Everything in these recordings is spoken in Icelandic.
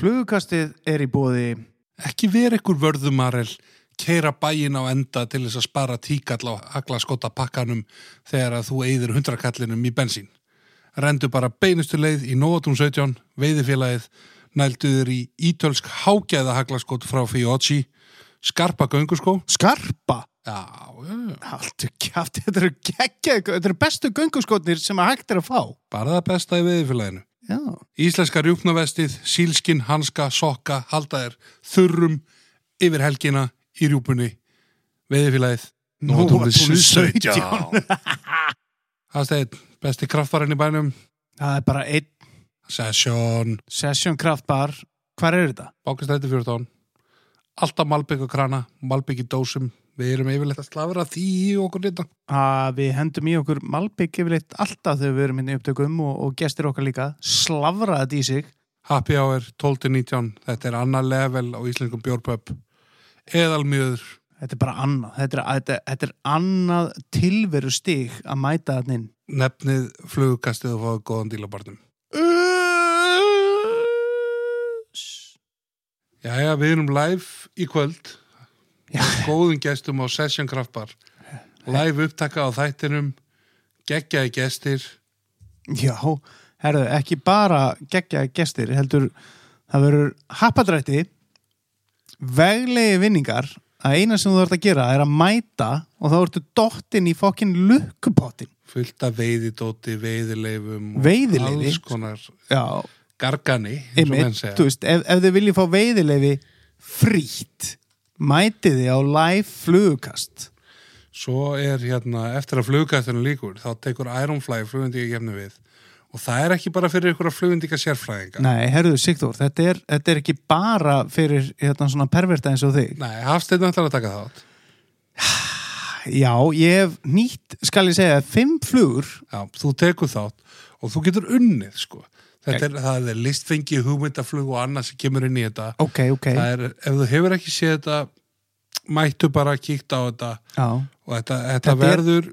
Flugukastið er í bóði Ekki vera ykkur um vörðumarel, keira bæin á enda til þess að spara tíkall á aglaskota pakkanum þegar að þú eyðir hundrakallinum í bensín. Rendu bara beinustu leið í Nóatún 17, veiðifélagið, nælduður í ítölsk hágæða haglaskot frá Fiocchi, skarpa gönguskó. Skarpa. Já, já, já, Haltu kjátt, þetta eru geggjað, þetta eru bestu gönguskotnir sem að hægt er að fá. bara það besta í veiðifélaginu. Já. Íslenska rjúpnavestið, sílskin, hanska, sokka, haldaðir, þurrum, yfir helgina, í rjúpunni, veiðifélagið, Nóatúnið 17. Hafstæðin, besti kraftbarinn í bænum, Það er bara einn Session, session kraftbar. Hvar er þetta? bókastrætti 14, alltaf malbygg og krana, malbygg í dósum, við erum yfirleitt að slafra því í okkur hérna. þetta. Að við hendum í okkur malbygg yfirleitt alltaf þegar við erum inn í upptökum og, og gestir okkar líka. Slavra þetta í sig. Happy Hour 12-19, þetta er annar level á íslenskum bjórpöpp, eðalmjöður, Þetta er bara annað. Þetta er, þetta, þetta er annað tilveru stig að mæta þann inn. nefnið flugkastið og fáið góðan dílabartum. Jæja, við erum live í kvöld Já. Góðum gestum á Session Craft Bar Live upptaka á þættinum Geggjaði gestir Já, herðu, ekki bara geggja gestir, heldur það verður happadrætti veglegi vinningar að eina sem þú ert að gera er að mæta og þá ertu dottinn í fokkin lukkupottin. Fullt af veiðidóti, veiðileifum og Veiðileyfi? Alls konar Já, gargani eins og menn einmitt, segja. þú veist, ef, ef þið viljið fá veiðilefi frítt, mætið þið á live flugukast. Svo er hérna, eftir að flugkastinu líkur þá tekur Ironfly flugundíkakefni við og það er ekki bara fyrir ykkur að flugundíka sérfræðinga Nei, herðu, Sigþór, þetta er, þetta er ekki bara fyrir hérna svona perverta eins og þig. Nei, Hafsteinn ætlar að taka þátt Já, ég hef nýtt, skal ég segja, fimm flugur Já, þú tekur þátt og þú getur unnið, sko. Þetta er, það er listfengi, hugmyndaflug og annað sem kemur inn í þetta. Ok, ok, Það er, ef þú hefur ekki séð þetta, mættu bara að kíkta á þetta já og þetta, þetta, Þetta er- verður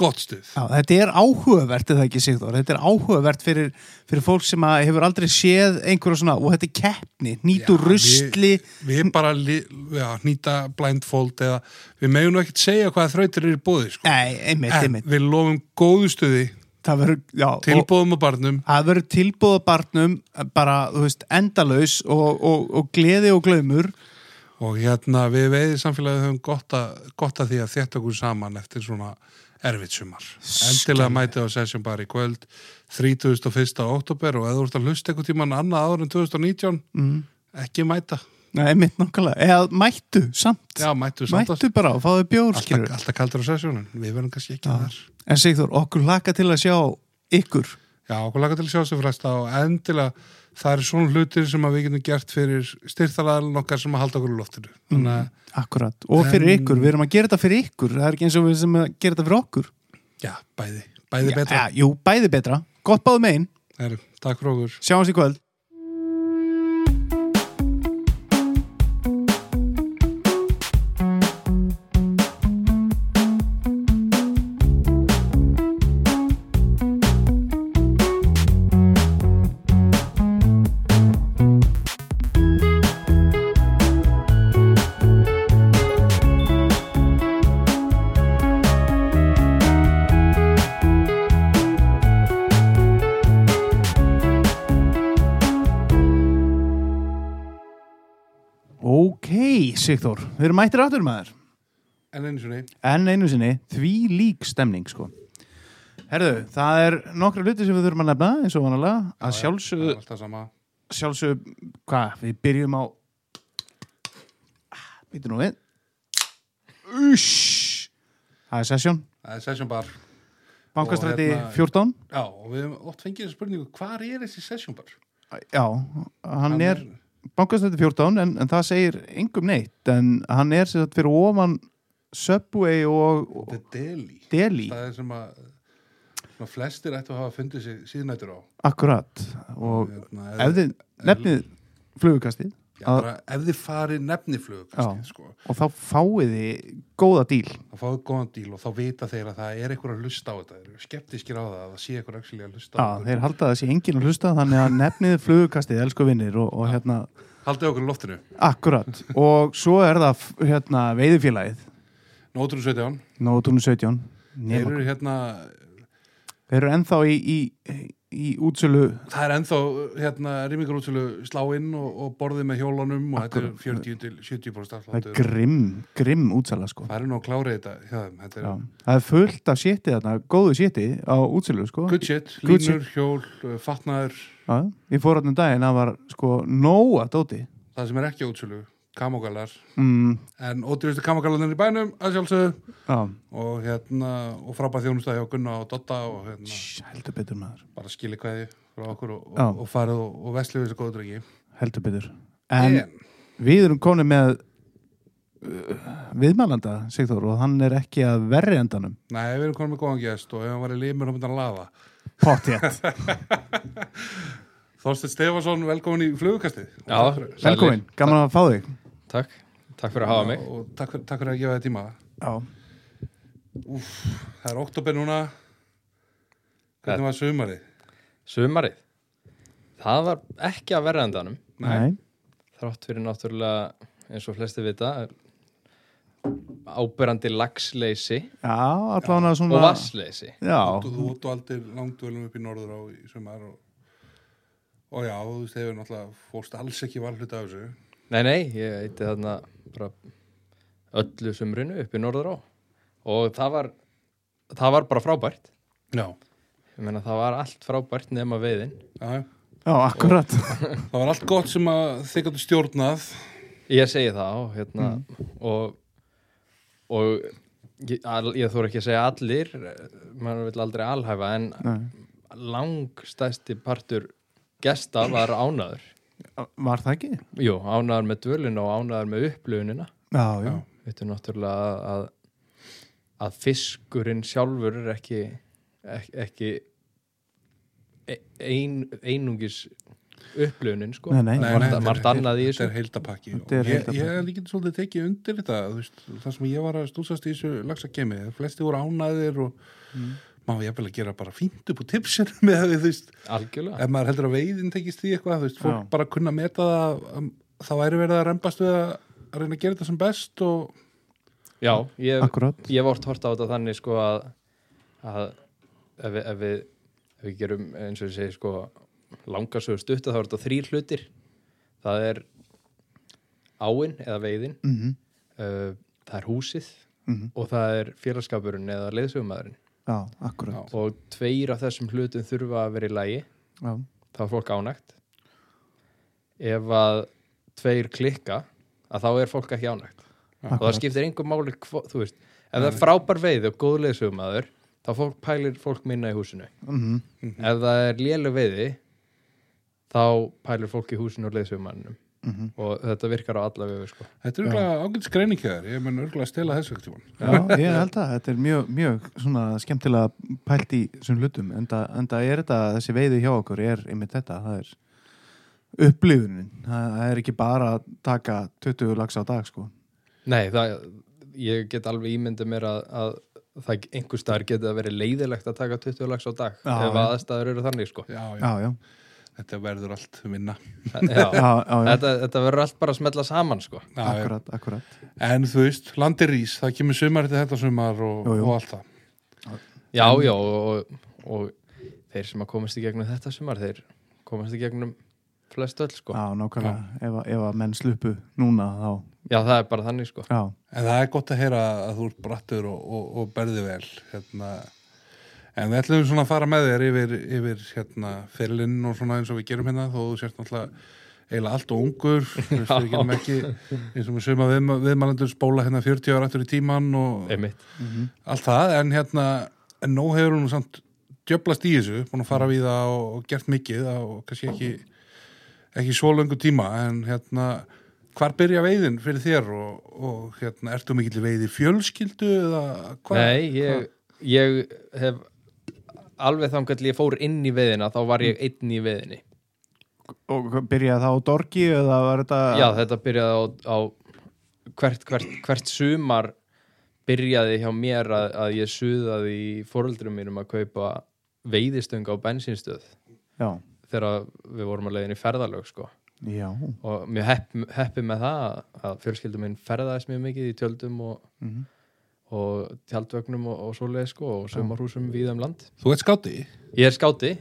gott stuð. Já, þetta er áhugavert, er það ekki Sigþór? Þetta er áhugavert fyrir, fyrir fólk sem að hefur aldrei séð einhverja svona, og þetta er keppni, nýtu Já, rusli, Við, við bara li, já, nýta blindfold eða við meginum ekkert segja hvaða þrautir eru búið, sko. nei, einmitt, En einmitt. við lofum góðu stuði, Það verður, já, og tilbúðum og barnum, það verður tilbúða barnum bara, þú veist, endalaus og, og, og gleði og glaumur. Og hérna við veiðið samfélagið höfum gott, að gott að því að þetta okkur saman eftir svona erfitt sumar. Endilega mætið á sessjum bara í kvöld 31. oktober og eða þú ert að hlusta einhvern tíman annað áður en 2019, mm. ekki mæta. Nei, einmitt nákvæmlega, eða mættu samt, Já, mættu samt að mættu bara og fáðu bjór, alltaf, skilur. alltaf kaldur á sessjónum. Við verðum kannski ekki þar. En Sigþór, okkur laka til að sjá ykkur. Já, okkur laga til að sjá sér fresta og endilega það eru svona hlutir sem að við getum gert fyrir styrtalaðalinn okkar sem að halda okkur í loftinu. Þannig að Akkurat, og fyrir ykkur, við erum að gera þetta fyrir ykkur, það er ekki eins og við sem að gera þetta fyrir okkur. já, bæði. Bæði Já, betra. ja, jú, bæði betra, gott báðu megin Heru, takk fyrir okkur. Sjáumst í kvöld Ok, Sigþór, við erum mættir aftur maður En einu sinni. En einu sinni, því lík stemning sko Herðu, það er nokkra hluti sem við þurfum að nefna eins og vanalega að Það sjálfsögðu, er alltaf sama. sjálfsögðu, hvað, við byrjum á Býtu nú við Ush Það er sesjón, Það er session bar. bankastræti Og hérna- 14 Já, og við hefum oft fengið þessu spurningu, hvar er þessi session bar? Já, hann er bankastætti 14 en, en það segir engum neitt en hann er sem sagt fyrir ofan Subway og, og The Deli. Deli Það er sem að svona, flestir ættu að hafa fundið sig síðnættur á. akkurat og Hérna, ef þið nefnið flugukastið Já, bara ef þið farið nefniflug kannski, Já. sko, og þá fáið þið góða díl þá fáið góðan díl og þá vita þeir að það er einhver að hlusta á þetta þeir eru skeptískir á það að það sé einhver actually að hlusta á Já, þetta þeir halda að það sé enginn að hlusta þannig að nefnið flugukastið, elsku vinnir og, og hérna, haldið okkur í loftinu, akkurat og svo er það hérna veiðifélagið nótur 17 Nótun 17 þeir nema, eru hérna, þeir eru ennþá í, í, í útsölu það er ennþá hérna, rýmingarútsölu sláinn og, og borðið með hjólunum og þetta er 40 til 70 það er afsláttur grimm, grimm útsala sko það er nú að klára þetta, hjá þeim. þetta Já, er það er fullt af sétið þarna, góðu sétið á útsölu sko good shit, Good línur, hjól, uh, fatnaður Já, ég fór hann um daginn, það var sko nóa dóti það sem er ekki á útsölu, kamogalar mm, en ódýrustu kamogalarnir í bænum að sjálfsögðu Já, og hérna, og frábæð þjónustæði á Gunna og Dotta og hérna Shhh, heldur betur maður bara skili hvaði frá okkur og, Já. og, og farið og, og vestlið þessu góðu drengi heldur betur en, en Við erum konið með uh, viðmælanda, Sigþór, og hann er ekki að verri endanum. nei, við erum konum með góðan gest og ef hann var í limur þá myndi hann að laða Pottjætt. Þorstein Stefansson, velkomin í flugukastið Og Já, takk fyrir- sælir. Velkomin, gaman að fá þig. Takk, takk fyrir að hafa mig og takk fyrir, takk fyrir að gefa þið tíma Já. það er oktober núna hvernig var sumarið? Sumarið Það var ekki að verða endanum Nei. Þrátt fyrir náttúrulega, eins og flesti vita Áberandi lagsleysi Já, allan að og svona... vassleysi Já, þú, þú áttu aldrei langdvölum upp í norður á í sumar og, og já, þú veist, hefur náttúrulega fórst alls ekki valhlut af þessu Nei, nei, ég eitti þarna bara öllu sumrinu upp í Norður á og það var, það var bara frábært já, Ég meina það var allt frábært nema veiðin já já, akkurat. það var allt gott sem að þið gætu stjórnað Ég segi það og hérna Mm. og, og ég, al- ég þóra ekki að segja allir maður vil aldrei alhæfa en Nei. langstæsti partur gesta var ánaður Var það ekki? Jú, ánaður með dvöluna og ánaður með upplöfunina Já, já. Þetta er náttúrulega að- að, að fiskurinn sjálfur er ekki ekki, ekki e- ein, einungis upplöfunin sko Nei, nei. Það er Nei, nei, margt- þetta er margt annað í Þetta er þessu heildapakki Þetta er Og ég, heildapakki. ég er líka svolítið tekið undir þetta þú veist, það sem ég var að stúsast í þessu lagsakemi flesti voru ánæðir og Mm. maður ég vil að gera bara fínt upp úr tipsinu með því, þú veist, algjörlega ef maður heldur að veiðin tekist því eitthvað, þú veist, fólk Já. bara kunna meta það um, það væri verið að rembast við að að reyna að gera þetta sem best og Já, ég, Akkurat. ég hef oft hort á þetta þannig sko að, að ef, við, ef, við, ef við gerum eins og ég segi sko langasögur stutta þá er þetta þrýr hlutir það er áin eða veiðin Mm uh, það er húsið Mhm. og það er félagskapurinn eða leiðsögumæðurinn Já, akkurat. og tveir af þessum hlutum þurfa að vera í lagi Já. þá er fólk ánægt ef að tveir klikka að þá er fólk ekki ánægt og það Akkurat. skiptir engum máli hvo, þú veist, ef það er frábær veið og góð leðsögumæður þá fólk pælir fólk minna í húsinu Mhm. ef það er lélu veiði þá pælir fólk í húsinu og leðsögumæðinum Mhm. og þetta virkar á alla veiði sko. þetta er örgulega ágætis greiningjöður ég menn örgulega að stela þessu ekkert tíma Já, ég held að þetta er mjög, mjög svona skemmtilega pælt í svona hlutum en það er þetta, þessi veiði hjá okkur er einmitt þetta, það er upplifunin, það það er ekki bara að taka 20 lags á dag sko nei, það, ég get alveg ímyndið mér að, að það einhver staðar geti að vera leiðilegt að taka 20 lags á dag Já, ef já. aðstæður eru þannig sko. já, já, Já, já, þetta verður allt vinna já, já, já, já. Þetta, þetta verður allt bara að smetla saman sko. Já, já. akkurat, akkurat en þú veist, landi rís, það kemur sumar til þetta sumar og, Jú, jú. og allt það Já, já, og, og, og þeir sem að komast í gegnum þetta sumar, þeir komast í gegnum flest öll, sko. Já, Já, nákvæmlega, ef, að- ef að menn sluppu núna þá, það er bara þannig, sko. já, En það er gott að heyra að þú ert brattur og, og, og berði vel hérna. En við ætlum svona að fara með þér yfir, yfir hérna, ferlinn og svona eins og við gerum hérna þó þú sért náttúrulega eiginlega allt og ungur Þú veist, við gerum ekki eins og við sögum að við, viðmælendur spóla hérna 40 ára aftur í tíman og Einmitt. allt það en hérna, en nóg hefur hún samt djöblast í þessu, búin að fara við það og, og gert mikið og kannski ekki ekki svo löngu tíma en hérna, hvar byrja veiðin fyrir þér og, og hérna, ertu mikill veiði fjölskyldu eða hvað? Nei, ég, ég hef alveg þangar til ég fór inn í veðina, þá var ég einn í veðinni. og byrjaði það á dorki eða var þetta Já, þetta byrjaði á, á hvert, hvert, hvert sumar byrjaði hjá mér að, að ég suðaði í fóreldrum mínum að kaupa veiðistöng á bensínstöð já, þegar við vorum að leiðin í ferðalög sko. já, og mjög hepp, heppi með það að- að fjölskyldum minn ferðaðist mjög mikið í tjöldum og, Mhm. og tjaldvögnum og, og svoleið sko, og sumarhúsum víða um land Þú ert skáti? Ég er skáti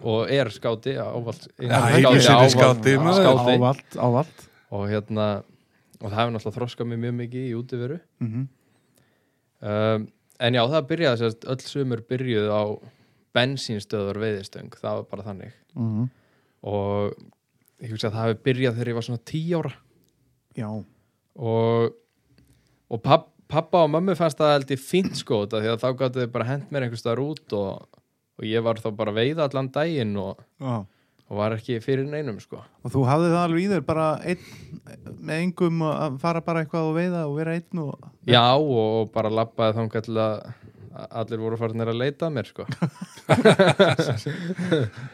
og er skáti ávalt, einu sinni skáti, maður. skáti ávalt, ávalt og hérna og það hefur náttúrulega þroskað mig mjög mikið í útiveru mm -hmm. um, en já það byrjaði sérst öll sumur byrjuð á bensínstöður veiðistöng, það var bara þannig Mhm. og ég hugsa að það hefur byrjað þegar ég var svona tí ára já, og, og papp, pappa og mömmu fannst það held ég fínt sko þetta því að þá gætu þau bara hent mér einhvers staðar út og, og ég var þá bara að veiða allan daginn og, já og var ekki fyrir neinum sko og þú hafði það alveg í þér bara einn með engum að fara bara eitthvað og veiða og vera einn og Já og og bara labbaði þangað til að að allir voru farinir að leita að mér sko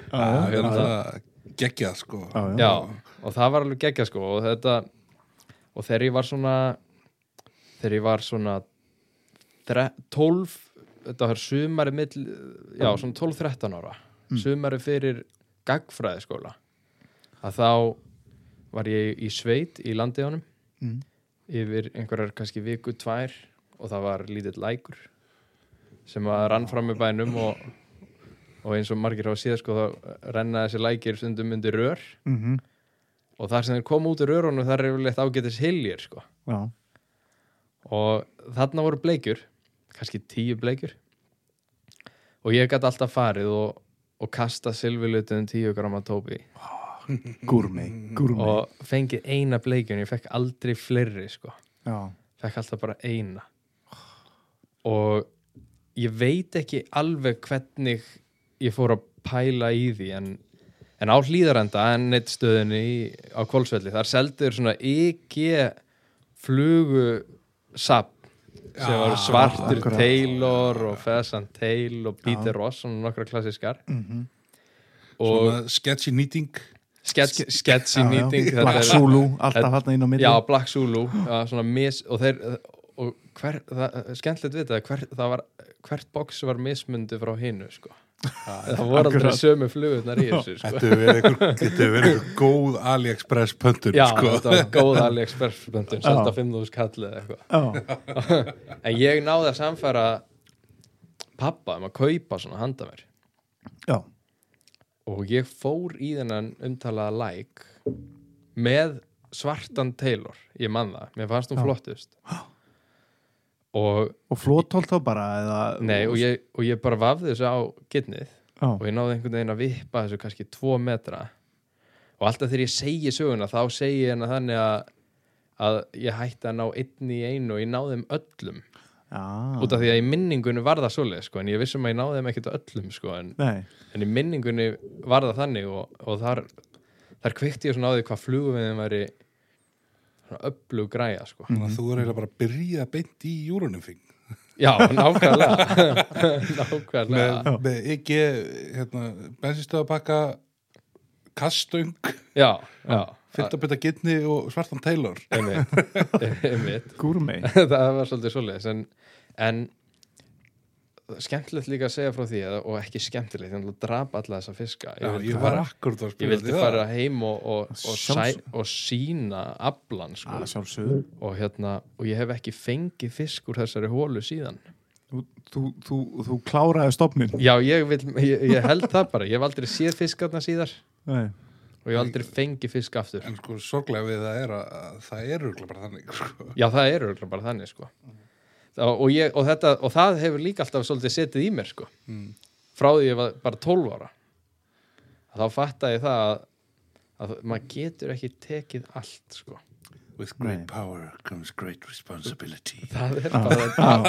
Já, já, það geggjað sko Já og það var alveg geggja sko og þetta og þegar ég var svona þegar ég var svona dre- 12 þetta var sumari mill já Mm. svona 12-13 ára sumari fyrir gagfræðiskóla að þá var ég í sveit í landið honum Mm. yfir einhverjar kannski viku tvær og það var lítill lækur sem að rann fram í bænum og, og eins og margir hafa síða sko þá renna þessi lækir stundum undir rör mm -hmm. og þar sem þeir koma út úr örunum þar er yfirleitt ágætis hiljir sko. já, og þarna voru bleikjur kannski tíu bleikjur og ég gæti alltaf farið og, og kasta silfurlutum tíu grama tópi gúrmi, gúrmi og fengið eina bleikjun ég fekk aldrei fleiri sko. já, fekk alltaf bara eina og ég veit ekki alveg hvernig ég fór að pæla í því en, en á hlýðarenda en neitt stöðinni í, á Kvolsvelli þar seldur svona EG flugu sap sem Já, var svartur akkurat. Taylor og Fessan Tail og Peter Ross og nokkra klassiskar Mhm. og Sko. Svona sketchy nýting sketch, sketchy já, já. meeting þetta Black er- Zulu, alltaf þetta- hann inn á milli Já, Black Zulu já, svona mis, og þeir og hver, það, skemmtilegt við þetta hver, það var, hvert box var mismundu frá hinu sko. það voru aldrei akkurat. sömu flugurnar í þessu sko. Þetta hefur verið einhver- þetta hefur verið einhver góð AliExpress pöntun Já, sko. þetta var góð AliExpress böndun, selda 5.000 kallið eða eitthvað já, en ég náði að samfæra pappa um að kaupa svona handa mér já, og ég fór í þennan umtalaða læk með svartan Taylor ég man það, mér fannst hún flottust og og flótólt þá bara eða, Nei, og ég, og ég bara vafði þessu á getnið já, og ég náði einhvern veginn að vippa þessu kannski tvo metra og alltaf þegar ég segi söguna þá segi ég hennar þannig að, að ég hætti að ná einn í einu og ég náði þeim öllum já, út af því að í minningunni var það svoleið sko, en ég vissum að ég náði þeim ekkert öllum sko, en, nei, en í minningunni var það þannig og, og þar, þar kveikti ég svona á því hvað flugum við þeim væri öllu græja sko. Þannig að Þú er eiginlega bara að byrja beint í júrunumfing Já, nákvæmlega Nákvæmlega með, með ekki hérna, bensinstöðapakka kastöng, Já, já fyrtabita gitni og svartan Taylor einmitt, einmitt. gúrmi það var svolítið svoleiðis en, en skemmtilegt líka að segja frá því að, og ekki skemmtilegt, ég ætla að drapa alla þessa fiska Já, vildi ég var fara, akkur það ég vildi fara heim og, og, og, sæ, Sjálfsög- og sína aflan sko. Ah. sjálfsögðu og, hérna, og ég hef ekki fengið fisk úr þessari hólu síðan þú, þú, þú, þú kláraði stopnin já, ég, vil, ég, ég held það bara ég hef aldrei séð fiskarna síðar nei, og ég hef aldrei fengið fisk aftur En sko, sorglega við það er að, að það er örugglega bara þannig sko. Já, það er örugglega bara þannig, sko. Þá, og, ég, og, þetta, og það hefur líka alltaf svolítið setið í mér, sko. Frá því ég var bara 12 ára. Þá fattaði ég það að, að maður getur ekki tekið allt, sko. With great great Nei. power comes great responsibility Það er bara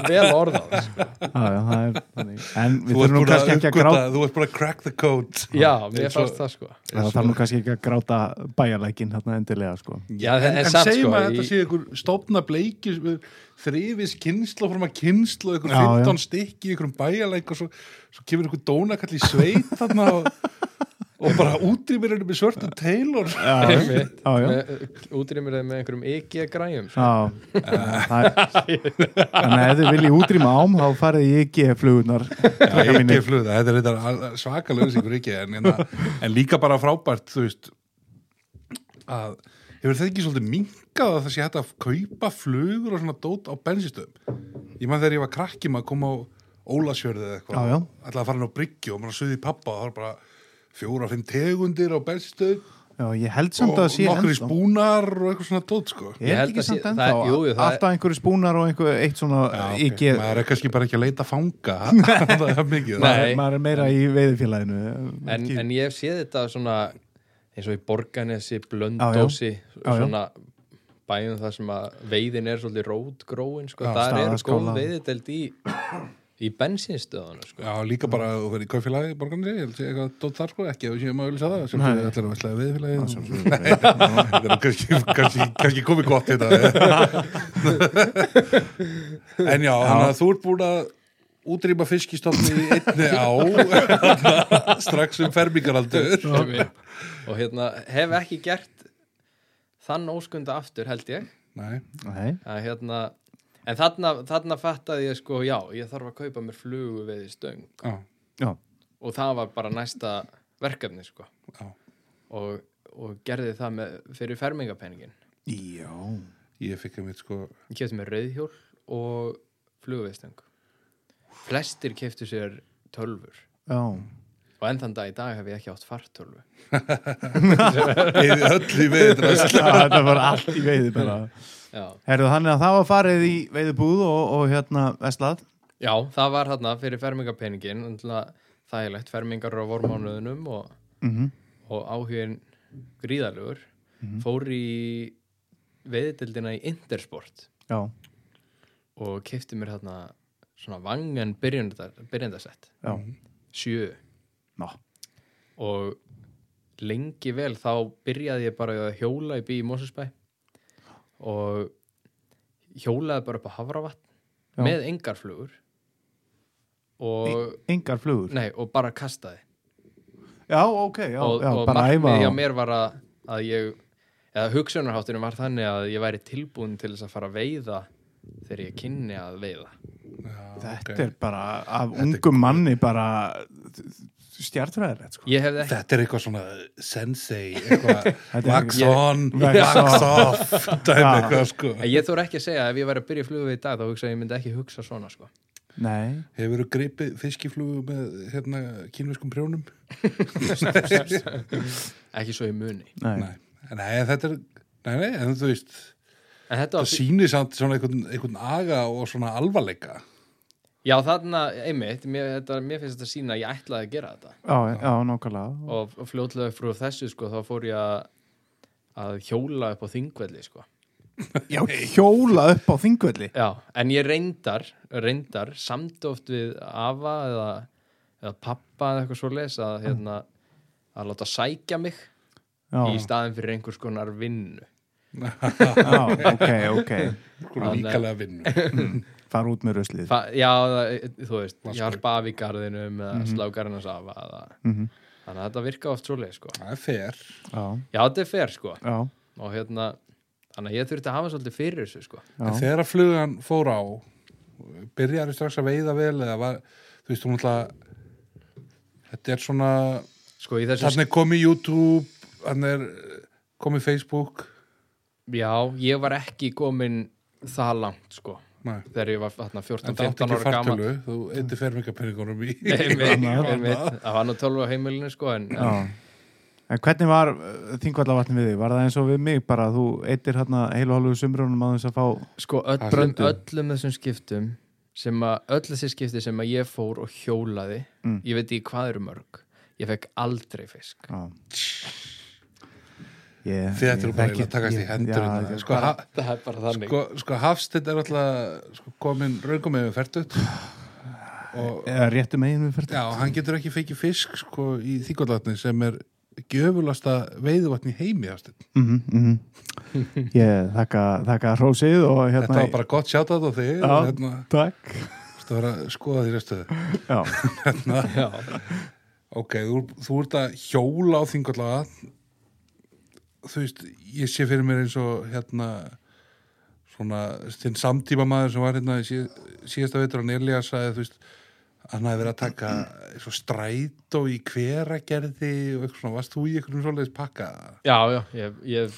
vel orðað, sko. já, já, það er þannig. en við þurfum nú kannski ekki að gráta Þú ert búin að crack the code Já, mér eins og- fannst það, sko. það þarf nú kannski ekki að gráta bæjarlækin hérna endilega sko Já, En, en, en, en samt, segjum sko, að þetta í- sé ykkur stofna bleiki þrifis kynnslu frá maður kynnslu ykkur Já, já. 15 stykki, ykkur bæjarleik og svo, svo kemur ykkur dónakall í sveit þarna og og bara útrýmir henni með svörtum teilor Einmitt. já, já. Með- útrýmir þeim með einhverjum EG-græjum sko. Já, það er- þannig að ef þið viljið útrýma ám þá farið í E EG-flugunar ekki fluga, þetta er þetta svakalegu sigur ekki en, en, en líka bara frábært þú veist að hefur þetta ekki svolítið minkað að það sé hægt að kaupa flugur og svona dót á bensinstöðum ég maður þegar ég var krakki maður kom á Ólasjörði eða Já, eitthvað já. alltaf að fara hann á bryggju og maður suði í pappa og það var bara fjóra, fimm tegundir á bensinstöðum Já, ég held samt og að það sé nokkur ennþá. spúnar og eitthvað svona dót sko Ég Ég held held ekki að sé- samt það- ennþá jú, jú, það- Alltaf einhverju spúnar og einhver, eitt svona E Já, EG ok. maður er kannski bara ekki að leita fanga það er mikið Nei. Maður er meira í veiðifélaginu en, Ekki- en ég hef séð þetta svona eins og í Borganesi, Já, já. Blöndósi Já, já. svona bæjum það sem að veiðin er svolítið rótgróin sko. Já, það er góð staðarskála. veiðideld í, í bensinstöðunum sko. Já, líka bara að þú verður í kaupfélagi borgarnir, ég held ég eitthvað dótt þar sko, ekki ef við séum að auðvitað það, sem við ætlum að ætlaði viðfélagi. Nei, þetta er nú kannski, kannski, kannski komið gott þetta. en já, þannig að þú ert búin að útrýma fiskistofni í einni á, strax um fermingaraldur. Einmitt. og hérna hef ekki gert þann óskunda aftur held ég Nei, Nei, að, hérna, en þarna, þarna fattaði ég sko já, ég þarf að kaupa mér flugu við stöng já, já, og það var bara næsta verkefni sko já. og, og gerði það með, fyrir fermingapenningin já. Ég fikk að mitt sko, ég kefti mér rauðhjól og flugveistöng flestir keftu sér tölfur já. og enn þann dag í dag hef ég ekki átt fartölvu eða öll í Já, veðrast. Þetta var allt í veiði bara já. Herðu þannig að það var farið í veiðibúð og, og hérna Veslað já, það var þarna fyrir fermingapenningin þægilegt, fermingar á vormánuðunum og, mm og áhugin gríðalugur fór í veiðdeldina í Intersport Já, og kefti mér þarna svona vangan byrjandar- byrjandasett já, sjö ná og lengi vel þá byrjaði ég bara að hjóla í bí í Mosesbæ og hjólaði bara upp á Já. Hafravatn með engar flugur og, Engar flugur nei, og bara kastaði Já, ok, já, og, já og bara æfa markmið hjá á- mér var að, að ég eða hugsunarháttunum var þannig að ég væri tilbúin til þess að fara að veiða þegar ég kynni að veiða Þetta er bara af ungum manni bara stjartræðir sko. ég hefði ekki, Þetta er eitthvað svona sensei, eitthvað Þetta er wax ekki- on, Wax wax off, dæmi Já. eitthvað sko. en ég þóra ekki að segja að ef ég væri að byrja í flugu í dag þá hugsa ég ég myndi ekki hugsa svona sko. Nei, Hefur þú gripið fiskiflugu með hérna kínveskum prjónum? ekki svo í muni nei, Nei, nei þetta er, nei, nei, en þú veist, en þetta það var sýnir samt svona einhvern, einhvern aga og svona alvarleika. Já, þarna, einmitt, mér, þetta, mér finnst þetta sína að ég ætlaði að gera þetta Já, já, nákvæmlega og, og fljótlega frú þessu, sko, þá fór ég að, að hjóla upp á þingvelli, sko Já, hjóla upp á þingvelli Já, en ég reyndar, reyndar samt oft við afa eða, eða pappa eða eitthvað svo les að, hérna, að láta sækja mig í Já, staðin fyrir einhvers konar vinnu já ok, ok Svona Þannig- líkalega vinnu. Far út með röslið Fa, Já, það- þú veist, ég harpa af í garðinum eða mm -hmm. slágarnas afa eða, Mhm. þannig að þetta virka oft svo sko Það er fer. Já, Já, þetta er fer, sko já, og hérna þannig að ég þurfti að hafa svolítið fyrir þessu sko já, En þegar að flugan fór á, byrjar þú strax að veiða vel eða var, þú veist, hún alltaf, þetta er svona, sko í þessu þarna er komið YouTube, þarna er eh, komið Facebook, já, ég var ekki komin það langt sko nei. þegar ég var þarna En það átti ekki 14-15 ára gammal fartölu, þú eitthi fermingapenningunum í. Einmitt, einmitt. það var nú 12 á heimilinu sko en, já En hvernig var þingvallavatni við þig? Var það eins og við mig bara að þú eittir hérna heilu og halvu sumrunum að þess að fá en sko öllum, Bröndu. öllum þessum skiptum sem að öll þessi skipti sem að ég fór og hjólaði Mm. ég veit ekki hvað eru mörg ég fekk aldrei fisk Já Ég- Þið ættir ég bara þekki- eiginlega að takast í ég- hendur já, hérna. ég- sko, ha, það er bara þannig sko, sko Hafsteinn er alltaf sko, komin raungum með fertut og Eða réttu megin við fyrir já, hann getur ekki fekið fisk sko, í þýkvallatni sem er gjöfulasta veiðvatni heimi Hafsteinn. mm -hmm. Ég þakka, þakka hrósið og hérna Þetta var bara gott sjátt á þig Já. hérna, Takk þú veist að vera að skoða því restuðu Já, já, og Hérna. ok, þú, þú ert að hjóla á þingvallaga þú veist, ég sé fyrir mér eins og hérna svona, þinn samtíma maður sem var hérna í síð, síðasta veitur hann Elias að þú veist, hann hafi verið að taka svo strætó í hveragerði og eitthvað svona, varst þú í einhverjum svoleiðis pakka? já, já, ég, ég,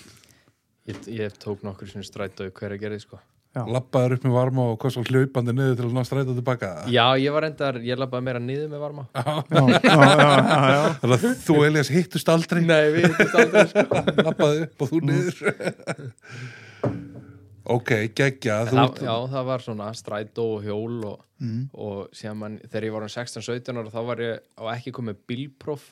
ég, ég tók nokkur sinni strætó í hverja gerði sko Já. Lappaður upp með varma og hvað svo hlaupandi niður til að ná strætó tilbaka? já, ég var endar, ég labbaði meira niður með varma já, já, já, já, já. Þannig að þú og Elias hittust aldrei nei, við hittumst aldrei sko lappaði upp og þú Mm. niður ok, geggja þú það, ert- já, það var svona strætó og hjól og, Mm. og síðan mann, þegar ég var um 16-17 ára þá var ég á ekki komið bílpróf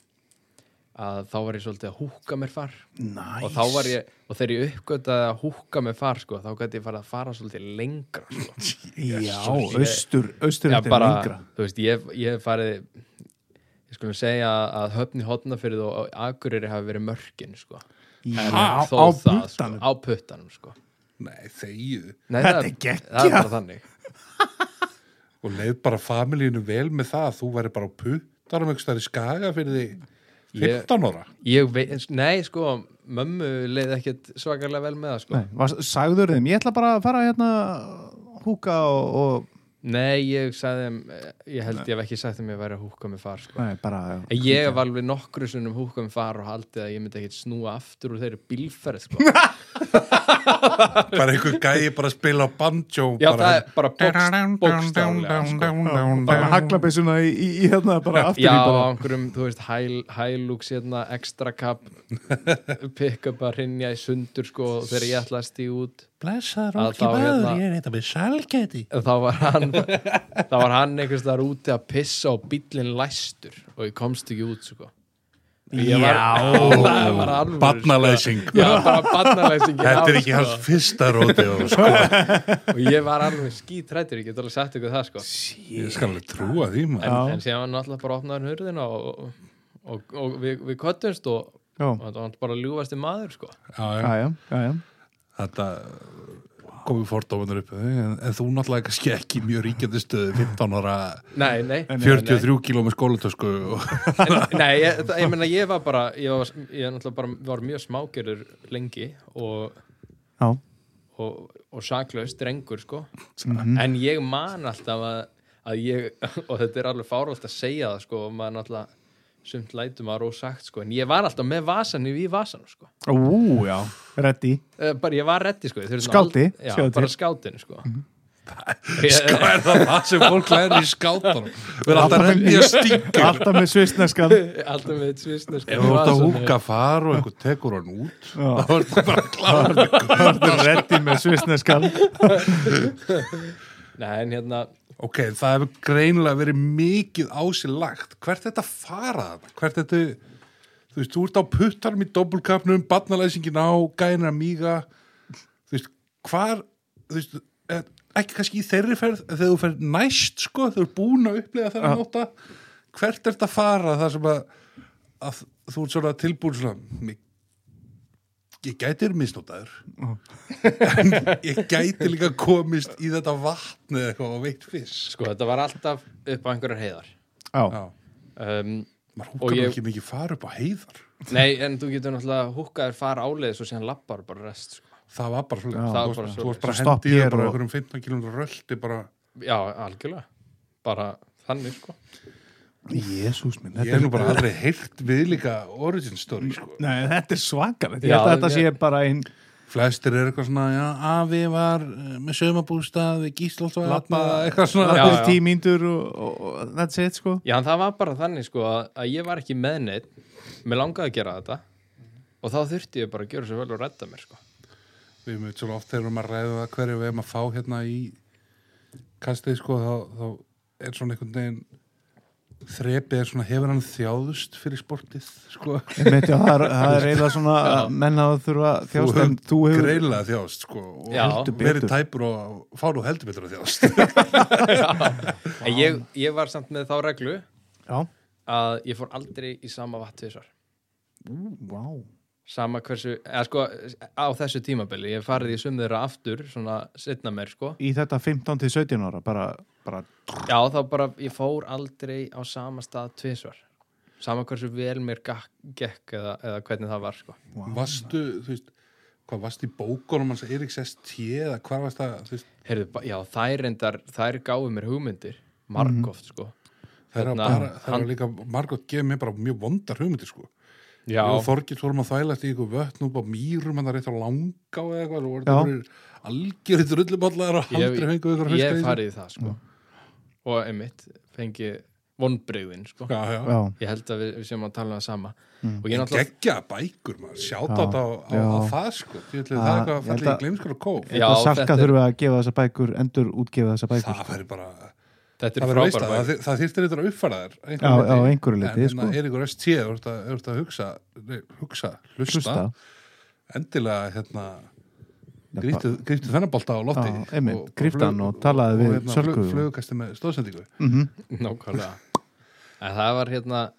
að þá var ég svolítið að húka mér far Næs. og þá var ég, og þegar ég uppgötaði að húka mér far sko, þá gæti ég farið að fara svolítið lengra sko. Já, Jesus, ég- austur, austur Já, þetta bara, er lengra þú veist, ég, ég hef farið ég skulum segja að höfni hotnafyrð og Akureyri hafi verið mörkin sko. En Já, þó á það, sko, puttanum. á puttanum sko. nei, þegið Nei, Þetta það- er geggjað. það er bara þannig og leið bara familíinu vel með það að þú væri bara á puttarum einhvers þar í skaga fyrir því 15 ára Ég veit, nei sko, mömmu leiði ekkert svakalega vel með það sko. Nei, var, sagður þeim, ég ætla bara að fara hérna húka og, og Nei, ég sagði þeim, eh, ég held ég hef ekki sagt þeim ég væri að húka með far sko. nei, bara En ég var alveg nokkru sunnum húka með far og haldið að ég myndi ekkert snúa aftur úr þeirri bílferð sko. bara einhver gæi bara að spila á banjo Já, bara, það er bara bókst- bókstaflega sko. bara bókstaflega haglabessuna í, í, í hérna bara aftur Já, í bara á einhverjum, þú veist, hæl- Hilux hérna, extra cup pick-up að rinja í sundur sko, og þegar ég ætlaði að stíð út blessaður Að og þá, ekki maður, hérna- ég er eitthvað með salgæti En þá var hann þá var hann einhvers þar úti að pissa og bíllinn læstur og ég komst ekki út sko. Ég var, já, það var alveg barnalæsing sko. Já, bara barnalæsing þetta er ekki hans fyrsta róti sko. sko. og ég var alveg skítrættur, ég get alveg sagt ykkur það sko. ég skal alveg trúa því maður en, en síðan var náttúrulega bara opnaður hurðina og, og, og, og við, við köttumst og, Já. og það var bara ljúfasti maður sko. já, já. Já, já, já, já. þetta komið fordómanar upp eh, en, en þú náttúrulega kannski ekki í mjög ríkjandi stöðu 15 ára Nei, nei, nei, nei. 43 kíló með skólatösku og En- Nei, ég, það- ég meina ég var bara ég var, ég náttúrulega bara var mjög smágerður lengi og já. og, og saklaus drengur sko. Mhm. en ég man alltaf að, að ég, og þetta er alveg fáralt að segja það sko, og maður náttúrulega sumt lætur maður ósagt sko, en ég var alltaf með vasanum í vasanum sko. Ú, já, ready Eh, bara ég var reddi sko. ég þurfti Skáti, ald- já, sjáðu til. bara skátin sko. Mhm. ég, hvað er það það sem fólk læri í skátunum við erum alltaf reyndi að stinga Alltaf með svistneskan alltaf með eitt svisna sko, ef þú ert að húka far og einhver tekur hann út þá er það bara kláður með Alltaf ready með svistneskan Nei, en hérna, Ok, það hefur greinilega verið mikið á sér lagt. Hvert þetta farað? Hvert þetta, þú veist, þú ert á puttarum í doppelkapnum, barnalæsingin á, gæna míga, þú veist, hvar, þú veist, eh, ekki kannski í þeirri ferð, en þegar þú ferð næst, sko, þú ert búin að upplega þennan nóta, hvert er þetta farað þar sem að, að þú ert svona tilbúin svona, mig, ég gæti er misnótaður, en ég gæti líka komist í þetta vatn eða eitthvað og veitt fisk. sko, þetta var alltaf upp á einhverjar heiðar Já, Já. um, maður Og húkar nú ég- ekki mikið far upp á heiðar Nei, en þú getur náttúrulega húkaður fara áleiðis og síðan lappar bara rest sko. það var bara Já, svolítið það var þú bara varst- þú varst svoleiðis. bara Svo stopp hendið hér bara og- einhverjum 15 km röldi bara Já, algjörlega bara þannig sko jésús minn ég þetta hef er- nú bara aldrei heyrt viðlíka origin story sko. Nei, þetta er svakar Ég Já, held að þetta sé ég- bara einn flestir er eitthvað svona já, afi var eh, með sömabústað við gíslóttu Labba- eitthvað svona Já. Allir tímyndur og, og, og that's it sko Já, en það var bara þannig sko að, að ég var ekki með neitt mér langaði að gera þetta og þá þurfti ég bara að gera svo vel og redda mér sko við erum svona oft þegar maður ræðum að hverju við erum að fá hérna í kastið sko þá, þá er svona einhvern veginn þrepið er svona hefur hann þjáðust fyrir sportið sko Meti, það, er, það er eiginlega svona menn að þurfa að þú þjást en hefur þú hefur greiðlega þjást sko, og Já. heldur Heldur verið betur. tæpur og fá nú heldur betur að þjást en ég, ég var samt með þá reglu Já, að ég fór aldrei í sama vatn tvisar vá sama hversu, eða sko á þessu tímabili, ég hef farið í sum þeirra aftur svona setna mér sko Í þetta 15 til 17 ára bara, bara Já, þá bara, ég fór aldrei á sama stað tvisvar sama hversu vel mér gakk, gekk eða, eða hvernig það var sko. Vastu, þú veist, hvað varst í bókunum hans Eiríks ST eða hvað varst það, þú veist, Heyrðu, ba- já, þær endar, þær gáfu mér hugmyndir margóft sko það er Þarna, bara, það hann- er líka, Margot gefið mér bara mjög vondar hugmyndir, sko. já, Ég og Þorgils vorum að þvælast í ykkur vötn upp á mýrum en það rétt á langa og eitthvað Já. og það voru algjörðið rulluballar og Ég- aldrei fengu ykkur ég hef farið í það sko og einmitt fengi vonbreyðin sko Já, já. já, ég held að við, við séum að tala um það sama Mm. og ég náttúrulega Geggja bækur maður, sjáta á, á, Já. á það sko Ég ætli, Já, Það er eitthvað ég að falla held í að- gleimskar og kóf Já, eitthvað salka þetta er- þurfa að gefa þessa bækur endur útgefa þessa bækur sko. Það verður bara, þetta það er verður veist að frábær bækur. það, það þýrtir eitthvað að uppfæra þér að já, já, einhverju einhverju leyti. liti, hérna, En- hérna, sko En er ykkur ST, þú ert að- þú ert að hugsa, nei, hugsa, hlusta, Hlusta. endilega hérna Já, Gríptu, gríptu þennan bolta á lofti Já, einmitt, gríptu hann og talaðu við Sölku flug, og- flugkasti hérna, með stóðsendingu Mhm, Nákvæmlega En það var hérna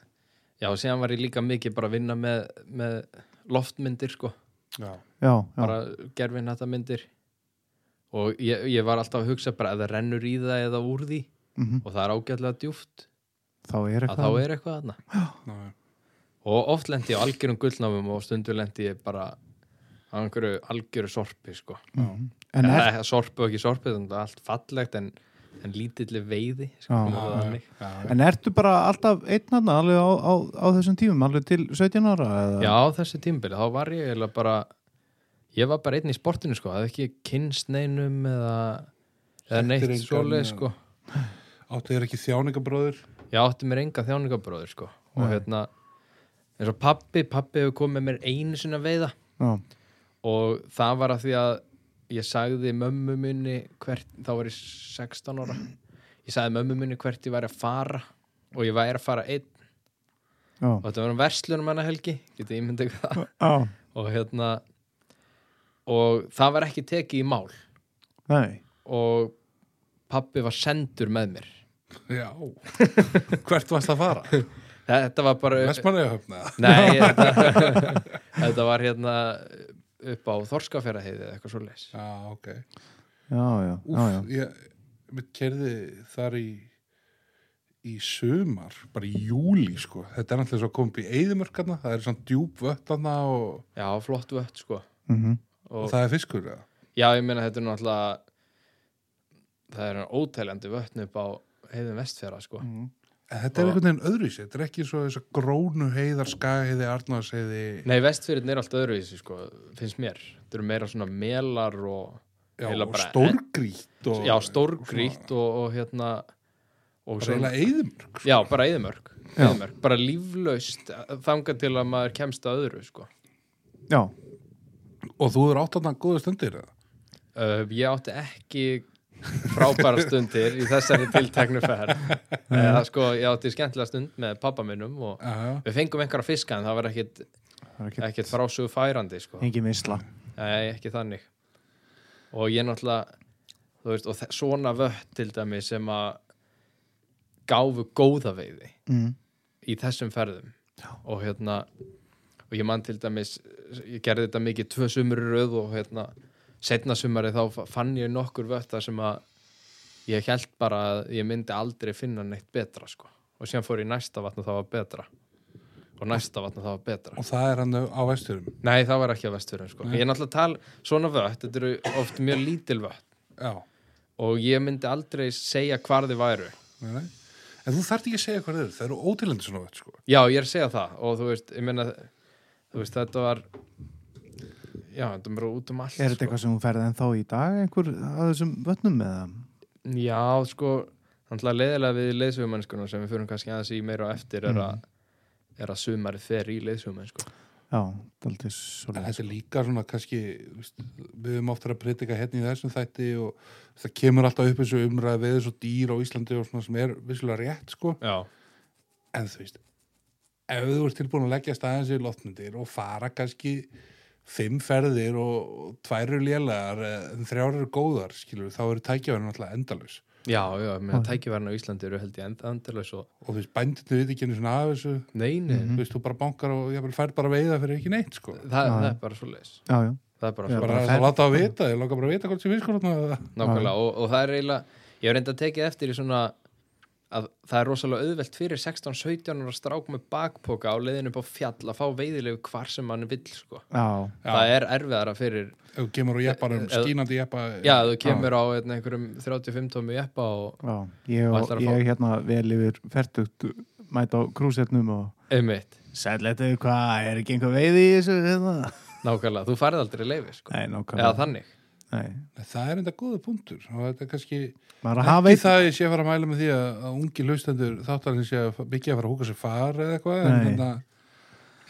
Já, síðan var ég líka mikið bara að vinna með, með loftmyndir sko Já, já, já, bara gerfin þetta myndir og ég, ég var alltaf að hugsa bara ef það rennur í það eða úr því mhm. og það er ágætlega djúft þá er að þá eitthvað er eitthvað þarna já, já. og oft lendi ég á algjörum gullnámum og stundur lendi ég bara á einhverju algjöru sorpi sko Mhm. en en er, það er sorpi og ekki sorpi þannig að allt fallegt en, en lítilli veiði sko, Já. það þannig. En ertu bara alltaf einn hann alveg á, á, á þessum tímum, alveg til 17 ára? Eða? Já, á þessu tímbili, þá var ég eiginlega bara ég var bara einn í sportinu sko, það ekki kynst neinum eða, eða Þekktir neitt engan, svoleið já. sko Áttu þér ekki þjáningabróður? ég átti mér enga þjáningabróður sko og Nei. hérna eins og pappi, pappi hefur komið mér einu sinna veiða Já, og það var að því að ég sagði mömmu minni hvert, þá var ég 16 ára ég sagði mömmu minni hvert ég væri að fara og ég væri að fara einn já, og þetta var um verslunum hennar helgi getið ég myndi ekki það já, og hérna og það var ekki tekið í mál nei, og pappi var sendur með mér Já. Hvert varst að fara? þetta var bara Vestmannaði höfna? Nei, þetta, þetta var hérna upp á Þorskafjörðaheiði eða eitthvað svo leis Já, ok. já, já, Úf, já, já. ég mitt kerði þar í í sumar, bara í júli sko. Þetta er náttúrulega svo komið upp í eyðumörkarna, það er svona djúb vötnana og, Já, flott vött sko Mm og og, það er fiskur, já. Já, ég meina þetta er náttúrulega það er óteljandi vötn upp á heiðum vestfjara sko Mm. En þetta er Og- einhvern veginn öðruvísi, þetta er ekki svo þess að grónu heiðar, skagaheiði, arnarsheiði, Nei, vestfjörðin er allt öðruvísi sko finnst mér, þetta eru meira svona melar og já, eiginlega og bara- stórgrýtt og já, stórgrýtt og, og hérna og bara eiginlega eyðumörk. Já, bara eyðumörk, Já. eyðumörk. bara líflaust eh, þangað til að maður kemst að öðru sko já, Og þú er átt að það góða stundir, eða? Uh, ég átti ekki frábæra stundir í þessari tilteknu ferð eða sko, ég átti skemmtilega stund með pappa minnum og Já, já. við fengum einhverja fiska en það var ekkit, það er ekki, ekkit frásögu færandi sko, engin misla. nei, ekki þannig og ég náttúrulega þú veist, og þe- svona vött til dæmi sem að gáfu góða veiði Mm. í þessum ferðum Já. og hérna og ég man til dæmis, ég gerði þetta mikið tvö sumur í röð og hérna setna sumari þá fa- fann ég nokkur vötta sem að ég held bara að ég myndi aldrei finna neitt betra sko. og síðan fór ég í næsta vatn og það var betra og næsta vatn og það var betra Og það er hann á vesturum. nei það var ekki á vestfjörðum sko. ég er náttúrulega tal svona vött, þetta eru oft mjög lítil vött Já, og ég myndi aldrei segja hvar þið væru nei, nei. En þú þarft ekki að segja hvað það eru, það eru ótilindi svona vett, sko. Já, ég er að segja það og þú veist, ég meina þú veist, þetta var já, þetta var út um allt Er þetta eitthvað sem hún ferði ennþá í dag, einhver að þessum vötnum eða? eitthvað? Já, sko, þannig að leiðilega við leiðsögumennskunum sem við fyrir kannski aðeins í meira á eftir er, Mm. að, er að sumarið fer í leiðsögumennsku Já, það er aldrei svo En þetta er líka svona kannski, þú veist, við höfum oftar að predika hérna í þessum þætti og það kemur alltaf upp þessu umræði við þessu dýr á Íslandi og svona sem er vissulega rétt, sko. Já, En þú veist, ef þú ert tilbúin að leggja staðins í loftmyndir og fara kannski fimm ferðir og og tvær eru lélegar eh, en þrjár eru góðar, skilur, þá eru tækjaverðin alltaf endalaus. já, já, ég meina tækifærin á Íslandi eru held ég enda andurlega svo Og þú veist, bændinu við ekki einu svona af þessu, Mhm. neini, mm þú veist, þú bara bankar og ég fær bara veiða fyrir ekki neitt, sko. það, Já, það já. er bara svo leis Já, já, það er bara Já, svo Bara bara að fer- láta að vita, ég langar bara að vita hvort sem fiskur þarna eða- nákvæmlega og, og það er eiginlega, ég hef reynda tekið eftir í svona að það er rosalega auðvelt fyrir 16-17 ára strák með bakpoka á leiðinu upp á fjall að fá veiðilegu hvar sem mann vill sko. Já, það er erfiðara fyrir ef þú kemur á jepparum, Eða- skínandi jeppa já, þú kemur á hérna, einhverjum 35 tómi jeppa og já, ég, Og ætlar að ég hérna vel yfir fertugt mæta á krúsetnum og einmitt, Sætletu, hvað, er ekki einhver veiði í þessu? hérna? nákvæmlega, þú færð aldrei leiði sko. Nei, eða nákvæmlega þannig Nei, það er enda góða punktur og þetta er kannski maður að hafa ekki eitt það ég sé að fara að mæla með því að, að ungi laustendur þáttarinn sé að byggja að fara að húka sér far eða eitthvað en, Nei. hérna-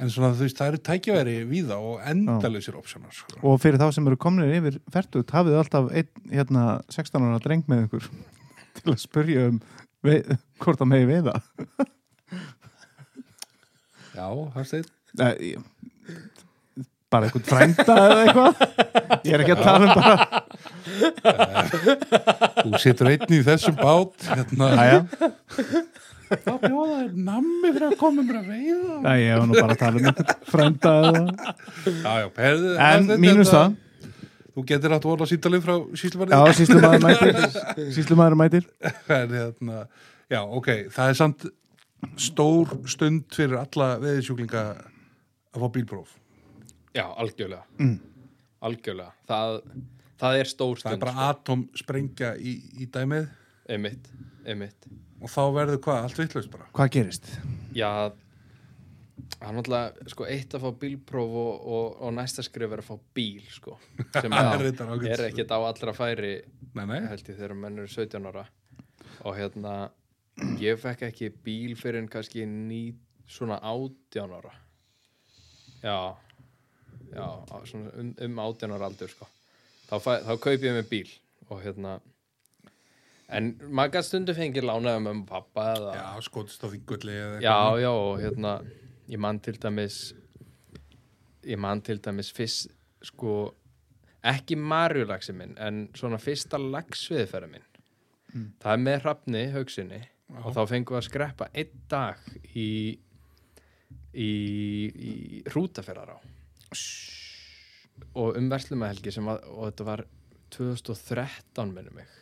en svona þú veist það eru tækjaværi víða og endalausir opsjónar sko. Og fyrir þá sem eru komnir yfir fertugt hafið þið alltaf einn hérna 16 ára dreng með ykkur til að spurja um veið, hvort það megi veiða já, Hafsteinn Nei, ég, bara eitthvað frænda eða eitthvað ég er ekki að tala um bara þú situr einn í þessum bát hérna, Æja, þá bjóða þér nammi fyrir að koma mér að reyða Nei, ég var nú bara að tala um eitthvað frænda eða. já, já, herðu, en hérna. mínus það þú getur átt að orða síntalið frá síslumannið já, síslumæður mætir síslumæður mætir en hérna, já, ok, það er samt stór stund fyrir alla veðisjúklinga að fá bílpróf. já, algjörlega algjörlega, það, það er stór Það er stund bara atom sprengja í, í dæmið sko. einmitt, einmitt og þá verður hvað, allt vitlaust bara. hvað gerist? Já, það er náttúrulega sko, eitt að fá bílpróf og, og, og næsta skrif er að fá bíl sko, sem Það er er, reyndar ágætis. er ekkert á allra færi Nei, nei, held ég þegar menn eru 17 ára og hérna ég fekk ekki bíl fyrir en kannski ný, svona 18 ára já já, á- svona um, um 18 ára aldur sko. þá, fæ, þá kaupi ég með bíl og hérna en maður gætt stundu fengið lánaði með pappa eða já, skotist á þingulli eða já, já, og hérna ég man til dæmis ég man til dæmis fyrst sko, ekki marjulaxi minn en svona fyrsta laxviðferða minn það er með hrafni haugsinni og þá fengum við að skreppa einn dag í í, í hrútaferðar á og um verslumahelgi sem að, og þetta var 2013 minnum mig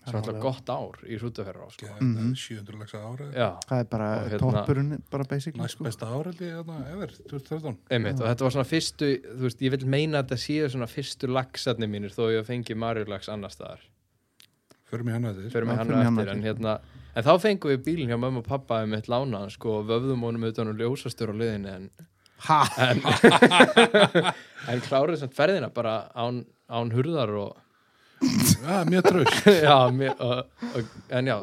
sem alltaf gott ár í hrútaferðar á sko. eitthvað. Mm. 700 lagsa ára, já, sko. það er bara Og hérna- toppurinn bara basically sko. næst besta ára held ég, hérna, ever, 2013. Einmitt, og þetta var svona fyrstu, þú veist, ég vil meina að þetta séu svona fyrstu laxarnir mínir þó ég fengi marjulax annar staðar Förum í hann að þér. fyrir mig Já, hann förum í og hana eftir, en eftir. hérna en þá fengum við bílinn hjá mömmu og pappa um eitt lánaðan, sko, og vöfðum honum utan og ljósastur á liðinni, en Ha? en, en kláruð sem ferðina bara án, án hurðar og, Já, Ah, mjög tröst. já, mér, og, og, en já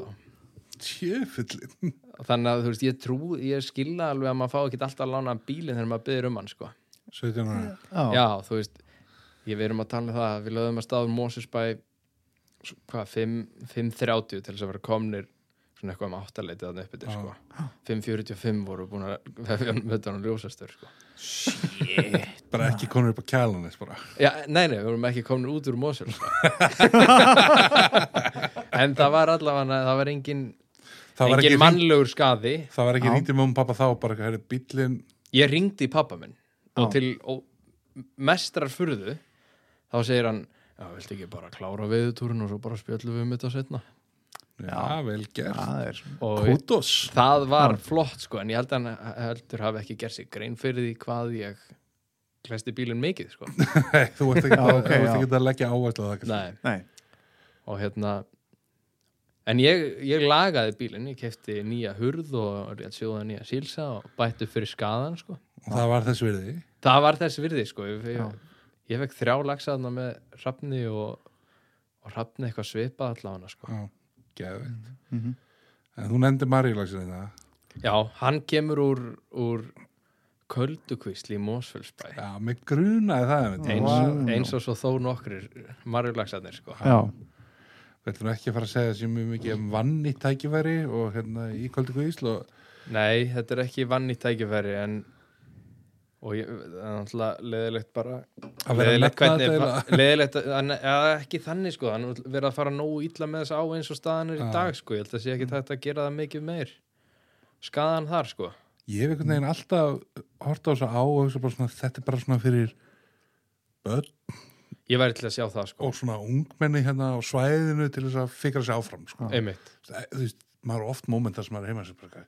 Tjöfullin. þannig að, þú veist, ég trú, ég skilna alveg að maður fá ekki alltaf lánaðan bílinn þegar maður byrður um hann, sko 17 ára. já, Já, þú veist, ég verðum að tala um það við lögðum að staður Mosesbæ s- hvað, 5 5.30 til þess að vera komnir svona eitthvað um áttaleiti þannig uppi til Já. sko 5.45 voru búin að vefja mötan og ljósastur sko Bara ekki konur upp á kælanis bara. Já, nei, nei, við vorum ekki komin út úr Mosel sko. En það var allavega það var engin, Það var engin ekki, mann... mannlegur skaði það var ekki ringti með um pappa þá, bara eitthvað, herri, bíllinn Ég ringdi í pappa minn og Já. til og mestrar furðu þá segir hann Já, viltu ekki bara klára veðutúrin og svo bara spjöllum við um þetta setna Já, vel gert. það er og Kútos. það var flott sko en ég held að hann heldur hafi ekki gert sér grein fyrir því hvað ég klæsti bílinn mikið sko Nei, þú ert ekki, Já, að, ok, þú ert já. ekki að leggja áværslu á það. kannski. Nei. nei, og hérna en ég, ég lagaði bílinn ég kefti nýja hurð og rétt sjóða nýja sílsa og bættu fyrir skaðan sko Og það var þess virði. það var þess virði sko ég, Já. ég, ég fekk þrjá lagsaðna með rafni og, og rafni eitthvað svipað allavega sko Já, geðveitt. En þú nefndi Maríulagsir þetta. já, hann kemur úr, úr köldukvísl í Mosfellsbæ Já, mig grunaði það. einmitt. eins, Vá. eins og svo þó nokkrir marjulagsarnir sko já, Við ætlum ekki að fara að segja sér mjög mikið um vann í tækifæri og hérna í Koldu Guðísl og nei, þetta er ekki vann í tækifæri en og ég, það er náttúrulega leðilegt bara að vera leiðilegt nefna hvernig þetta. leðilegt, ekki þannig sko hann verið að fara nógu illa með þess á eins og staðan er í Já. Mm. dag sko, ég held að sé ekki þetta að gera það mikið meir skaðan þar sko Ég hef einhvern veginn alltaf hort á þess á og hugsa bara svona, þetta er bara svona fyrir börn ég væri til að sjá það sko, og svona ungmenni hérna á svæðinu til þess að fikra sig áfram. Sko. einmitt Það- Þú veist, maður á oft mómentar sem maður er heima sem bara,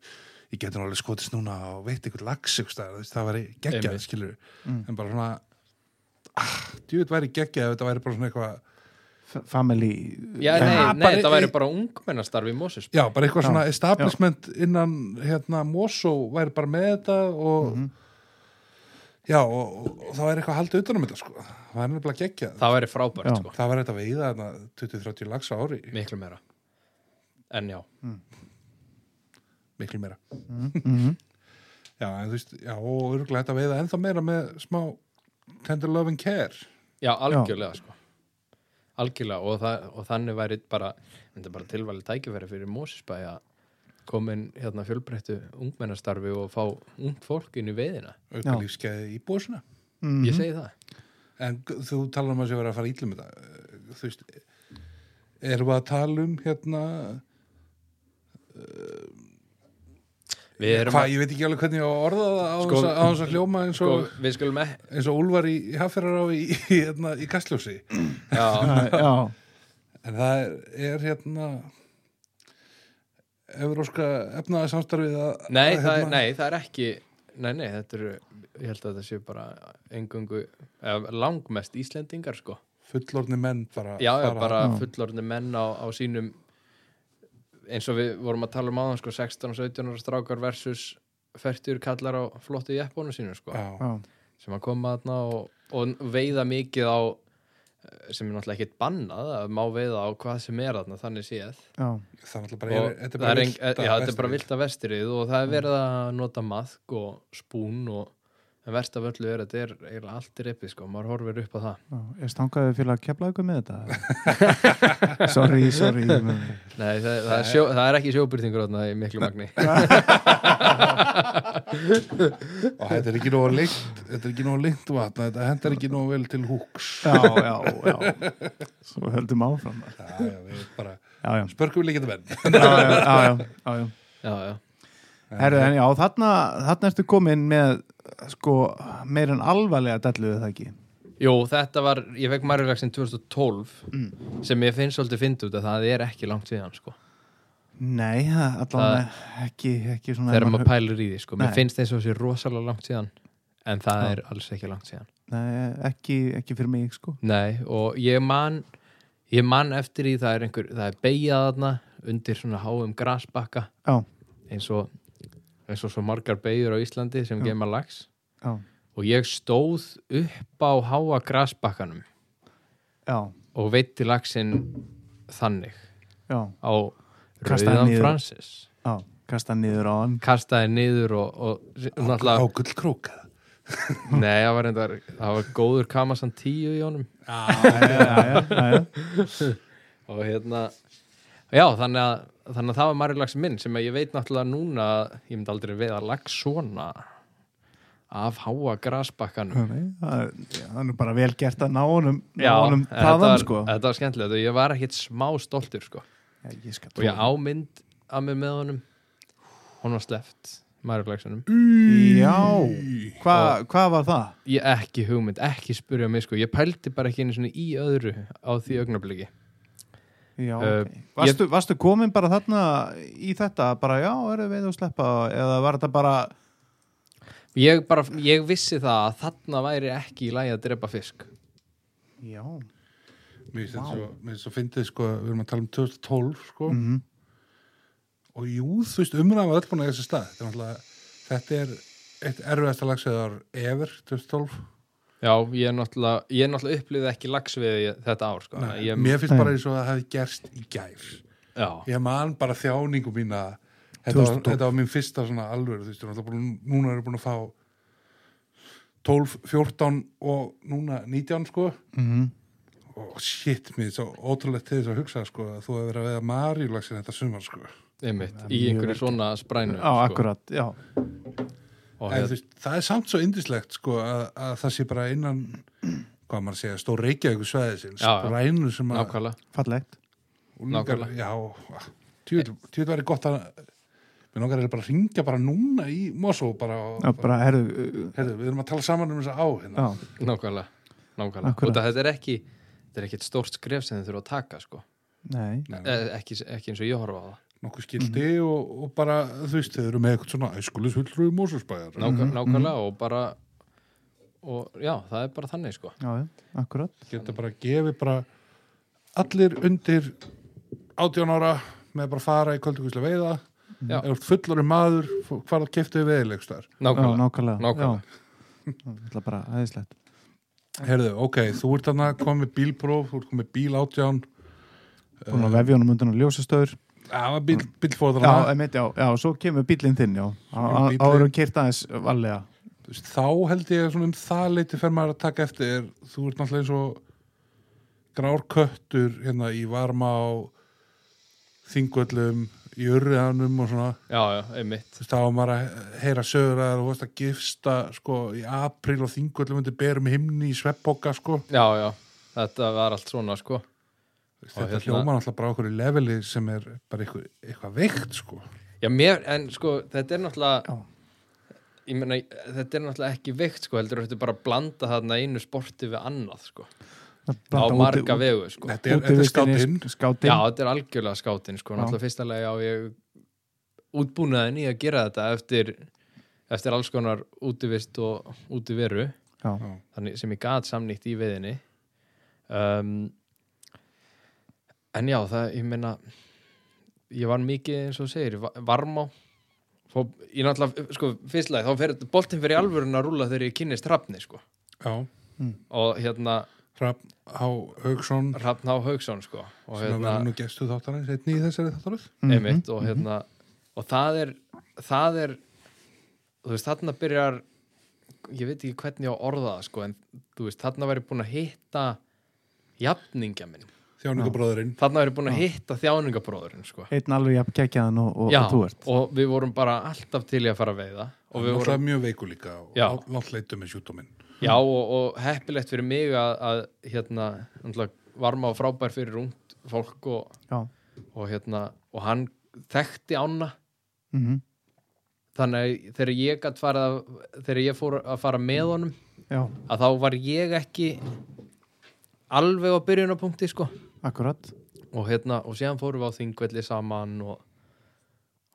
ég getur alveg skotist núna og veit einhvern lags einhvers staðar, þú veist, það væri geggjað, Einmitt. skilur Mm. en bara svona ah, djúið væri geggjað ef þetta væri bara svona eitthvað F- Family Já, nei, Ha, nei, bara- þetta væri bara ungmennastarf í Moses Já, bara eitthvað Já. svona establishment innan hérna Mosó væri bara með þetta og Mhm. já, og, og, og það væri eitthvað að halda utanum þetta sko, það væri nefnilega geggjað Það væri frábært, Já. sko, það væri þetta veiða þarna 20-30 lags á ári, miklu meira En já, miklu meira Mhm. Já, en þú veist, já, og örgulega þetta veiða ennþá meira með smá tender love and care já, algjörlega, sko Algjörlega, og, það, og þannig væri bara, þetta er bara tilvæli tækifæri fyrir Moses bæ að komin hérna fjölbreyttu ungmennastarfi og fá ungt fólk inn í veiðina auka Já. lífskeiði í búsuna Mhm. Ég segi það En g- þú talar um að sé verið að fara ítlum þetta Eh, Þú veist Erum við að tala um hérna Við erum Hvað, ég veit ekki alveg hvernig ég á að orða það á Sko- þess að- á þess að hljóma eins sko, og, við skulum ekki eins og Úlfar í, í Hafferar á í, í, hérna, í Kastljósi Já, Já, já, En það er, er hérna Evróska efnaði samstarfið að hérna nei, að, það, er- nei, það er ekki Nei, nei, þetta eru, ég held að þetta sé bara engungu, eða langmest Íslendingar, sko. Fullorni menn bara Já, já, fara- bara já. fullorðni menn á, á sínum eins og við vorum að tala um áðan, sko, 16 og 17 ára strákar versus 40 kallar á flottu jeppónu sínu, sko, Já, já, sem að koma þarna og, og veiða mikið á eh, sem er náttúrulega ekkit bannað að má veiða á hvað sem er þarna, þannig séð já, það er náttúrulega og bara, er, þetta er það bara er eng- villta já, þetta er vestrið. bara Mm. vilt að vestrið og það er verið að nota maðk og spún og en verst af öllu er að þetta er eiginlega allt er eppið sko, maður horfir upp á það já. Er stangaðu fyrir að kepla ykkur með þetta? sorry, sorry ég meina- Nei, það, það, er, sjó, það er ekki sjóbyrtingur þarna í miklu magni og þetta er ekki nóg lengt þetta er ekki nóg lengt vatna, þetta hendar ekki nóg vel til húks Já, já, já Svo höldum áfram Já, já, við bara Já, já, spörkum við líka þetta já, já, já, já, já. Já, já, Herru, en já, þarna, þarna ertu komin með sko, meir en alvarlega delluðu það ekki jú, þetta var ég fekk margirlagsinn 2012 sem ég finn svolítið fynd út að það er ekki langt síðan sko, Nei, það- allan ekki, ekki svona þegar maður pælir í því sko, mér Nei. finnst eins og þessi rosalega langt síðan en það er alls ekki langt síðan Nei, ekki, ekki fyrir mig, sko Nei, og ég man ég man eftir í það er einhver það er beigjað þarna undir svona háum grasbakka Já, eins og, eins og svo margar beigjur á Íslandi sem geima lags já, og ég stóð upp á háa grasbakkanum já, og veitti lagsinn þannig já, á Kastaði Rauðan niður. Francis já Kasta niður á hann kastaði niður og, og á náttúrulega, gullkrók nei, það var, reyndar, það var góður kamasan tíu í honum já, Já, já, já, já, og hérna já, þannig að, þannig að það var marilags minn sem að ég veit náttúrulega núna að ég myndi aldrei veiða lags svona af háa grasbakkanum Nei, Það er- það er nú bara vel gert að ná honum Já, ná honum en þetta þaðan, var, sko þetta var skemmtilegt og ég var ekkit smá stoltur sko. Já, ég skal og ég trúa. ámynd að mig með honum hún var sleppt margulagsunum, Mm. Já, hvað hva var það? ég ekki hugmynd ekki spurja mig sko, ég pældi bara ekki einu sinni í öðru á því augnabliki Já, Uh, ok. Varstu, varstu komin bara þarna í þetta, bara já, eru við að sleppa eða var þetta bara, ég, bara, ég vissi það að þarna væri ekki í lagi að drepa fisk já mér finnst þetta svo, mér finnst svo fyndið sko, við erum að tala um 2012 sko. Mhm. og jú, þú veist, umræðan var öll búin að eiga þessi stað þetta er, náttúrulega- þetta er eitt erfiðasta lagsveðar ever 2012 Já, ég náttúrulega, ég náttúrulega upplýði ekki lagsviði þetta ár, sko. Nei, ég, mér finnst Nei. bara eins og það hefði gerst í gær já, ég man bara þjáningu mína þetta var, 2012. þetta var mín fyrsta svona alvöru þú veist, ég er náttúrulega búin- núna erum við búin að fá 12, 14 og núna 19 sko Mhm. og shit, mér er svo ótrúlegt til þess að hugsa sko að þú hefur verið að veiða marjulagsin þetta sumar sko einmitt, í einhverju svona sprænu. sko. Já, akkurat, já Og hérna, en, hér, þú veist, það er samt svo indislegt sko að, að það sé bara innan hvað maður að segja, stór reykjavíku svæðisins Já, já. sprænu sem að nákvæmlega. Fallegt úlingar, nákvæmlega. já, tjóðið væri gott að mér langar er bara að ringja bara núna í Mosó bara, og- Já, bara, herðu, uh, Heyrðu, við erum að tala saman um þess að á já, hérna. Nákvæmlega, nákvæmlega. Akkurat. Akkurat. Og þetta er ekki, þetta er ekki eitt stórt skref sem þið þurfa að taka, sko. nei Nei, Eh, ekki, ekki eins og ég horfa á það. nokkuð skildi Mhm. og, og bara, þú veist, þeir eru með eitthvað svona æskulishullrúi Mósusbæjar Nákvæm, nákvæmlega og bara og já, það er bara þannig sko já, já, akkurat geta bara gefið bara allir undir 18 ára með bara fara í kvöldugvíslega veiða Já. er fullur um maður hvað keftu við veiðilegstar já, Nákvæmlega, nákvæmlega, Nákvæmlega. Já. Það er bara aðeinslegt Herðu, ok, þú ert þarna komið bílpróf, þú ert komið bíl 18 búin að vefja honum undan á ljósastöður það var bíl, já, bílfóðrana emitt, já, já, svo kemur bílinn þinn já, bíllinn. árum kert aðeins valega Þú veist, þá held ég að svona um það leiti fer maður að taka eftir þú ert náttúrulega eins og grár köttur hérna í varma á þingvöllum í urriðanum og svona já, já, einmitt þú veist, þá var maður að heyra sögur að þú varst að gifsta sko í apríl og þingvöllum undir berum himni í sveppoka sko Já, já, þetta var allt svona sko Þú veist, þetta hérna- hljóma náttúrulega bara okkur í leveli sem er bara eitthvað, eitthvað veikt sko Já, mér, en sko, þetta er náttúrulega Ég meina, þetta er náttúrulega ekki veikt sko, heldur þetta er bara að blanda þarna einu sporti við annað sko, á marga vegu sko. þetta er, þetta er skátinn Já, skátinn þetta er algjörlega skátin sko, náttúrulega fyrsta lega á ég útbúnaðin í að gera þetta eftir, eftir alls konar útivist og útiveru Já. þannig sem ég gat samnýtt í veðinni um, en já, það, ég meina ég var mikið eins og þú segir, va- varmá Fó, ég náttúrulega, sko, fyrstlega þá fer boltinn fyrir alvörun að rúla þegar ég kynist hrafni, sko, já, og hérna Hrafn H. Haugsson hrafn á Hauksson, sko og sem að vera nú gestu þáttarins einnig í þessari þáttaröð Mhm, einmitt og hérna og það er, það er þú veist þarna byrjar ég veit ekki hvernig ég á að orða það sko en þú veist þarna væri búin að hitta jafningja minn þjáningabróðurinn þarna væri búin að hitta þjáningabróðurinn sko einn alveg jafn kekjaðan og, og, já og þú ert og við vorum bara alltaf til í að fara að veiða og við Náttúrulega vorum, mjög veiku líka og Já. lá- langt leitu með sjúdóminn já og, og heppilegt fyrir mig að, að hérna náttúrulega varma og frábær fyrir ungt fólk og, já, og hérna og hann þekkti ána mm þannig að þegar ég gat farið að, þegar ég fór að fara með honum já, að þá var ég ekki alveg á byrjunapunkti sko akkurat og hérna, og séðan fórum við á þingvelli saman og,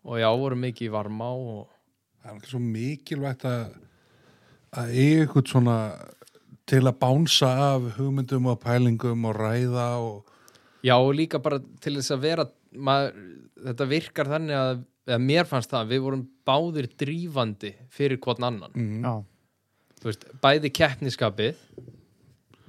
og já, vorum mikið í varma og það er ekki svo mikilvægt að að eiga eitthvað svona til að bánsa af hugmyndum og pælingum og ræða og já, og líka bara til þess að vera maður, þetta virkar þannig að eða mér fannst það, við vorum báðir drífandi fyrir hvern annan Mm. já, þú veist, bæði keppniskapið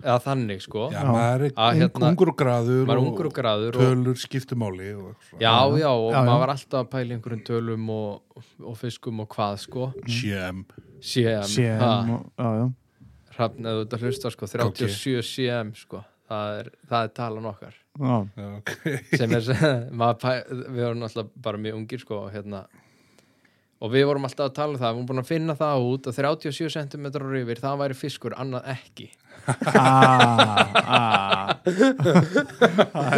eða þannig sko já, maður er Að ung, hérna- ungur og graður maður er ungur og graður og, tölur skiptumáli og eitthvað svona. Já, já, og Já, já. maður var alltaf að pæla í einhverjum tölum og, og fiskum og hvað sko Mm. CM, CM, séum ha, og- já, já, hrafn eða þetta hlusta sko 37 CM sko það er, það er talan okkar já, já, ok sem er, maður, pæ- við vorum alltaf bara mjög ungir sko og hérna, og við vorum alltaf að tala um það við vorum búin að finna það út að 37 cm og yfir það væri fiskur, annað ekki Ah, ah. það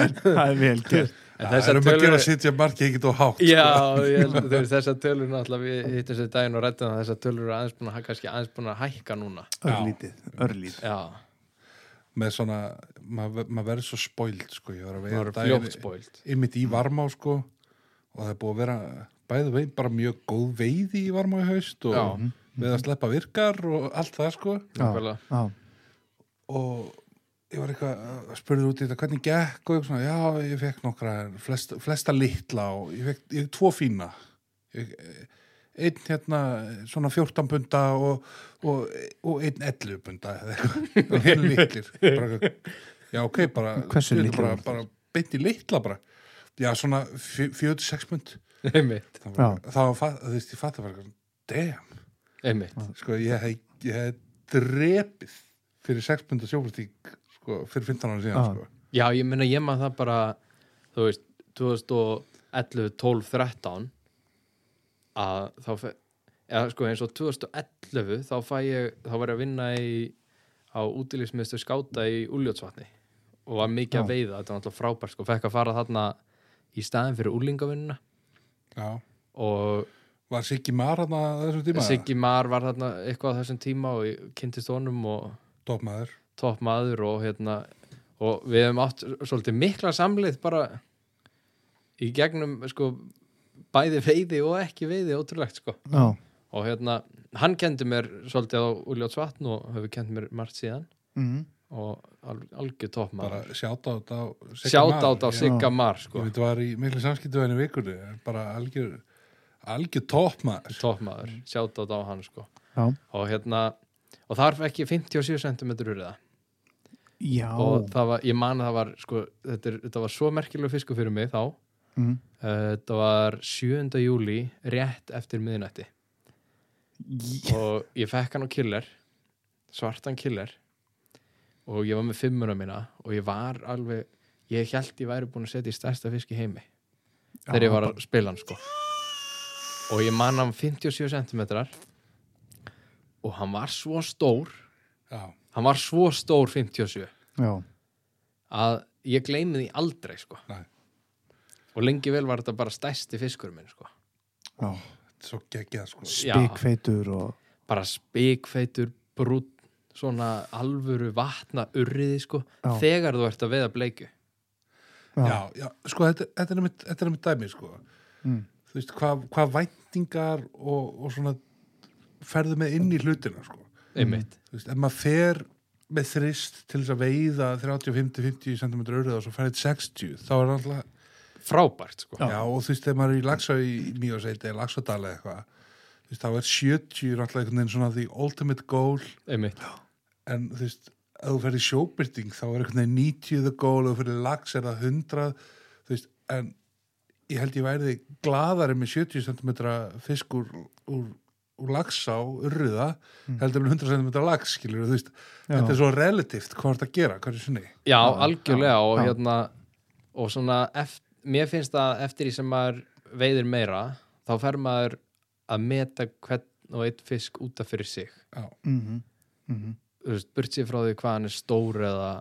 er- það er vel gert en það er um að gera sitja markið ekkert og hátt Já, ég held að þessar tölur náttúrulega við hittum þessu daginn og rættum að þessar tölur eru aðeins búin að, kannski aðeins búin að hækka núna örlítið, örlítið Já, með svona, maður maður verður svo spoilt sko, ég var að veiða það eru fljótt spóilt einmitt í varmá sko og það er búið að vera bæði veginn bara mjög góð veiði í varmá í haust og Já. við að sleppa virkar og allt það sko Nákvæmlega. já, og ég var eitthvað að spurði út í þetta hvernig gekk og ég svona, já ég fekk nokkra flest, flesta litla og ég fekk, ég fekk tvo fína ég, einn hérna svona 14 punda og, og, og einn 11 punda eða eitthvað, og hinn litlir bara, eitthvað, já ok, bara Hversu þetta er litlir bara, voru bara beint í litla bara já svona fjö- 46 pund Einmitt, það var, það var fa- þú veist, ég fatt að vera damn, einmitt sko ég hef, ég hef drepið fyrir 6 punda sjófustík sko, fyrir 15 ára síðan Já. sko. Já, ég meina ég maður það bara þú veist, 2011 12, 13 að þá fe- eða sko eins og 2011 þá fæ ég, þá var ég að vinna í á útilífsmiðstu skáta í Úljótsvatni og var mikið að veiða, þetta var náttúrulega frábært sko, fekk að fara þarna í staðin fyrir úlingavinnuna já og Var Siggi Mar hann að þessum tíma? Siggi Mar var þarna eitthvað á þessum tíma og ég kynntist honum og Topmaður. topp maður og hérna og við hefum átt svolítið mikla samlið bara í gegnum sko bæði veiði og ekki veiði ótrúlegt sko já, og hérna, hann kendi mér svolítið á Úljótsvatn og hefur kendi mér margt síðan mhm, og al algjör toppmaður bara sjáta á þetta sjátt átt á Sigga Mar sko. sko, ég veit var í miklu samskiptu henni vikunni bara algjör algjör toppmaður toppmaður, sjátt átt á hann sko já, og hérna, og þar fekk ég 57 cm urða já og það var, ég man að það var sko, þetta, er, þetta var svo merkileg fiskur fyrir mig þá uh, mhm. Eh, þetta var 7. júli rétt eftir miðnætti og ég fekk hann á killer svartan killer og ég var með fimmuna mína og ég var alveg ég held ég væri búin að setja í stærsta fisk í heimi þegar ég var að spila hann sko og ég man hann 57 cm og hann var svo stór já, hann var svo stór 57 já, að ég gleymi því aldrei sko. Nei. og lengi vel var þetta bara stæsti fiskur minn sko. já þetta er svo geggjað sko Já. spikfeitur og bara spikfeitur, brútt svona alvöru vatna urriði sko, Já. þegar þú ert að veða bleiku já, já, sko þetta, þetta er mitt, þetta er mitt dæmi sko Mm. þú veist, hvað hva væntingar og, og svona ferðu með inn í hlutina sko einmitt, þú veist, ef maður fer með þrist til þess að veiða 35-50 cm öruð og svo færið 60 þá er alltaf Mm. frábært sko. Já, og þú veist, þegar maður er í Laxá í Nýjóseiti eða Laxadal eða eitthvað þú veist, þá er 70 náttúrulega einhvern veginn svona the ultimate goal einmitt, en þú veist, ef þú ferð í sjóbyrting þá er einhvern veginn 90 the goal og þú ferð í Lax er það 100 þú veist, en ég held ég væri gladari með 70 cm fisk úr, úr, úr Laxá urruða, heldur með 100 cm Lax, skilur þú veist Hmm. Já. þetta er svo relativt hvað er þetta að gera, hverju sinni já, algjörlega og Já. hérna og svona, eft, mér finnst að eftir því sem maður veiðir meira þá fer maður að meta hvern og einn fisk útaf fyrir sig mhm, mhm, Þú veist, burt sér frá því hvað hann er stór eða,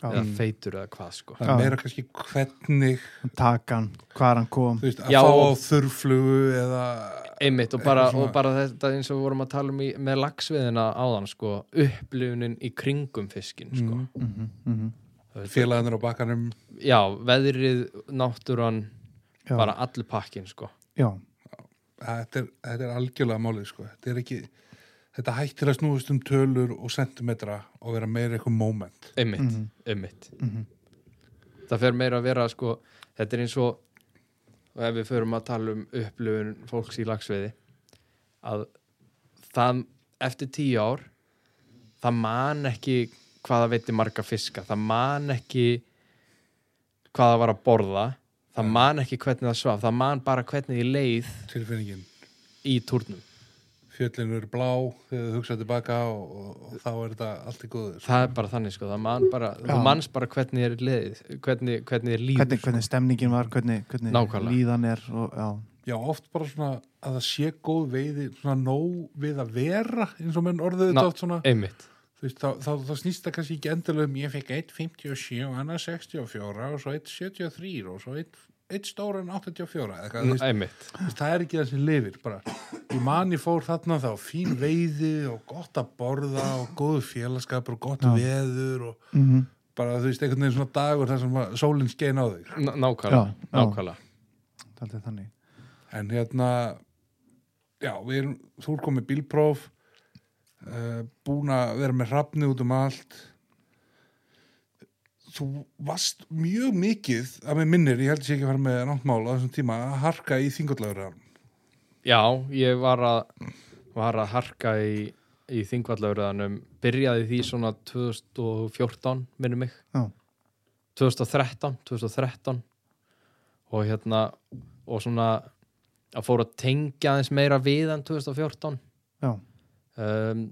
eða já Mm. feitur eða hvað sko. það Já. er meira kannski hvernig takan, hvar hann kom þú veist, að Já, fá á og- þurrflugu eða einmitt og bara, Eitthvað svona- og bara þetta eins og við vorum að tala um í, með lagsviðina áðan sko, upplifunin í kringum fiskin sko. mhm, mhm, Þú veist, félagarnir á bakkanum já, veðrið, náttúran já, bara allur pakkin sko. já, þetta er, þetta er algjörlega málið sko. þetta er ekki þetta hættir að snúast um tölur og sentimetra og vera meira eitthvað moment einmitt, einmitt mhm, það fer meira að vera sko, þetta er eins og og ef við förum að tala um upplifun fólks í lagsviði að það eftir tíu ár það man ekki hvað það veiti marga fiska það man ekki hvað það var að borða það man ekki hvernig það svaf það man bara hvernig þið leið tilfinningin, í turnum fjöllin eru blá þegar þú hugsaði tilbaka og, og, og þá er þetta allt í góður það er bara þannig sko, það man bara þú Já. manns bara hvernig þið er leið hvernig, hvernig þið er líf hvernig, hvernig stemningin var hvernig, hvernig Nákvæmlega. líðan er og, já, já, oft bara svona að það sé góð veiði svona nóg við að vera eins og menn orðuðu Ná, e- þetta oft svona einmitt, þú veist, þá, þá, þá snýst það kannski ekki endilega um ég fekk 1.57 og annað 64 og svo 1.73 og svo 1, 1 stóra en 84 eða eitthvað, þú veist, einmitt þú veist, það er ekki það sem lifir bara, ég mani fór þarna þá fín veiði og gott að borða og góð félagskapur og gott veður og mhm, bara þú veist einhvern veginn svona dagur þar sem að sólin skein á þig Ná- Já, nákvæmlega, já. nákvæmlega. það er þannig en hérna já, við erum, þú er komið bílpróf uh, búin að vera með hrafni út um allt þú varst mjög mikið að með minnir, ég held að ég ekki að fara með náttmál á þessum tíma að harka í þingotlagur Já, ég var að var að harka í, í þingvallaurðanum, byrjaði því svona 2014, minnum mig já, 2013, 2013 og hérna og svona að fóra að tengja aðeins meira við en 2014 já, um,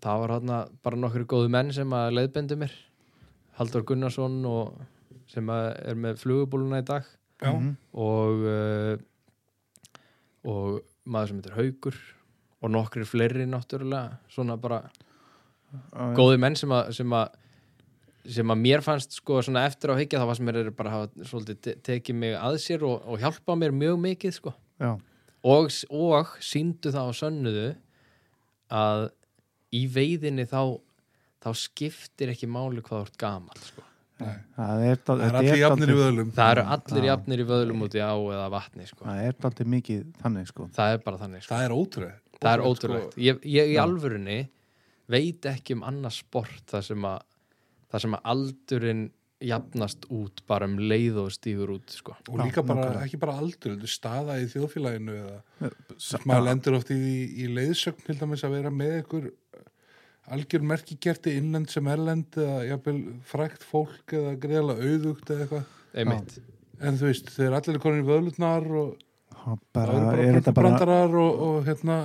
það var hérna bara nokkru góðu menn sem að leiðbendu mér Haldur Gunnarsson og, sem að er með flugubóluna í dag já, mhm, og uh, og maður sem heitir Haugur og nokkri fleiri náttúrulega svona bara já, já. góði menn sem að sem að, sem að mér fannst sko svona eftir á higgja þá fannst mér þeir bara hafa svolítið te- tekið mig að sér og, og hjálpa mér mjög mikið sko já, og, og síndu það og sönnuðu að í veiðinni þá þá skiptir ekki máli hvað þú ert gamal sko. Nei. það er, dál- Það er þetta allir jafnir í dálítið- vöðlum. það eru allir Já. jafnir í vöðlum út í á eða vatni sko. það er daldið mikið þannig sko það er bara þannig sko. Það er ótrúlega. það er sko. ótrúlegt ég, ég í alvörunni veit ekki um annars sport það sem að, það sem að aldurinn jafnast út bara um leið og stífur út sko. Og líka Já, bara, nákvæmlega. ekki bara aldur, þetta er staða í þjóðfélaginu eða Sa- maður lendur oft í, því- í leiðsögn til dæmis að vera með ykkur algjör merkigerti innlend sem erlend eða jafnvel frækt fólk eða greiðlega auðugt eða eitthvað einmitt en þú veist, þeir eru allir konir í vöðlutnar og Já, það bara, eru bara er þetta bara bröndarar og, og hérna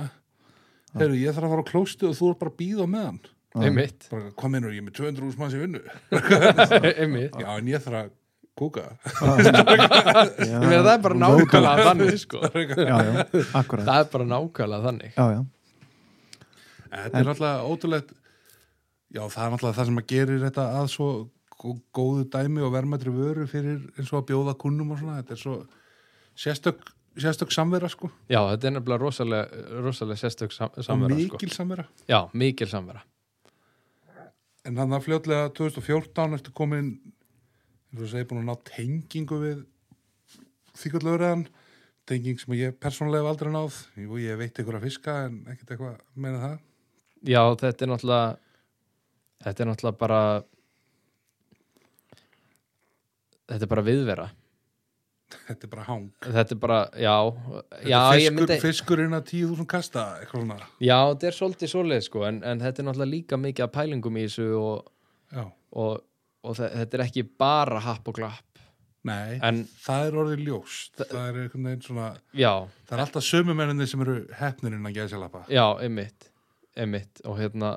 heyrðu, ég þarf að fara á klósti og þú er bara að býða meðan einmitt, bara, hvað meinur, ég er með 200 ús manns í vinnu einmitt. já, en ég þarf að kúka já, Ég meina, það er bara nákvæmlega þannig sko. já, já, akkurat það er bara nákvæmlega þannig já, já, Þetta er náttúrulega ótrúlegt Já, það er náttúrulega það sem að gerir þetta að svo gó- góðu dæmi og vermaðri vöru fyrir eins og að bjóða kunnum og svona Þetta er svo sérstök, sérstök samvera sko já, þetta er nefnilega rosalega, rosalega sérstök sam og samvera mikil samvera sko. já, mikil samvera En þannig að fljótlega 2014 ertu komin eins og segir búin að ná tengingu við þýkvöldlöfriðan tenging sem ég persónulega hef aldrei náð Jú, ég veit ykkur að fiska en ekkert eitthvað meina það já, þetta er náttúrulega þetta er náttúrulega bara þetta er bara viðvera Þetta er bara hang þetta er bara, já, já Þetta er ég fiskur, myndi, Fiskurinn að 10.000 kasta eitthvað svona já, þetta er svolítið svoleið sko, en, en þetta er náttúrulega líka mikið að pælingum í þessu og, Já og, og þe- þetta er ekki bara happ og glapp, Nei, En- það er orðið ljóst það er einhvern veginn svona já það er alltaf sömu menninni sem eru hefnir innan gæðsjálapa Já, einmitt, einmitt og hérna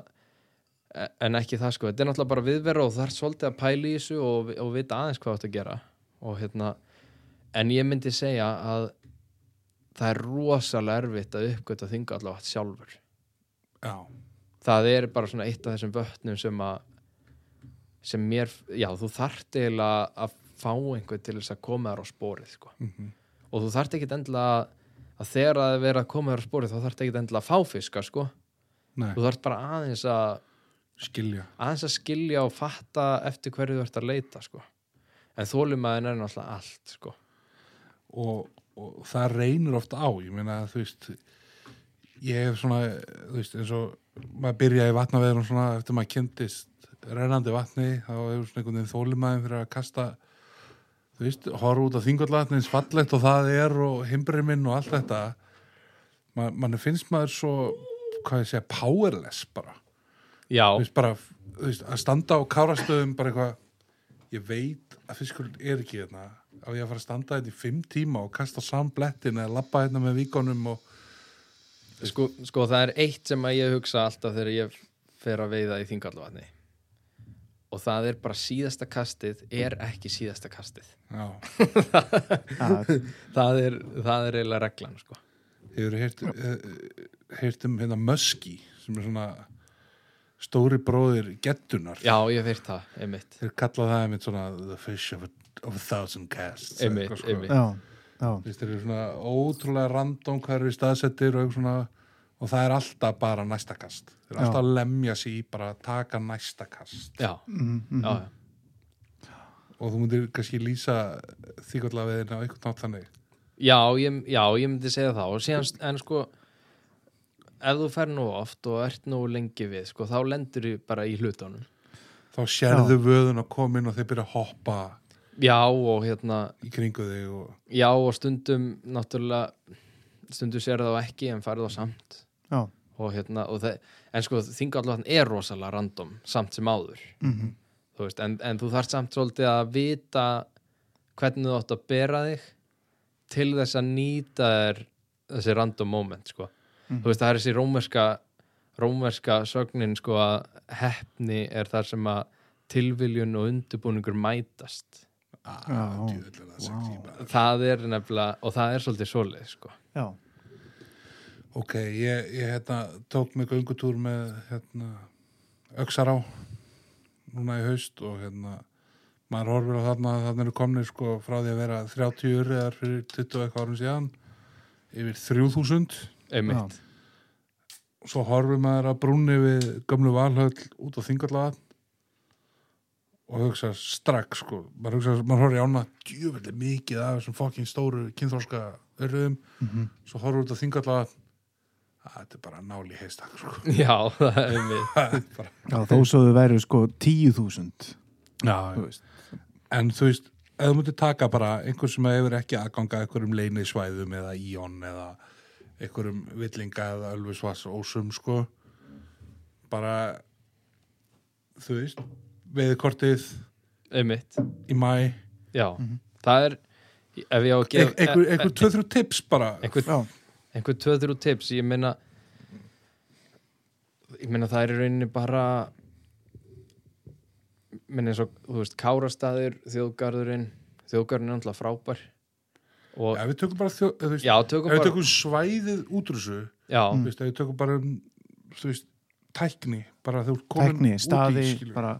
e- en ekki það sko, þetta er náttúrulega bara viðverð og það er svolítið að pæla í þessu og, og vita aðeins hvað þetta að gera og hérna en ég myndi segja að það er rosalega erfitt að uppgöta þingu allavega sjálfur Já, það er bara svona eitt af þessum vötnum sem að sem mér, já þú þarft eiginlega að fá einhvern til þess að koma þér á spórið sko mhm. og þú þarft ekkit endilega að- að þegar að vera að koma þér á spórið þá þarft ekkit endilega að fá fiska sko nei, þú þarft bara aðeins að skilja aðeins að skilja og fatta eftir hverju þú ert að leita sko. en þólumæðin er náttúrulega allt sko. og, og það reynir oft á ég meina þú veist ég hef svona, þú veist, eins og maður byrjaði vatnaveðurum svona eftir maður kynntist rennandi vatni þá hefur svona einhvern veginn þólimaðin fyrir að kasta þú veist, horf út af þingvallatni eins fallegt og það er og himbrið minn og allt þetta Ma, mann finnst maður svo hvað ég segja, powerless bara já, þú veist, bara, þú veist, að standa á kárastöðum bara eitthvað ég veit að fiskurinn er ekki hérna á ég að fara að standa þetta í fimm tíma og kasta samblettin eða labba hérna með víkonum og sko, sko það er eitt sem að ég hugsa alltaf þegar ég fer að veiða í þingallavatni og það er bara síðasta kastið er ekki síðasta kastið já, já, það er, það er eiginlega reglan sko. hefur heyrt, eh, heyrt um hérna möski sem er svona stóri bróðir gettunar já, ég veit það, einmitt þeir kalla það einmitt svona the fish of a, of a thousand casts eða Einmitt, eitthvað sko. einmitt. já, já. Þú veist, þeir eru svona ótrúlega random hvað eru staðsettir og eitthvað svona og það er alltaf bara næsta kast þeir eru Já. alltaf að lemja sig í bara að taka næsta kast já, já, já. og þú myndir kannski lýsa þýkallaveiðin á einhvern nátt þannig Já, ég, já, ég myndi segja það og síðan, en sko ef þú fer nú oft og ert nú lengi við, sko, þá lendur þú bara í hlutunum. þá sérðu vöðun að koma inn og þeir byrja að hoppa Já, og hérna, í kringu þig og já, og stundum náttúrulega, stundum sér það ekki en farið það samt já. og hérna, og það, en sko þingallatn er rosalega random, samt sem áður Mhm. þú veist, en, en þú þarft samt svolítið að vita hvernig þú átt að bera þig til þess að nýta þér þessi random moment, sko þú veist, það er þessi rómerska rómerska sögnin, sko að hefni er þar sem að tilviljun og undirbúningur mætast að djöðlega Ah, það sem tíma það er nefnilega, og það er svolítið svoleið, sko já. ok, ég, ég hérna, tók mig göngutúr með hérna, Öxará núna í haust og hérna maður horfir á þarna að þarna eru komnir sko frá því að vera 30 urriðar fyrir 20 og eitthvað árum síðan yfir 3000 einmitt, svo horfir maður að brúnni við gömlu valhöll út á þingallega og hugsa strax sko, maður hugsa, maður horfir í ána djöfelli mikið af þessum fokkin stóru kynþorska örðum Mhm. svo horfir út að þinga alltaf þetta er bara náli heistak sko. já, það er mér Það er bara- Já, þó svo þau væru sko 10.000 já, þú veist. en þú veist ef þú myndir taka bara einhver sem hefur ekki aðganga einhverjum leynisvæðum eða íon eða einhverjum villinga eða ölfisvass ósum sko bara þú veist veðkortið einmitt, í mæ já Mhm. það er, ef ég á að Ein- gefa einhver, einhver tvö-þrjú tips bara einhver, Já. einhver tvöður úr tips ég meina ég meina það er í rauninni bara meina eins og þú veist Kárastæður, þjóðgarðurinn þjóðgarðurinn er alltaf frábær og Já, við tökum bara þjó, þú veist, já, ef tökum við bara Mm. tökum Mm. svæðið útrúsu, já, þú veist, ef við tökum bara, um, þú veist, tækni, bara þú ert komin Tækni, staði, skilur. bara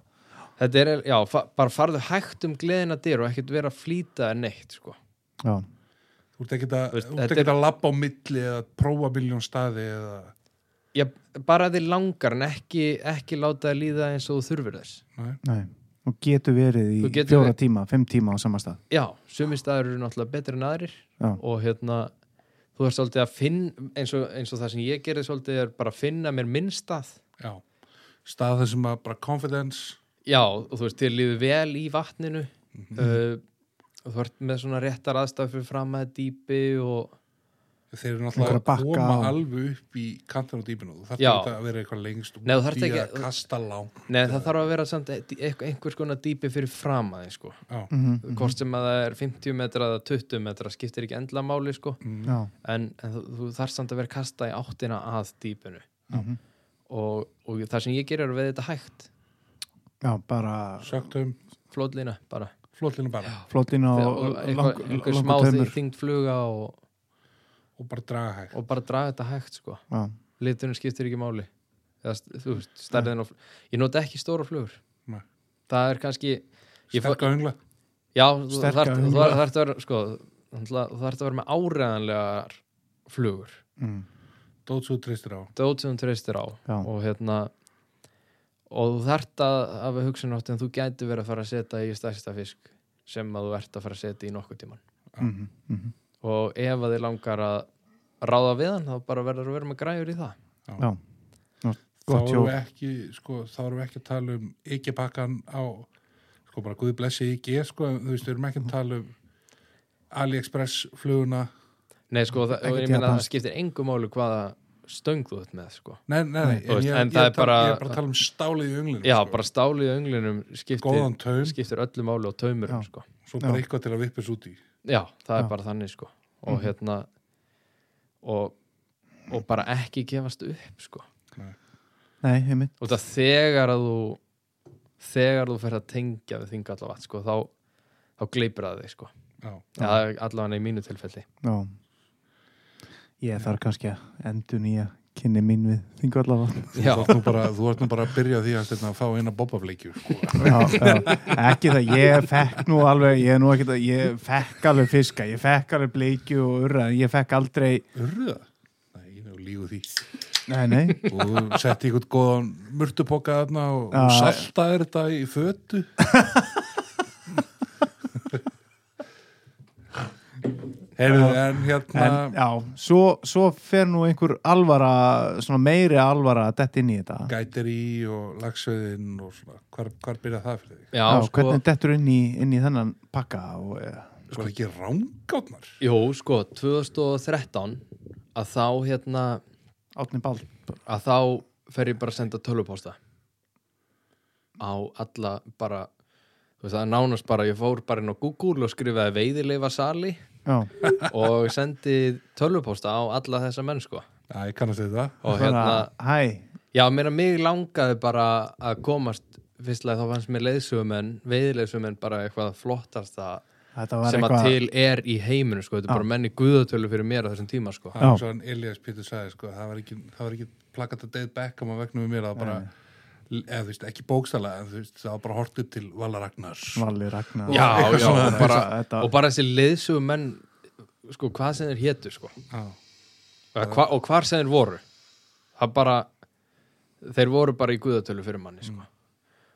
þetta er, já, fa bara farðu hægt um gleðina dyr og ekkert vera að flýta en neitt sko. Já, Þú ert ekkert Þú að, veist, þú ert þetta er- ekkert að labba á milli eða prófa miljón staði eða, já, bara þið langar en ekki, ekki láta þið líða eins og þú þurfir þess nei, nei Og getur verið í Þú getur fjóra verið- tíma, fimm tíma á sama stað já, sumi staður eru náttúrulega betri en aðrir Já. og hérna þú ert svolítið að finna eins og, eins og það sem ég gerði svolítið er bara að finna mér minn stað já, stað þar sem að bara confidence, já, og þú veist, þér líður vel í vatninu uh, og þú ert með svona réttar aðstæð fyrir fram að dýpi og þeir eru Einhverja náttúrulega bakka að koma á- alveg upp í kantan og dýpinu, þú þarf Já. þetta að vera eitthvað lengst Nei, þú þarft út í ekki- að kasta lang, Nei, það þarf að vera samt e- dý- einhver- einhvers konar dýpi fyrir fram að sko. já, Mhm. hvort sem að það er 50 metra eða 20 metra skiptir ekki endla máli sko. Mhm. Mm. Já, en, en þú, þú þarf samt að vera kasta í áttina að dýpinu Mhm. og, og það sem ég gerir er við þetta hægt já, bara sögt um flótlína bara flótlinu bara flottin á Þegar- og lang- einhver, einhver smá langur þi- tömur þyngd fluga og, og bara draga hægt. og bara draga þetta hægt sko. Já, liturinn skiptir ekki máli Eða, st- þú veist, stærðin á fl- ég nota ekki stóra flugur Nei. það er kannski ég fó- Sterka öngla, já, þú Sterka þarft þú hugla. þarft að vera sko, náttúrulega, þú þarft að vera með áreðanlegar flugur mm, dót svo þú treystir á. dót sem þú treystir á Já. og hérna og þú þarft að hafa hugsun átt en þú gæti verið að fara að setja í stærsta fisk sem að þú ert að fara að setja í nokkuð tíman mm, mm, og ef að þið langar að ráða við hann þá bara verður að vera með græjur í það já Nú, þá Gott erum hjó við ekki sko, þá erum við ekki að tala um ekki pakkan á sko bara guði blessi ekki sko, en þú veist, við erum ekki að tala um AliExpress fluguna Nei sko, það, og Ekkert ég meina að það japanskt. skiptir engu máli hvaða stöng þú ert með sko nei, nei, nei, Þú en veist, ég, en ég, það er er bara, bara- ég er bara að tala um stálið í önglinu Já, sko. bara stálið í önglinum skiptir, góðan taum, skiptir öllu máli og taumur Já. sko. svo bara Já. eitthvað til að vippis út í Já, það Já. er Mhm. bara þannig sko og hérna og, og bara ekki gefast upp sko Nei, heimitt og það þegar að þú þegar þú fer að tengja við þinga allavega sko, þá, þá gleipir það þig sko. já, ja, allavega í mínu tilfelli Já Ég þarf kannski að endur nýja kynni mín við þingvallavatn þú Já. ert nú bara, þú ert nú bara að byrja á því að, stefna, að fá eina bobbafleikju sko. já, já, ekki það, ég fekk nú alveg, ég er nú ekki það, ég fekk alveg fiska, ég fekk alveg bleikju og urra, en ég fekk aldrei, urða, nei, ég nú lígu því nei, nei, og þú setti eitthvað góðan murtupoka þarna og, Já. og saltaðir þetta í fötu Heyrðu, en hérna en já, svo, svo fer nú einhver alvara, svona meiri alvara að detta inn í þetta. gætir í og lagsveðin og svona, hvar, hvar byrja það fyrir þig? Já, Já, sko, hvernig dettur inn í, inn í þennan pakka og, eh, Sko er ekki rángátnar? Jú, sko, 2013 að þá hérna átni bál, að þá fer ég bara að senda tölvupósta á alla bara þú veist, það er nánast bara, ég fór bara inn á Google og skrifaði veiðileifa sali já, og sendi tölvupósta á alla þessa menn sko Já, ég kannast við það. og hérna, svona, hæ, Já, mér að mig langaði bara að komast fyrstlega þá fannst mér leiðsögumenn veiðleiðsögumenn bara eitthvað flottasta þetta var sem að eitthvað, til er í heiminu sko, þetta er bara menni guðatölu fyrir mér á þessum tíma sko. Það Já. er svo hann Elias Pétur sagði, sko, það var ekki, það var ekki plakat að deyð Beckham á vegna með mér, það var bara, eða þú veist, ekki bókstala, en þú veist, það var bara hort upp til Vala Ragnars. Valli Ragnar. Já, eitthvað já, svona, og bara, þetta- og bara þessi leiðsögumenn sko, hvað sem þeir hétu sko. Já, og, hva, og hvar sem þeir voru það bara þeir voru bara í guðatölu fyrir manni sko.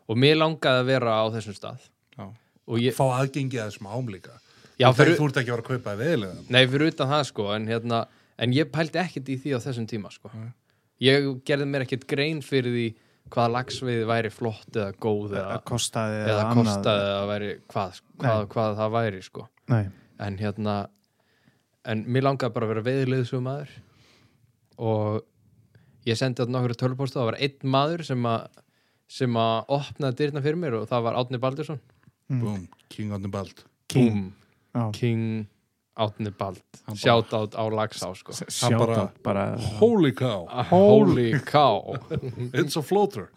og mér langaði að vera á þessum stað Já. og ég, fá aðgengið að smám líka Já, já, fyrir- þú ert ekki að vera að kaupa veðilega nei fyrir utan það sko en, hérna, en ég pældi ekkert í því á þessum tíma sko. ég gerði mér ekkert grein fyrir því hvaða lagsveiði væri flott eða góð eða, Eða kostaði eða annað. kostaði eða væri hvað, hvað, hvað það væri sko. Nei, en hérna en mér langaði bara að vera veiðilegðsum maður og ég sendi átt nokkru tölupósta það var einn maður sem að sem að opnaði dyrna fyrir mér og það var Átni Baldursson Búm, King on the Bald King. Búm. Já. King Átni Bald bara- sjátt átt á Lagsá sko. Hann sjátt bara, bara Holy cow, Holy cow it's a floater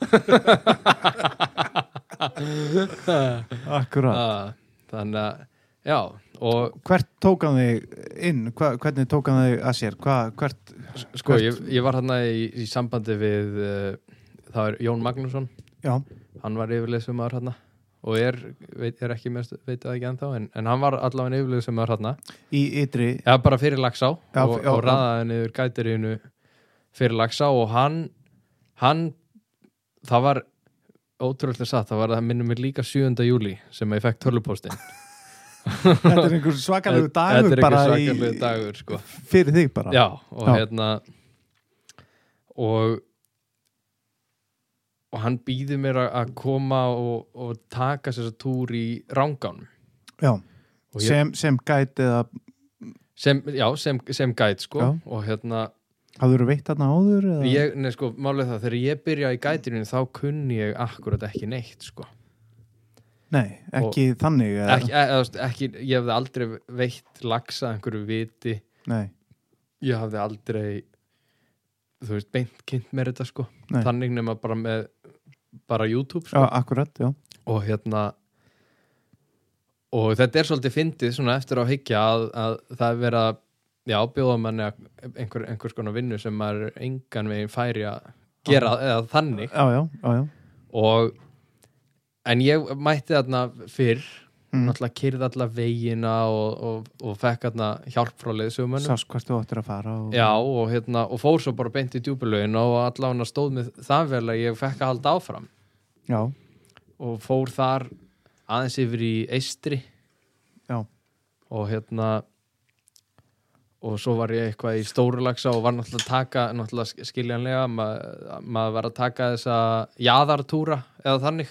akkurat Ah, þannig að já og Hvert tók hann þig inn? Hva, hvernig tók hann þig að sér? Hva, hvert, sko ég, ég var hérna í, í sambandi við uh, það er Jón Magnússon já, hann var yfirleysumar hérna og er, veit, er ekki mest, veit það ekki ennþá en, en hann var allavega yfirleysumar hérna í ytri eða bara fyrir Laxá Já, og, já, og já. raðaði niður gætirínu fyrir Laxá og hann hann, það var ótrúlega satt, það var það minnum mig líka 7. júli sem ég fekk tölupóstin Þetta er einhver svakalegu dagur Þetta er bara ekki í, svakalegu dagur sko. fyrir þig bara Já, og Já. hérna og og hann býði mér að- að koma og, og taka þess að túr í rángánum Já. Og ég- Sem, sem gæti eða sem, já, sem, sem gæt sko Já. og hérna, hafður veitt þarna áður? Eða? ég, nei sko, málið það þegar ég byrja í gætirinu þá kunni ég akkurat ekki neitt sko Nei, ekki þannig eða, ekki, e, eða, þú veist, ekki, ég hefði aldrei veitt laxa einhverju viti Nei, ég hafði aldrei þú veist, beint kynnt mér þetta sko Nei. þannig nema bara með bara YouTube já, sko akkurat, já og hérna og þetta er svolítið fyndið svona eftir á higgja að, að það er verið að já, bjóða manni að einhver, einhvers konar vinnu sem maður engan veginn færi að gera eða þannig Já, já, já, já, og en ég mætti þarna fyrr Mm. náttúrulega kyrði alla vegina og, og, og fekk þarna hjálp frá leiðsugumönnum sást hvert þú áttir að fara og... já og hérna og fór svo bara beint í djúpulögin og allavega stóð með það vel að ég fekk að halda áfram já, og fór þar aðeins yfir í eistri já, og hérna og svo var ég eitthvað í stórulagsa og var náttúrulega að taka náttúrulega skiljanlega ma- maður var að taka þessa jaðartúra eða þannig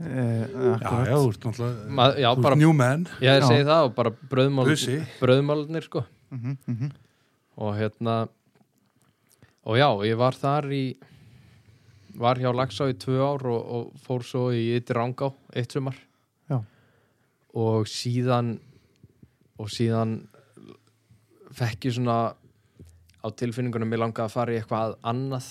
e, Já, akkurat já, þú ert náttúrulega Ma, já, þú bara, ert new man ég Já. segi það og bara bröðmál, Bussi. bröðmálnir sko Mhm, mhm. og hérna og já, ég var þar í var hjá Laxá í tvö ár og, og fór svo í yttir rángá eitt sumar Já. og síðan og síðan fekk ég svona á tilfinningunum mér langaði að fara í eitthvað annað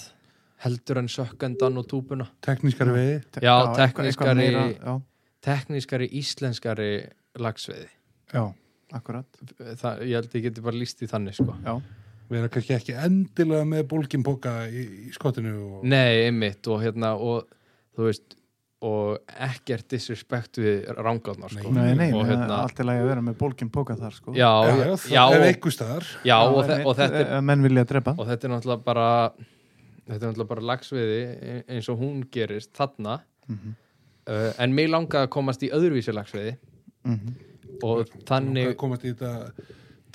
heldur en sökkendan og túpuna teknískari veiði Te- Já, eitthvað- teknískari- eitthvað meira, Já, teknískari íslenskari lagsveiði já, akkurat Það, ég held ég geti bara líst í þannig sko Já, við erum kannski ekki endilega með bólkinpoka í, í skottinu og... Nei, einmitt og hérna og þú veist og ekkert disrespekt við rángarnar sko. nei, nei, og hérna allt er lagi að vera með bólkin póka þar sko já, Já, já, já, já, ef og, einhvers staðar já og, þe ef- og, þetta, er- ef eh, Menn vilja drepa og þetta er náttúrulega bara þetta er náttúrulega bara lagsviði eins og hún gerist þarna uh, en mig langaði að komast í öðruvísi lagsviði Mhm. og Nei. þannig komast í þetta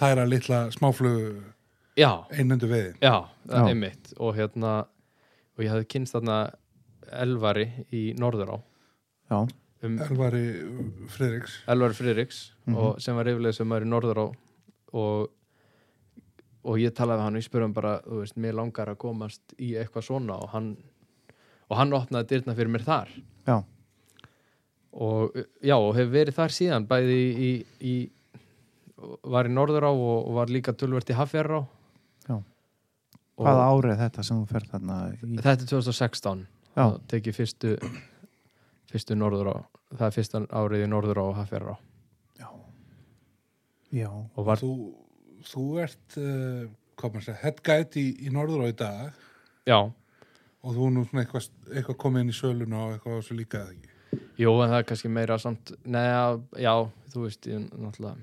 tæra litla smáflug já, einnöndu veiði Já, það Já. er einmitt og hérna og ég hafði kynst þarna Elvari í Norðurá Já, um Elvari Friðriks Elvari Friðriks Mhm. og sem var yfirlega sem var í Norðurá og og ég talaði við hann og ég spurði hann bara þú veist, mér langar að komast í eitthvað svona og hann, og hann opnaði dyrna fyrir mér þar já, og já, og hefur verið þar síðan bæði í, í, í var í Norðurá og, og var líka tölvert í Hafjarrá já Og- Hvaða árið er þetta sem þú ferð þarna í Þetta er 2016 Já. þá tek ég fyrstu fyrstu norður á það er fyrsta árið í norður á hafjara á Já, og var, þú, þú ert uh, hvað maður segja, headgæt í, í norður á í dag já, og þú er nú svona eitthvað, eitthvað komið inn í söluna og eitthvað á þessu líka eða ekki jú en það er kannski meira samt, neða, já þú veist, ég náttúrulega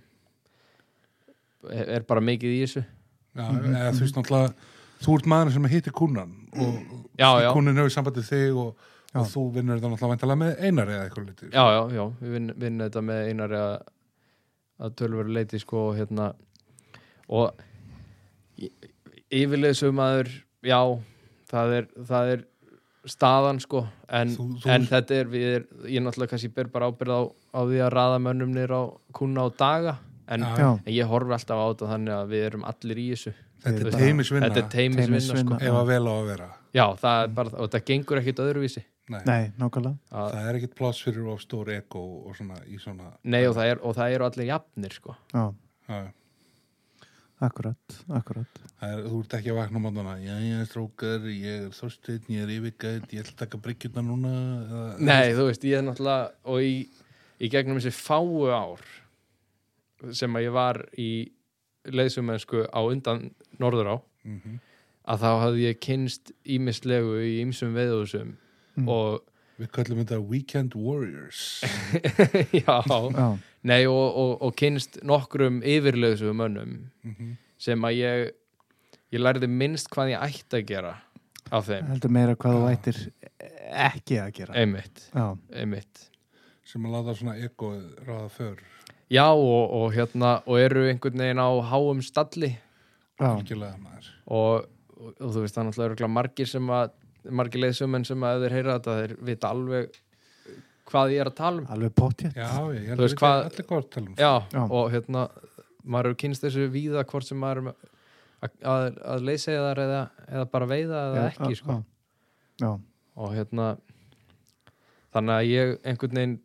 er, er bara mikið í þessu Já, Mhm. eða þú veist náttúrulega þú ert maður sem hittir kúnan og Mm. Já, já. kúnin hefur sambandið þig og, og þú vinnur þetta náttúrulega væntalega með einari eða eitthvað liti já, já, já, við vinn, vinnum þetta með einari að, að tölveru leiti sko og hérna og y- yfirleiðsömaður já, það er, það er staðan sko en, Þú- þú- en þetta er, við er, ég náttúrulega kannski ber bara ábyrð á, á því að raða mönnum nýr á kuna á daga en, Já. já, en ég horfi alltaf á þetta þannig að við erum allir í þessu þetta er Þetta- teimisvinna þetta er teimisvinna sko Teymisvinna. ef að vel á að vera já, það er bara, og þetta gengur ekkit öðruvísi Nei. nei, nákvæmlega að, það er ekkit pláss fyrir of stór ego og svona í svona nei, og það, er, og það eru allir jafnir sko já, já, akkurat, akkurat það er, þú ert ekki að vakna mátana já, ég er strókar, ég er þorstinn, ég er yfirgætt ég ætla að taka bryggjuna núna eða, Nei, þú veist, ég er náttúrulega og í, í gegnum þessi fáu ár sem að ég var í leiðsumennsku á undan norður á Mhm. að þá hafði ég kynst ímislegu í ímsum veðuðsum Mm. og við kallum þetta weekend warriors já, já, nei og, og, og kynst nokkrum yfirleiðsum mönnum Mhm. sem að ég ég lærði minnst hvað ég ætti að gera af þeim, heldur meira hvað þú ættir ekki að gera einmitt, já, einmitt sem að láta svona ego ráða för Já og, og hérna og eru einhvern veginn á háum stalli já, algjörlega maður og, og, og þú veist það er náttúrulega örugglega margir sem að margir leiðsumenn sem að ef þeir heyra þetta þeir vita alveg hvað ég er að tala um alveg potjett já, ég held að Þú veist við hvað- allir hvað talum já, Já. og hérna maður eru kynst þessu víða hvort sem maður er með- að, að, að leysa þar eða, eða bara veiða eða ekki sko. já, og hérna þannig að ég einhvern veginn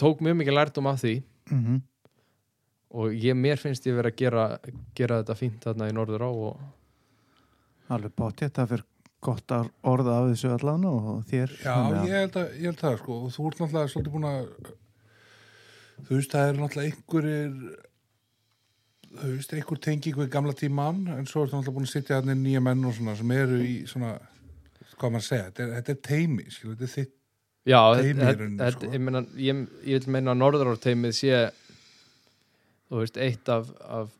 tók mjög mikið lærdum af því mhm og ég, mér finnst ég verið að gera, gera þetta fínt þarna í norður á og, Alveg báttið, það fyrir gott að orða af þessu allan og þér Já, þannig að- ég held, að, ég held það sko og þú ert náttúrulega svolítið búin að þú veist, það er náttúrulega einhverjir þú veist, einhver tenging við gamla tíman en svo ertu náttúrulega búin að sitja þannig nýja menn og svona sem eru í svona hvað maður að segja, þetta er, þetta er teimi skilu, þetta er þitt, Já, Teimi þetta- í rauninni, þetta- sko. ég, meina, ég, ég vil meina að norðaráteimið sé þú veist, eitt af, af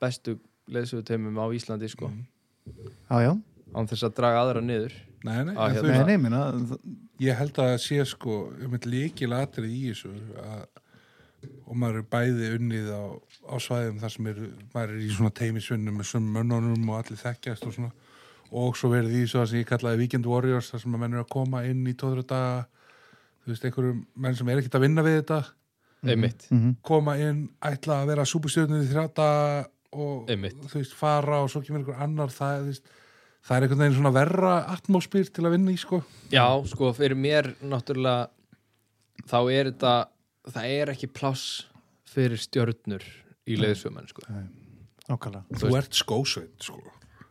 bestu leðsöguteimum á Íslandi sko, Mm. Já, já, án þess að draga aðra niður nei, nei, Ah, en þú hérna. veist, nei, nei, minna það- ég held að það sé sko um eitt líkilatrið í þessu að, og maður er bæði unnið á, á svæðum þar sem er, maður er í svona teimisvinnum með sömum mönnunum og allir þekkjast og svona og svo verið því svo það sem ég kallaði Weekend Warriors þar sem að menn eru að koma inn í tóðra daga þú veist, einhverjum menn sem er ekkert að vinna við þetta einmitt, mhm, koma inn, ætla að vera súpustjörnum í þrjáta og Einmitt. þú veist, fara og svo kemur einhver annar það, þú veist, það er einhvern veginn svona verra atmóspyr til að vinna í sko já, sko, fyrir mér náttúrulega þá er þetta það er ekki pláss fyrir stjörnur í Mm. leðsögumenn sko. ákala Þú ert skósveit sko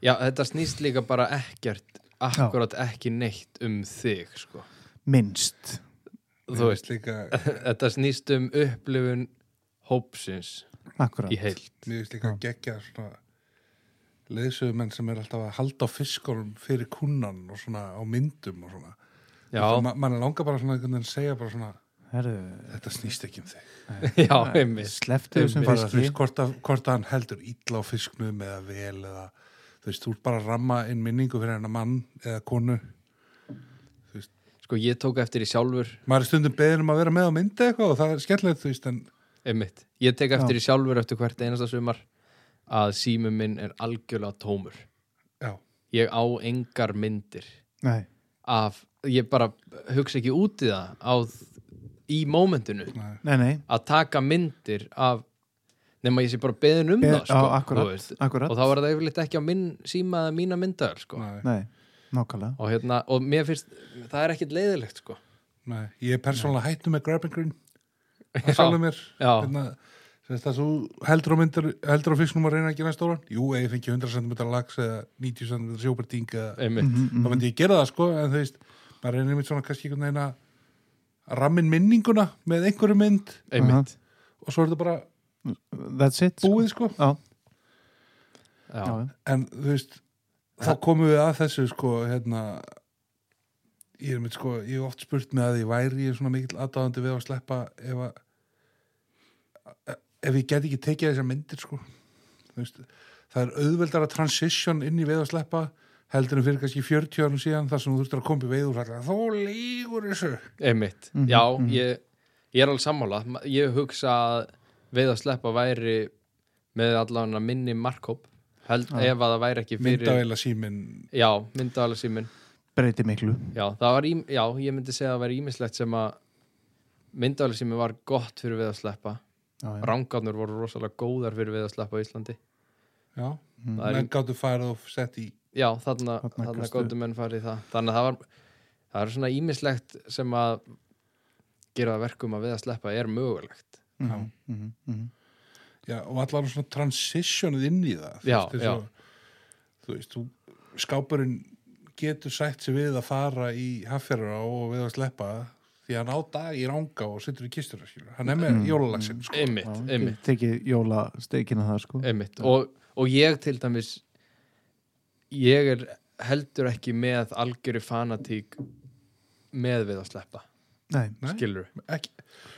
já, þetta snýst líka bara ekkert akkurat ekki neitt um þig sko. Minnst þú veist, líka, þetta snýst um upplifun hópsins Akkurat í heild mér finnst líka að gegja svona leðsögumenn sem er alltaf að halda á fiskunum fyrir kunnan og svona á myndum og svona Já, Ma, mann langar bara svona einhvern veginn að segja bara svona Herðu, þetta snýst ekki um þig já, einmitt sleftu þessum bara þú fiski veist hvort, að, hvort að hann heldur illa á fisknum eða vel eða þú veist þú ert bara að ramma inn minningu fyrir hennar mann eða konu Sko, ég tók eftir í sjálfur, maður er stundum beðin um að vera með á myndi eitthvað og það er skemmtilegt þú veist en einmitt Ég tek eftir í sjálfur eftir hvert einasta sumar að símum minn er algjörlega tómur já, Ég á engar myndir Nei, af, ég bara hugsa ekki út í það á, í mómentinu nei, nei, nei að taka myndir af nema ég sé bara beðin um Be- það, sko á, akkurat, þú veist. akkurat. Og þá var það yfirleitt ekki á minn síma eða mína myndar, sko nei. Nei, nákvæmlega Og hérna, og mér finnst, það er ekkit leiðilegt, sko Nei, ég er persónulega hættu með grab and green Já. að sjálfum mér Já. hérna, sem sagt að þú heldur á, myndir, heldur á fisknum að reyna að gera næsta óran jú, ef ég fengi 100 cm lax eða 90 cm sjóparting eða, Einmitt, Mhm. Mhm. þá myndi ég gera það sko en þú veist, maður reynir mitt svona kannski einhvern veginn að rammin minninguna með einhverju mynd einmitt og svo er þetta bara That's it sko. búið sko Já, Já, já, en þú veist þá komum við að þessu sko hérna ég er mitt sko, ég hef oft spurt mig að ég væri ég svona mikill aðdáðandi við að sleppa ef að ef ég get ekki tekið þessar myndir sko þú veist, það er auðveldar að transition inn í við að sleppa heldur en fyrir kannski 40 árum síðan þar sem þú þurftur að koma í veið og sagði þó lígur þessu einmitt, Mhm, já, mhm. Ég, ég er alveg sammála Ma- ég hugsa að veið að sleppa væri með allan að minni markhóp held, Já. ef að það væri ekki fyrir myndavæla símin já, myndavæla símin breyti miklu já, það var, ím- já, ég myndi segja að það væri ímislegt sem að myndavæla símin var gott fyrir veið að sleppa já, já. rangarnir voru rosalega góðar fyrir veið að sleppa á Íslandi já, Mhm, Það er- menn gáttu farið og sett í já, þarna, Þarna þarna gastu- góttu menn farið í það þannig að það var það er svona ímislegt sem að gera það verkum að veið að sleppa er mögulegt Mhm, mhm, mhm. já, og allan svona transitionið inn í það Já, þú veist, eins og- þú veist, þú, skápurinn getur sætt sér við að fara í haffjörður og við að sleppa því að hann á dag í ranga og sittur í kistur skilur. hann er með Mm. jólalæksin sko. Já, einmitt, ég einmitt, tekið jóla steikina það sko einmitt. Og, og ég til dæmis ég er heldur ekki með algjöri fanatík með við að sleppa Nei, Nei, skilur ekki,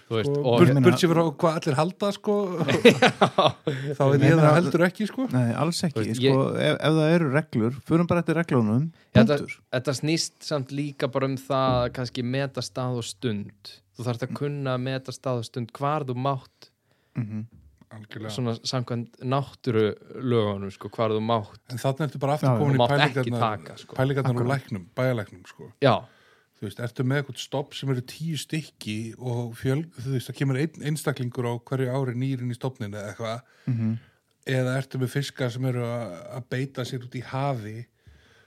þú veist, og og, burt, Ég meina- burt sér frá hvað allir halda sko, þá veit ég meina- það heldur ekki sko. Nei, alls Þú ekki veist, sko, ef, ef það eru reglur, förum bara eftir reglunum þetta, punktur. þetta snýst samt líka bara um það að kannski meta stað og stund þú þarft að kunna að meta stað og stund hvar þú mátt Mhm. Algjörlega. svona samkvæmt náttúru lögunum sko, hvar þú mátt en þannig ertu bara Já, aftur já. komin Þú í mátt ekki pælingarnar taka, sko. pælingarnar úr Akkurat. læknum, bæjarlæknum sko. já, þú veist, ertu með eitthvað stopp sem eru tíu stykki og fjöl, þú veist, það kemur ein, einstaklingur á hverju ári nýrin í stopninu eða eitthvað, Mhm. eða ertu með fiska sem eru að að beita sér út í hafi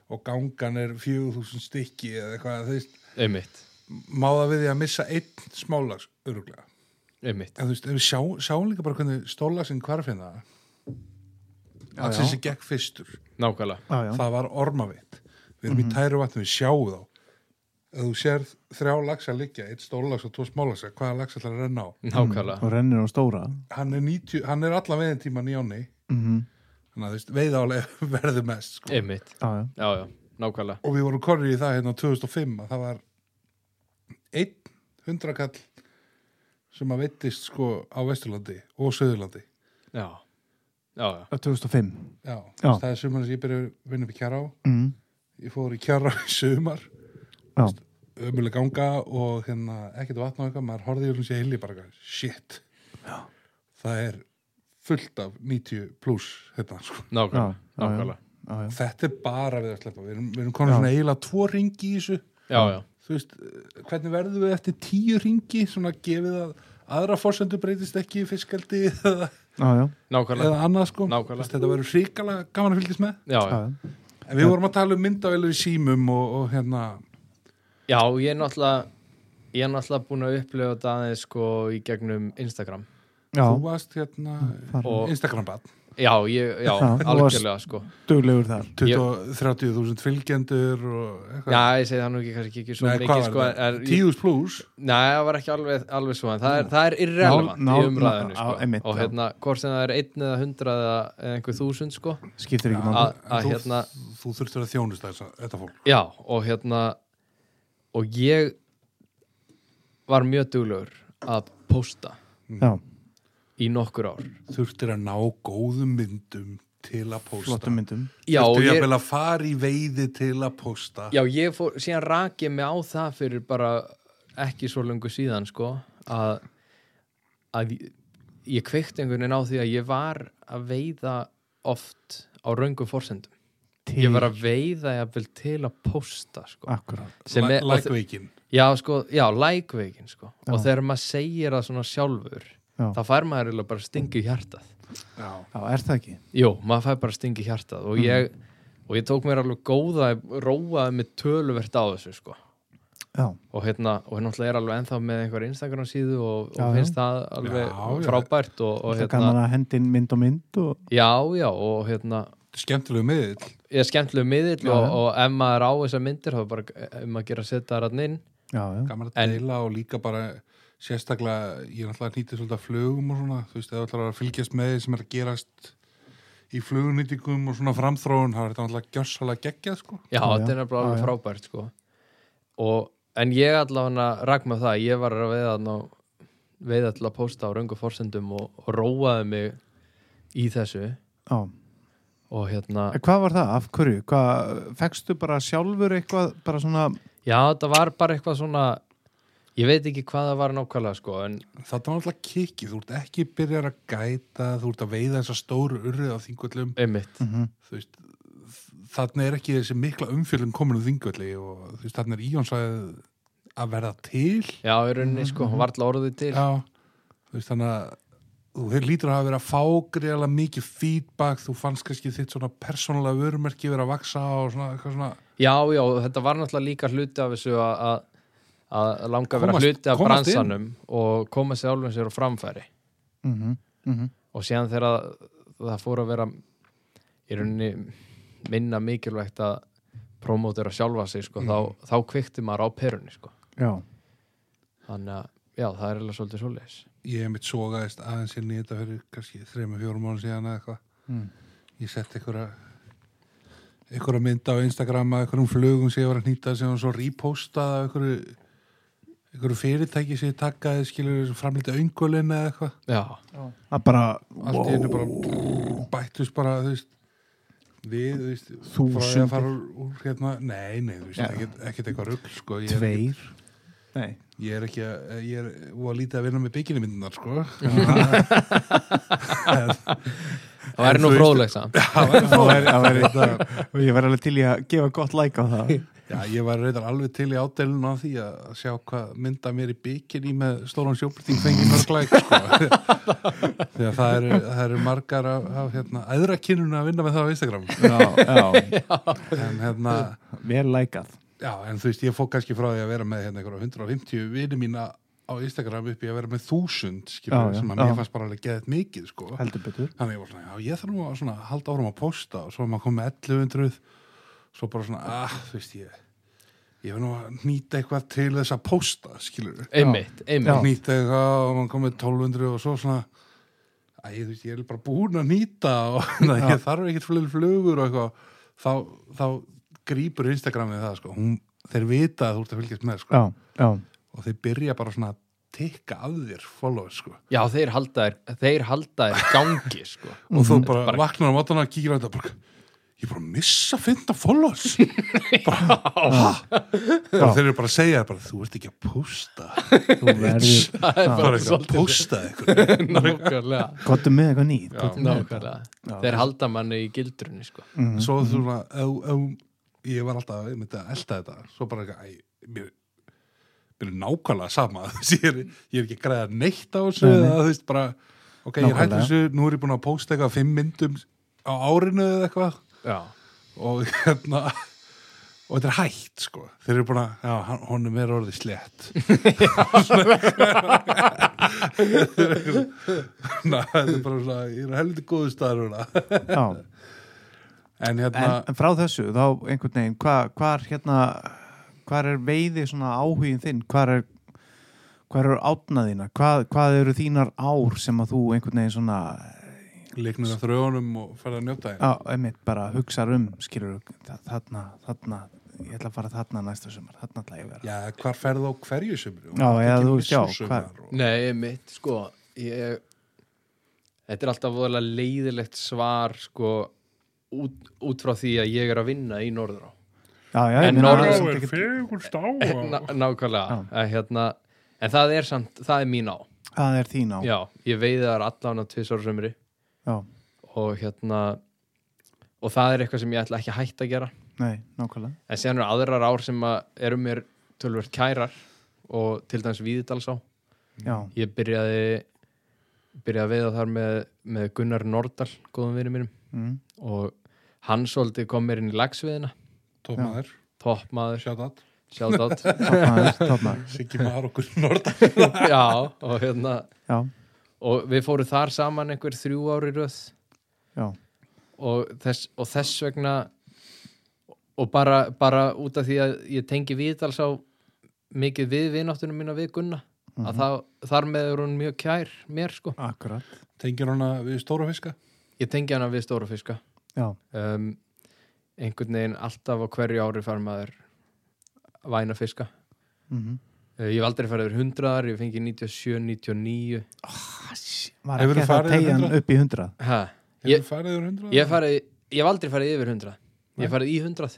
og gangan er 4000 stykki eða eitthvað, þú veist, einmitt, má það við því að missa einn smálags öruglega. einmitt. En þú veist, ef við sjá, sjáum líka bara hvernig stólagsinn hvarfinna, Já, alls já. þessi gekk fyrstur, nákvæmlega Já, Mhm. já. það var ormavitt. Við erum í tæru vatnum, við sjáum þá. Ef þú sér þrjá lagsa liggja, eitt stólags og tvo smálagsa, hvaða lagsa ætlar að renna á? nákvæmlega, og rennir á stóra hann er, 90, hann er allan veiðin tíman í áni mm þannig að þú veist, veiðálega verður mest sko. einmitt, já, já. já, já, nákvæmlega og við vorum korrið í það hérna 2005 að það var einn hundrakall sem að veittist sko á Vesturlandi og Söðurlandi já, já, já, Á 2005 Já, Já. það er sumar sem ég byrja að vinna upp í Kjará mm. ég fór í Kjará í sumar já, ömuleg ganga og hérna ekkert vatn og eitthvað, maður horfði yfir hún sér hilli bara eitthvað, shit það er fullt af 90 pluss hérna sko já, já, nákvæmlega, já, nákvæmlega já, já. Þetta er bara við að sleppa, við erum, við erum komin Já. svona eiginlega tvo ringi í þessu, já, já, þú veist, eh, hvernig verðum við eftir tíu ringi, svona gefið að aðra fórsendu breytist ekki í fiskaldi eða, Já, já, nákvæmlega eða annað sko, Nákvæmlega. Þú veist, þetta verður hrikalega gaman að fylgjast með. já, já, já. já. En við vorum að tala um myndavelur í símum og, og hérna, já, ég er náttúrulega ég er náttúrulega búin að upplifa þetta aðeins sko í gegnum Instagram já. þú varst hérna, Og- Instagram-bann, já, ég, já, Já, þú varst- algjörlega sko duglegur þar 20-30.000 fylgjendur og eitthvað. já, ég segi það nú ekki kannski ekki svo Nei, hvað mikið var sko, þetta? er, ég, Tíðus pluss? Nei, það var ekki alveg, alveg svo en það er, það er irrelevant Ná- ná- í umræðinu ná- sko. á- einmitt, og já. hérna, hvort sem það er einn eða hundrað eða eða einhver þúsund sko. skiptir ekki máli að að þú, hérna, þú þurftur að þjónust þessa, þetta fólk. já, og hérna og ég var mjög duglegur að posta já, í nokkur ár Þurftir að ná góðum myndum til að pósta. flottum myndum já, Þurftu ég, jafnvel að fara í veiði til að posta já, ég fór, síðan rak ég mig á það fyrir bara ekki svo lungu síðan sko, að, að ég- ég kveikti einhvern veginn á því að ég var að veiða oft á röngu forsendum til, Ah, ég var að veiða jafnvel til að posta sko. akkurat Sem er- og þe- Lækveikin já, sko, já, lækveikin sko. Já. og þegar maður segir það svona sjálfur Já. þá fær maður eiginlega bara stingu í hjartað já, er það ekki? Jú, maður fær bara stingi hjartað Mhm. og ég, og ég tók mér alveg góða róaði með töluvert á þessu sko. já, og hérna, og hérna er alveg ennþá með einhver Instagram síðu og, Já, og já. finnst það alveg Já, já. frábært og, og það er hérna, gaman að hendin mynd og mynd og já, já og hérna, Skemmtilegu miðill ég er skemmtilegu miðill Já, og, já. og ef maður á þessar myndir þá er bara um að gera að setja það rann inn já, já, Gaman að En- deila og líka bara Sérstaklega, ég er náttúrulega að nýta svolítið af flugum og svona, þú veist, eða ætlar að fylgjast með því sem er að gerast í flugunýtingum og svona framþróun, það er þetta náttúrulega gjörsalega geggjað, sko. Já, Já, já. þetta er nefnilega Já, alveg já. frábært sko. og, En ég allavega rak með það, ég var að veiða ná, veiða til að posta á röngu forsendum og, og róaði mig í þessu já, og Ah. hérna En Hvað var það? Af hverju? Hvað, fekstu bara sjálfur eitthvað, bara svona já þetta var bara eitthvað svona ég veit ekki hvað það var nákvæmlega sko en Þetta var alltaf kikið, þú ert ekki byrjar að gæta, þú ert að veiða þessa stóru urrið á þingvöllum, einmitt þú veist, þannig er ekki þessi mikla umfjöldum komin á þingvölli og þú veist, þannig er íjónsvæðið að verða til. já í rauninni sko hún var alltaf orðið til Mhm, Já, þú veist, þannig að þú lítur að hafa verið að fá greiðlega mikið feedback, þú fannst kannski þitt svona persónulega vörumerki verið að vaksa og svona, eitthvað svona, já já þetta var náttúrulega líka hluti af þessu að- að að langa að vera Komast- hluti af komast inn. bransanum og koma sér álum sér á framfæri mm -hmm, mm -hmm. og síðan þegar að það fór að vera í rauninni minna mikilvægt að promótera sjálfa sig sko, þá, þá kvikti maður á perunni sko. Já, þannig að já, það er alveg svolítið svoleiðis ég hef mitt sogaðist aðeins inn í þetta fyrir kannski þreymur, fjórum mánu síðan eða eitthvað. Mm. Ég sett einhverja einhverja mynd á Instagram að einhverjum flugum sem ég var að hnýta sem var svo repostað af einhverju einhverju fyrirtæki sem ég takkaði skilur framlítið öngulinn eða eitthvað já, að bara allt í einu bara bættust bara þú veist við, þú veist, frá því Þúsundir. að fara úr, úr hérna, nei, nei, þú veist, Já. ekkert, ekkert eitthvað rugg, sko, ég er, ekki- tveir Nei, ég er ekki að, ég er, og að lítið að vinna með bygginimyndunar, sko, það væri nú fróðlegt samt það væri- það væri- og ég verði alveg til í að gefa gott like á það já, ég var reyndar alveg til í ádelinu á því að sjá hvað mynda mér í bygginni með stóran sjóbryting fengið mörgleik, sko, því að það eru, það eru margar af, af hérna, æðrakynuna að vinna með það á Instagram, Já, já, en hérna, vel likeað Já, en þú veist, ég fók kannski frá því að vera með hérna einhverja 150 vini mína á Instagram upp í að vera með 1000 skilur, Já, já, sem að mér já. fannst bara alveg geðið mikið sko. Heldur betur þannig ég var svona, já, ég þarf nú að svona, halda árum að posta og svo er maður kom með 1100 svo bara svona, ah, þú veist ég ég verð nú að nýta eitthvað til þess að posta, skilur einmitt, Já. einmitt nýta eitthvað og maður kom með 1200 og svo svona Æ, þú veist, ég er bara búin að nýta og ég þarf ekkert fleiri flugur og eitthvað þá, þá grípur Instagramið það, sko Hún, þeir vita að þú ert að fylgjast með, sko Já, já, og þeir byrja bara svona að tikka af þér follow, sko já, þeir halda þér þeir halda þér gangi sko. og Mm. þú bara, vaknar á mótana og kíkir á þetta bara, ég er bara að missa að finna follows bara, ha? og þeir eru bara að segja þér bara, þú ert ekki að posta þú verður það er þú ert bara ekki að svolítið posta eitthvað nákvæmlega, Gottum með eitthvað nýtt gottu með eitthvað. nákvæmlega. þeir halda manni í gildrunni sko. Mm. svo þú svona au, au, ég var alltaf ég myndi að elta þetta svo bara eitthvað, æ, mér mér er nákvæmlega sama þú veist, ég er, ég er ekki að græða neitt á þessu Nei, nei. eða þú veist bara, ok, ég er hætt Nákvæmlega. þessu nú er ég búin að posta eitthvað fimm myndum á árinu eða eitthvað já, og hérna og þetta er hægt sko þeir eru búin að, já, hann- honum er orðið slett Ná, þetta er bara svona ég er að helviti góðu staðar núna. Já, en hérna en, en frá þessu þá einhvern veginn hva, hvar hérna hvar er veiði svona áhugin þinn hvar er hvar eru átnaðina hvað, hvað eru þínar ár sem að þú einhvern veginn svona leiknir að þrjónum og ferða að njóta þeim á, einmitt bara hugsar um skilur þarna, þarna ég ætla að fara þarna næsta sumar þarna ætla ég að vera já, hvar ferðu á hverju sumri Já, Og já, ekki þú veist, já, vissu hvar- sumar og- nei, einmitt sko, ég þetta er alltaf voðalega leiðilegt svar sko, út, út frá því að ég er að vinna í norðrá já, já, ég En meina, norður- það er samt ekkert- fegurst á Ná, nákvæmlega að, hérna, en það er samt, það er mín á það er þín á já, já, ég veiði þar allan á tvisar sömri og hérna og það er eitthvað sem ég ætla ekki að hætta að gera nei, nákvæmlega en síðan eru aðrar ár sem að eru mér tölvöld kærar og til dæmis Víðidalsá já, ég byrjaði byrjaði að veiða þar með, með Gunnar Nordal góðum vinur mínum mm, og hann svolítið kom mér inn í lagsviðina tómaður, toppmaður, sjátt shout out topmaður, topmaður Siggi Mar og Gunnar Norda já, og hérna já, og við fórum þar saman einhver þrjú ári röð já, og þess, og þess vegna og bara, bara út af því að ég tengi viðdals á mikið við vináttunum mína við Gunna að það, þar með er hún mjög kær mér sko, akkurat tengir hana við stóra fiska ég tengi hana við stóra fiska já, um, einhvern veginn alltaf á hverju ári fær maður að væna fiska mm Eh, ég hef aldrei farið yfir hundraðar, ég fengi 97, 99 var Hefurðu ekki að farið í tegja hann hundrað? upp í hundrað ha, hefur Ég- þú farið yfir 100? ég hef farið ég hef aldrei farið yfir 100 ég hef farið í 100 uh,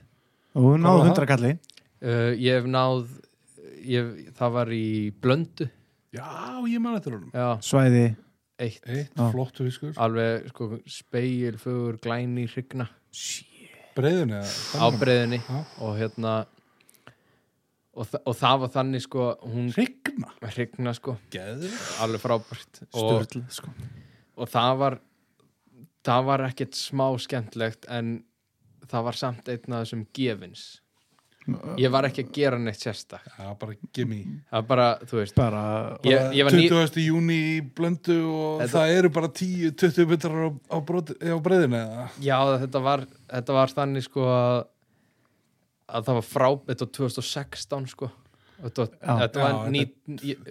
og hún náði var það? hundra kalli ég hef náð ég, það var í blöndu Já, ég man eftir honum. já, svæði eitt Eitt, Já. flottu fiskur. alveg sko speilfugur glæni hrygna Breiðin eða? á breiðinni Já. og hérna og, þa og það var þannig sko hún Hrygna. hrygna sko Geður. alveg frábært og, störl sko. og það var það var ekkert smá skemmtlegt en það var samt einn af þessum gefins ég var ekki að gera neitt sérstak Já, bara gimme. það var bara, þú veist bara ég, ég var ný, 20. júni í blöndu og Þetta- það eru bara 10-20 metrar á, á, brot, á breiðinu eða? já þetta var þetta var þannig sko að að það var frábært á 2016 sko Þetta, Já, þetta var já, ný, ég,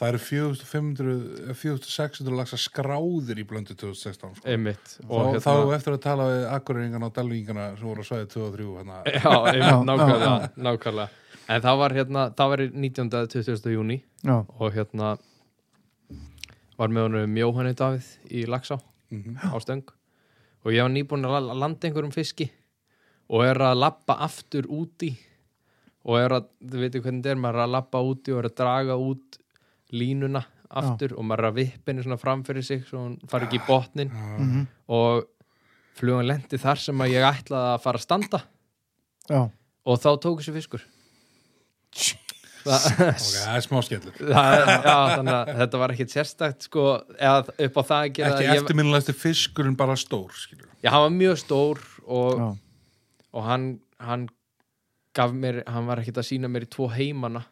Það eru 4500 4600 lagsa skráðir í blöndu 2016 sko. einmitt og og hérna- þá þá eftir að tala við akkurýringarna og dalvíingarna sem voru að svæði 2 og hérna. 3 hana, Já, einmitt, nákvæmlega, nákvæmlega En það var hérna, það var í 19. eða 20. júni já, og hérna var með honum Jóhanni Davíð í Laxá á stöng og ég var nýbúin að la- landa einhverjum fiski og er að lappa aftur úti og er að, þú veitir hvernig þetta er maður er að lappa úti og er að draga út línuna aftur og maður er að vippinu svona framfyrir sig svo hún fari ekki í botnin Mhm. og flugan lendi þar sem að ég ætlaði að fara að standa já og þá tók þessi fiskur Þa, ok, það er smá skellur Það, já, þannig að þetta var ekkit sérstakt sko, eða upp á það að gera ekki ég, eftirminnilegasti fiskurinn bara stór skilur. Já, hann var mjög stór og, já, og hann, hann gaf mér, hann var ekkit að sína mér í tvo heimana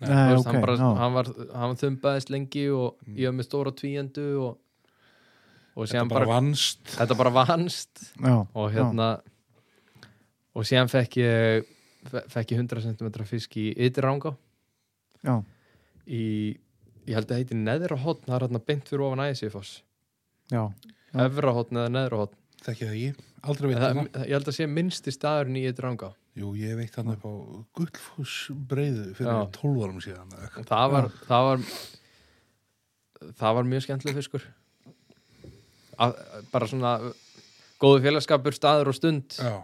Nei, Þú ok, hann, bara, já. hann var, hann þumbaðist lengi og ég var með stóra tvíendu og, Mm. og þetta síðan bara bara, vannst þetta bara vannst já, og hérna og síðan fekk ég fe- fekk ég 100 cm fisk í ytirrangá já, í, ég held að heiti neðra hotn, það er hérna beint fyrir ofan æsifoss já, Já. Efra hotn eða neðra hotn þekki það ekki, aldrei veit um það, það Ég held að sé minnsti staðurinn í dranga jú, ég veit hann upp á gullfús breiðu fyrir Já. 12 árum síðan eða eitthvað. það var, það var það var mjög skemmtileg fiskur að, bara svona góðu félagskapur, staður og stund já,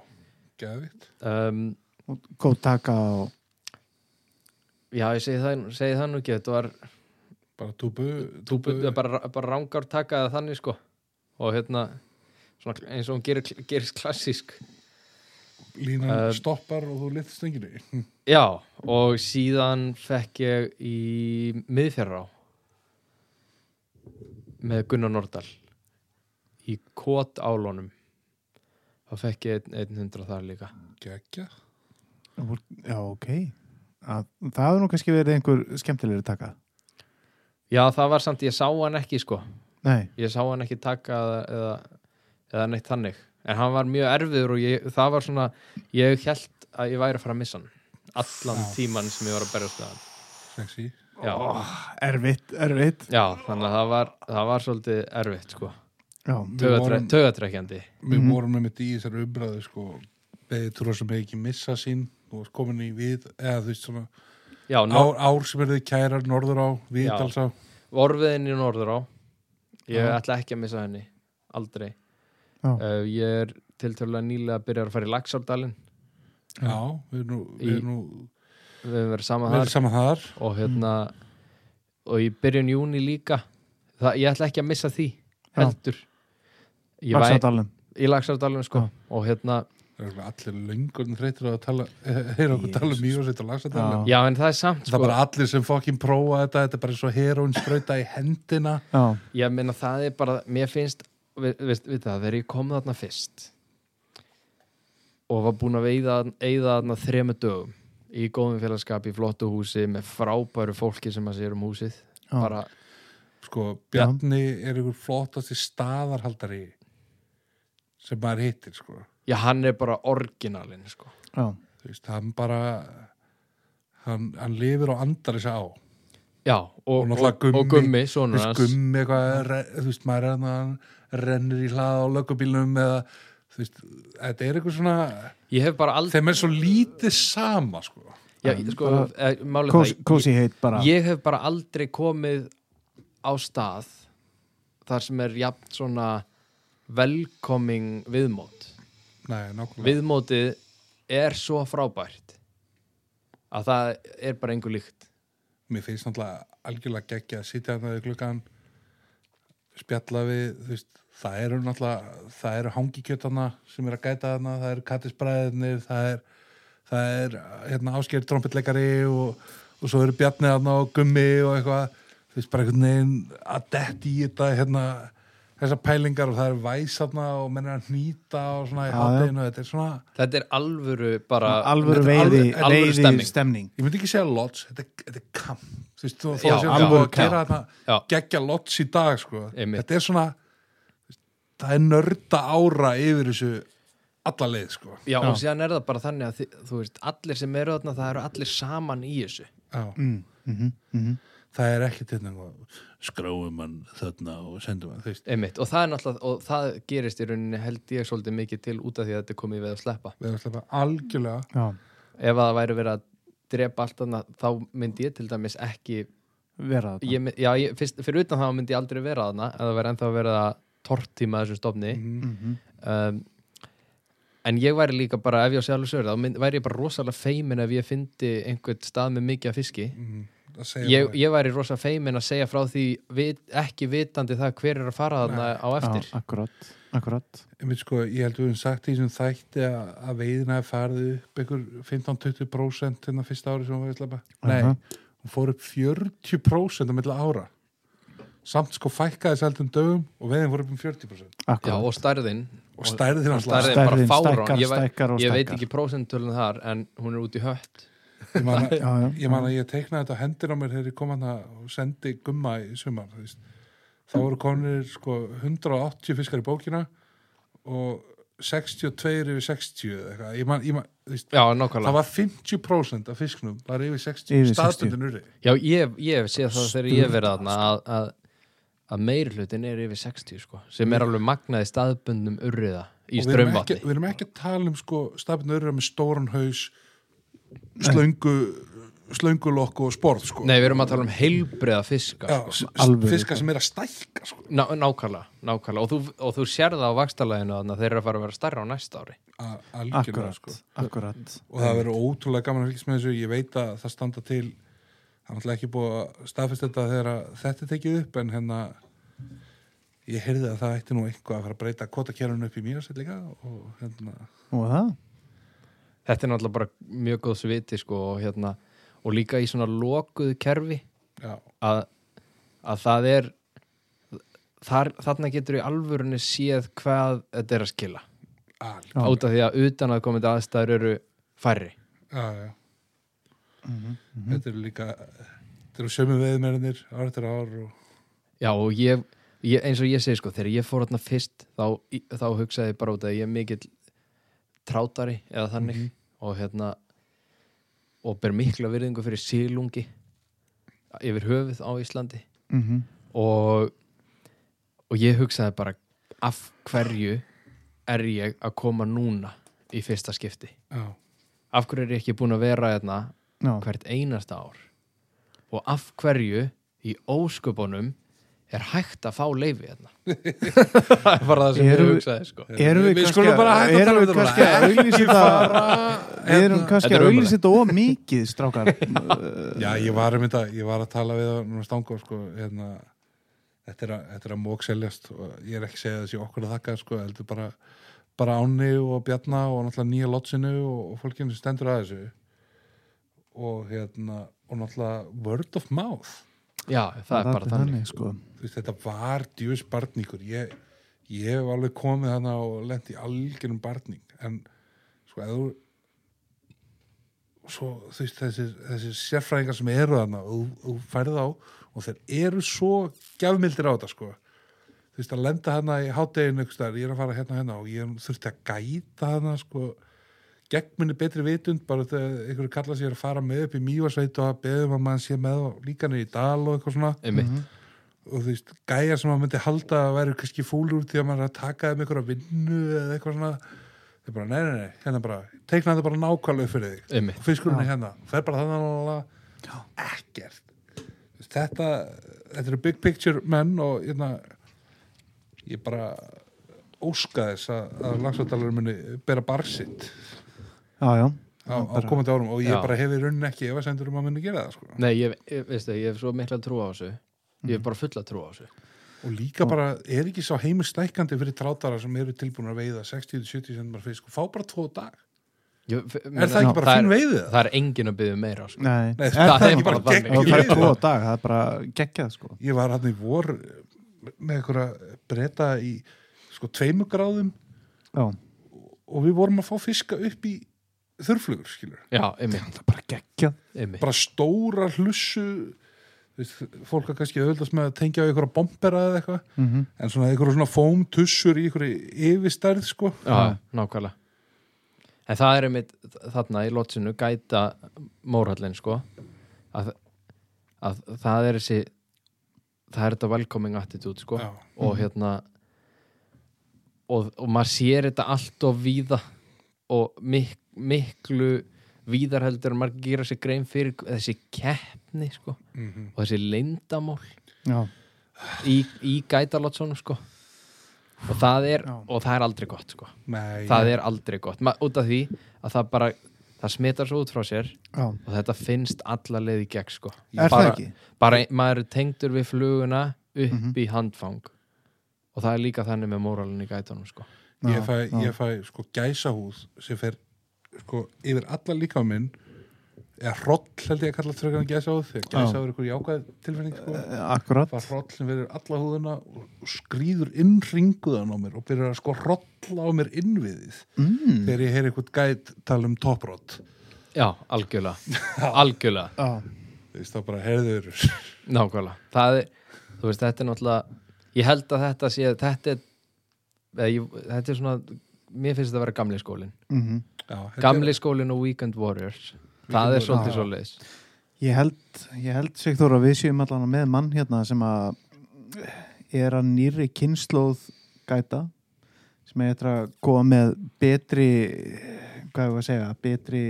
geðvitt um, og góð taka og Já, ég segi það, segi það nú ekki þetta var bara túbu, túbu, bara, bara rángar takaði þannig sko og hérna svona, eins og hún gerir, gerist klassísk línan Eh, stoppar og þú litt stönginni Já, og síðan fekk ég í miðfjörra á með Gunnar Nordal í kót álónum þá fekk ég einn- einn hundra þar líka geggja, já, ok að, það hefur nú kannski verið einhver skemmtilegri taka Já, það var samt, ég sá hann ekki sko nei, ég sá hann ekki taka eða, eða, eða neitt þannig en hann var mjög erfiður og ég, það var svona ég held að ég væri að fara að missa hann allan tíman sem ég var að berjast með hann sexy Já, erfitt, erfitt já þannig að það var, það var svolítið erfitt sko já, Við vorum- Tögatrekkjandi við vorum með mitt í þessari umræðu sko, beðið trúa sem hefði ekki missa sín og varst komin í við eða þú veist svona Já, ár, ár sem verðið kærar norður á við Já. allsá orfiðin í norður á Ég Já. ætla ekki að missa henni Aldrei Já. uh, Ég er tiltölulega nýlega að byrja að fara í Laxárdalinn já, við erum nú, við Í- erum nú Við höfum verið saman við erum þar saman þar Og hérna Og í byrjun júni líka Það, Ég ætla ekki að missa því Heldur Ég var í- Laxadalum Í Laxárdalinn sko Og hérna Það eru örugglega allir löngur þreytir á að tala eh, heyra okkur tala um mjósett og lagsa tala Já, en það er samt það er sko bara allir sem fokkin prófa þetta þetta er bara svo heroin sprauta í hendina já, Ég meina það er bara Mér finnst Við, við, við það, þegar ég kom þarna fyrst og var búin að veiða eigða þarna þremu dögum í góðum félagskap í flottu húsi með frábæru fólki sem að sér um húsið bara, sko, Bjarni er ykkur flottasti staðarhaldari sem maður hittir sko já hann er bara orginalinn sko. já, þú veist, hann bara hann, hann lifir og andar þessi á og, já, og, og, náttúrulega gummi og gummi þú sonur veist, hans gummi eitthvað re- þú veist, maður er hann hann rennur í hlað á löggubílnum eða þú veist, þetta er eitthvað svona ég hef bara aldrei þeim er svo lítið sama sko. já, ég- sko, bara- eh, málið það, Kósi- kósi heit bara ég, ég hef bara aldrei komið á stað þar sem er jafn svona velkoming viðmót Nei, nákvæmlega. viðmótið er svo frábært að það er bara engu líkt Mér finnst náttúrulega algjörlega geggja að sitja hann við gluggan spjalla við, þú veist, það eru náttúrulega, það eru hangikjötana sem er að gæta hana, það eru kattisbræðinir, það er, það er hérna ásker trompetleikari og, og svo eru bjarni hana og gummi og eitthvað, þú veist, bara einhvern veginn að detti í þetta, hérna þessar pælingar og það eru væs hana og menn er að hnýta og svona í Já, já. hátinu, þetta er svona, þetta er alvöru bara alvöru þetta er alvöru- veiði, alvöru veiði stemning. stemning ég myndi ekki segja lodge, þetta, er- þetta er kam þú veist, þú Já, þóðu sem alvöru það að kamp. gera þetta Já. geggja lodge í dag, sko Einmitt. þetta er svona það er nörda ára yfir þessu alla leið, sko já, og síðan er það bara þannig að þi- þú veist, allir sem eru þarna, það eru allir saman í þessu mm. Mhm, það er ekki til þess skráum hann þarna og sendum hann, þú veist, einmitt, og það er náttúrulega og það gerist í rauninni held ég svolítið mikið til út af því að þetta er komið við að sleppa við erum sleppa algjörlega já. ef að það væri verið að drepa allt annað þá myndi ég til dæmis ekki vera þetta ég, mynd- já, ég, fyrst, fyrir utan það myndi ég aldrei vera þarna en það væri ennþá verið að tortíma þessu stofni Mhm. um, en ég væri líka bara ef ég á sjálfur sögur þá mynd, væri ég bara rosalega feimin ef ég fyndi einhvern stað með mikið af fiski Mm, að segja Mm. ég, það. ég væri rosalega feimin að segja frá því vit, ekki vitandi það hver er að fara þarna á eftir já, akkurat, akkurat Einmitt, sko, ég held við höfum sagt í þessum þætti að, að veiðina er farið upp einhver 15-20% hérna fyrsta ári sem hún var að sleppa Aha. Nei, hún fór upp 40% á milli ára samt sko fækkaði seldum dögum og veiðin fór upp um 40% já, akkurat og stærðin og stærðin hans stærðin. stærðin bara Stærðin fárán stækkar, ég, væ- stækkar og ég veit stækkar. ekki prósentölun þar en hún er út í hött Ég man að- já, já, ég man að ég teiknaði þetta á hendir á mér þegar ég kom hann og sendi gumma í sumar þú veist. þá voru konir sko 180 fiskar í bókina og 62 yfir 60 eða eitthvað, ég man, ég man, þú veist já, Það nákvæmlega var 50% af fisknum var yfir 60, Yfir yfir 60. staðbundin urri já, ég, ég hef séð það þegar ég hef verið þarna að, að, að meiri hlutin er yfir 60 sko, sem er alveg magnaði staðbundnum urriða í Mm. og við erum, ekki, strömvatni við erum ekki að tala um sko, staðbundin urri með stóran haus slöngu slöngulokk og sporð sko. nei, við erum að tala um heilbreiða fiska Já, sko. s- s- Alvöru, fiska sem er að stækka sko. Ná, nákvæmlega, nákvæmlega og þú, og þú sér það á vakstarleginu þannig að þeir eru að fara að vera stærra á næsta ári A- algjörlega akkurat, sko. akkurat og það verður ótrúlega gaman að fylgjast með þessu ég veit að það standa til það er náttúrulega ekki búið að staðfest þetta þegar að þetta er tekið upp en hérna ég heyrði að það ætti nú eitthvað að fara að breyta kvotakerfinu upp í mýrasett líka og hérna og það, þetta er náttúrulega bara mjög góð sviti sko, og, hérna, og líka í svona lokuðu kerfi já, að, að það er þar, þarna getur í alvörunni séð hvað þetta er að skila alveg Já. út af því að utan að komandi aðstæður eru færri já, já. Mhm, þetta eru líka þetta eru sömu veðmennir ár eftir ár og já og ég, ég eins og ég segi sko þegar ég fór þarna fyrst þá, í- þá hugsaði ég bara út af því að ég er mikill trátari eða þannig og hérna og ber mikla virðingu fyrir sílungi yfir höfuð á Íslandi mhm og og ég hugsaði bara af hverju er ég að koma núna í fyrsta skipti já, af hverju er ég ekki búin að vera hérna Já. hvert einasta ár og af hverju í ósköpunum er hægt að fá leifi hérna það er bara það sem Erum ég við- hugsaði sko. Erum við Við kannski skulum bara hætta að erum tala um við þetta kannski bara. hérna. að auglýsa þetta Við erum kannski Þetta er að ömurlegt. auglýsa þetta of mikið, strákar já ég, var um þetta, ég var að tala við það núna stanga sko, hérna, þetta, er að, þetta er að mók seljast og ég er ekki að segja þessi okkur að þakka sko, heldur bara, bara Áni og Bjarna og náttúrulega nýja lotsinu og, og fólkinu sem stendur að þessu og, hérna, og náttúrulega word of mouth já það er bara þannig sko. þú veist, þetta var djús barníkur ég, ég hef alveg komið hana og lent í algjörum barning en sko eða þú svo þú veist þessir, þessir sérfræðingar sem eru þarna og þú- þú færð á og þeir eru svo gjafmildir á þetta sko þú veist að lenda hana í hátteginu ég er að fara hérna og hérna og ég þurfti að gæta hana sko gegn minni betri vitund bara þegar einhverju kalla sér að fara með upp í mývarsveit og að beðum að mann sé með og líka niður í dal og eitthvað svona einmitt og þú veist, gæjar sem maður myndi halda að væri kannski fúlur því að maður er að taka þeim einhverja vinnu eða eitthvað svona þau bara, nei, nei, nei, hérna bara teikna þetta bara nákvæmlega upp fyrir þig Einmitt. og fiskurinn er hérna, fer bara þannig alveg ekkert Þú veist, þetta, þetta eru big picture menn og hérna, ég bara óska þess að, að langsvartalara muni bera barsitt já, já, á, á komandi árum og ég Já. bara hef í raunin ekki ef að sendur um að muni gera það sko. Nei, ég, ég, veistu, ég hef svo mikla trú á þessu Ég hef bara fulla trú á þessu og líka bara er ekki sá heimur stækandi fyrir trátara sem eru tilbúin að veiða 60-70 cm fisk og fá bara tvo á dag ég, f- er það ekki bara það fín er, veiðið? það er engin að byggja meira sko. nei Nei, það er ekki bara bara þannig. og gegn það er tvo á dag, það er bara geggjað sko ég var hann í vor með einhverja breyta í sko tveimu gráðum já, og við vorum að fá fiska upp í þurflugur, skilur Já, einmitt, það er bara geggjað einmitt. bara stóra hlussu þú veist, fólk að kannski auðvitað með að tengja á einhverja bombera eða eitthvað mm -hmm. en svona einhverja svona fómtussur í einhverju yfirstærð sko Já, nákvæmlega En það er einmitt þarna í lótsinu gæta mórhallin sko að, að það er þessi það er þetta welcoming attitude sko Já. og hérna og, og maður sér þetta allt of víða og mik miklu víðar heldur en maður gera sér grein fyrir þessi keppni sko Mhm. og þessi leyndamál já, í, í gæta lótsunum sko og það, er, Já. og það er aldrei gott sko Nei, það er aldrei gott Ma, út af því að það bara það smitar svo út frá sér já, og þetta finnst alla leið í gegn sko. er það bara, ekki? Mhm. bara maður er tengdur við fluguna upp í handfang og það er líka þannig með móralin í gætunum sko. ég fæ, Já, já. ég fæ sko gæsahúð sem fer sko yfir alla líka minn eða hroll held ég að kalla þröggan gæsahúð þegar gæsahúð er einhverju jákvæð tilfinning sko akkurat það hroll sem verður alla húðuna og skrýður inn ringuðan á mér og byrjar að sko hrolla á mér innviðið mm. þegar ég heyri eitthvað gæt tala um topprott já, algjörlega algjörlega, já, þú veist þá bara heyrður nákvæmlega það er, þú veist, þetta er náttúrulega ég held að þetta sé, þetta er eða, ég, þetta er svona mér finnst þetta að vera gamli skólin mm gamli skólin og Weekend Warriors það er svolítið svolítið Ég held, ég held Sigþór að við séum allan með mann hérna sem að er að nýri kynnslóð gæta sem er eftir að koma með betri hvað ég að segja, betri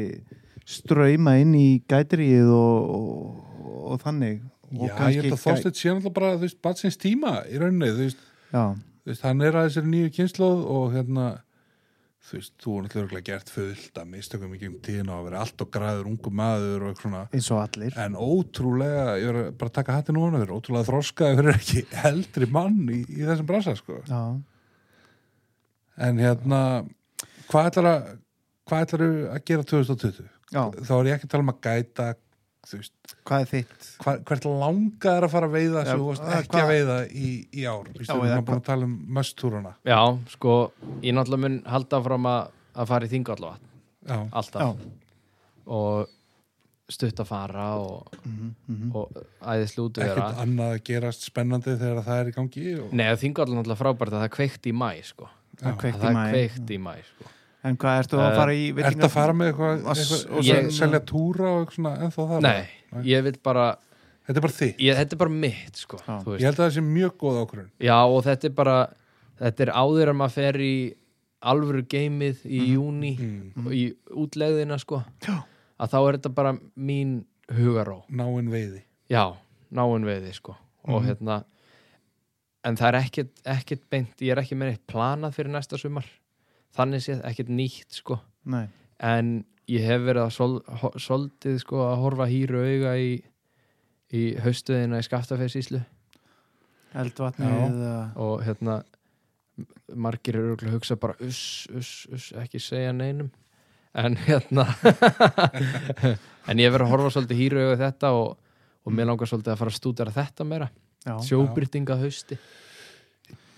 ströyma inn í gætrið og, og, og þannig og Já, ég held að gæ- Þorsteinn sé náttúrulega bara, þú veist, batsins tíma í rauninni, þú veist, Já, þú veist, hann er að þessari nýju kynnslóð og hérna, þú veist, þú er náttúrulega örugglega gert fullt að mistökum ekki um tíðina að vera allt og græður ungu maður og eitthvað svona, eins og allir en ótrúlega, ég er að bara taka hattin núna fyrir, ótrúlega þroskaði fyrir ekki eldri mann í, í þessum brasa, sko. Já, En hérna, hvað ætlar að, hvað ætlar að gera 2020? já, Þá er ég ekki að tala um að gæta, þú veist, hvað er þitt? Hva- hvert langar að fara að veiða sem Já, þú varst eh, ekki hvað- að veiða í, í ár Vistu, Já, við eða erum búin að tala um möstúruna Já, sko, ég náttúrulega mun halda fram að, að fara í þingallavatn já, Já, alltaf og stutt að fara og, Mhm, og æðislu út að vera ekkert annað að gerast spennandi þegar það er í gangi og, Nei, þingallan er náttúrulega frábært að það er kveikt í mæ sko. það er kveikt það í er maður kveikt í mæ sko. En hvað ertu að Eh, fara í ert að fara með eitthvað, Ass- eitthvað og og ég, ég- selja túra og eitthvað svona ennþá það Nei, ég vil bara þetta er bara þitt, ég, þetta er bara mitt sko, Já. þú veist. ég held að það sé mjög góð ákvörðun Já, og þetta er bara þetta er áður að maður fer í alvöru geimið í júni og í útlegðina sko, Mhm. Já. að þá er þetta bara mín hugaró náinn veiði Já, náinn veiði sko og hérna en það er ekkert, ekkert beint ég er ekki með neitt planað fyrir næsta sumar þannig séð ekkert nýtt sko Nei, en ég hef verið að sol, ho, soldið sko að horfa hýru auga í, í haustuðina í skaftafessíslu eldvatnið eða- og hérna m- margir eru örugglega að hugsa bara uss, uss, uss, ekki segja neinum en hérna en ég hef verið að horfa svolítið hýru auga í þetta og, og mér langar svolítið að fara að stúdara þetta meira Já, sjóbyrtinga hausti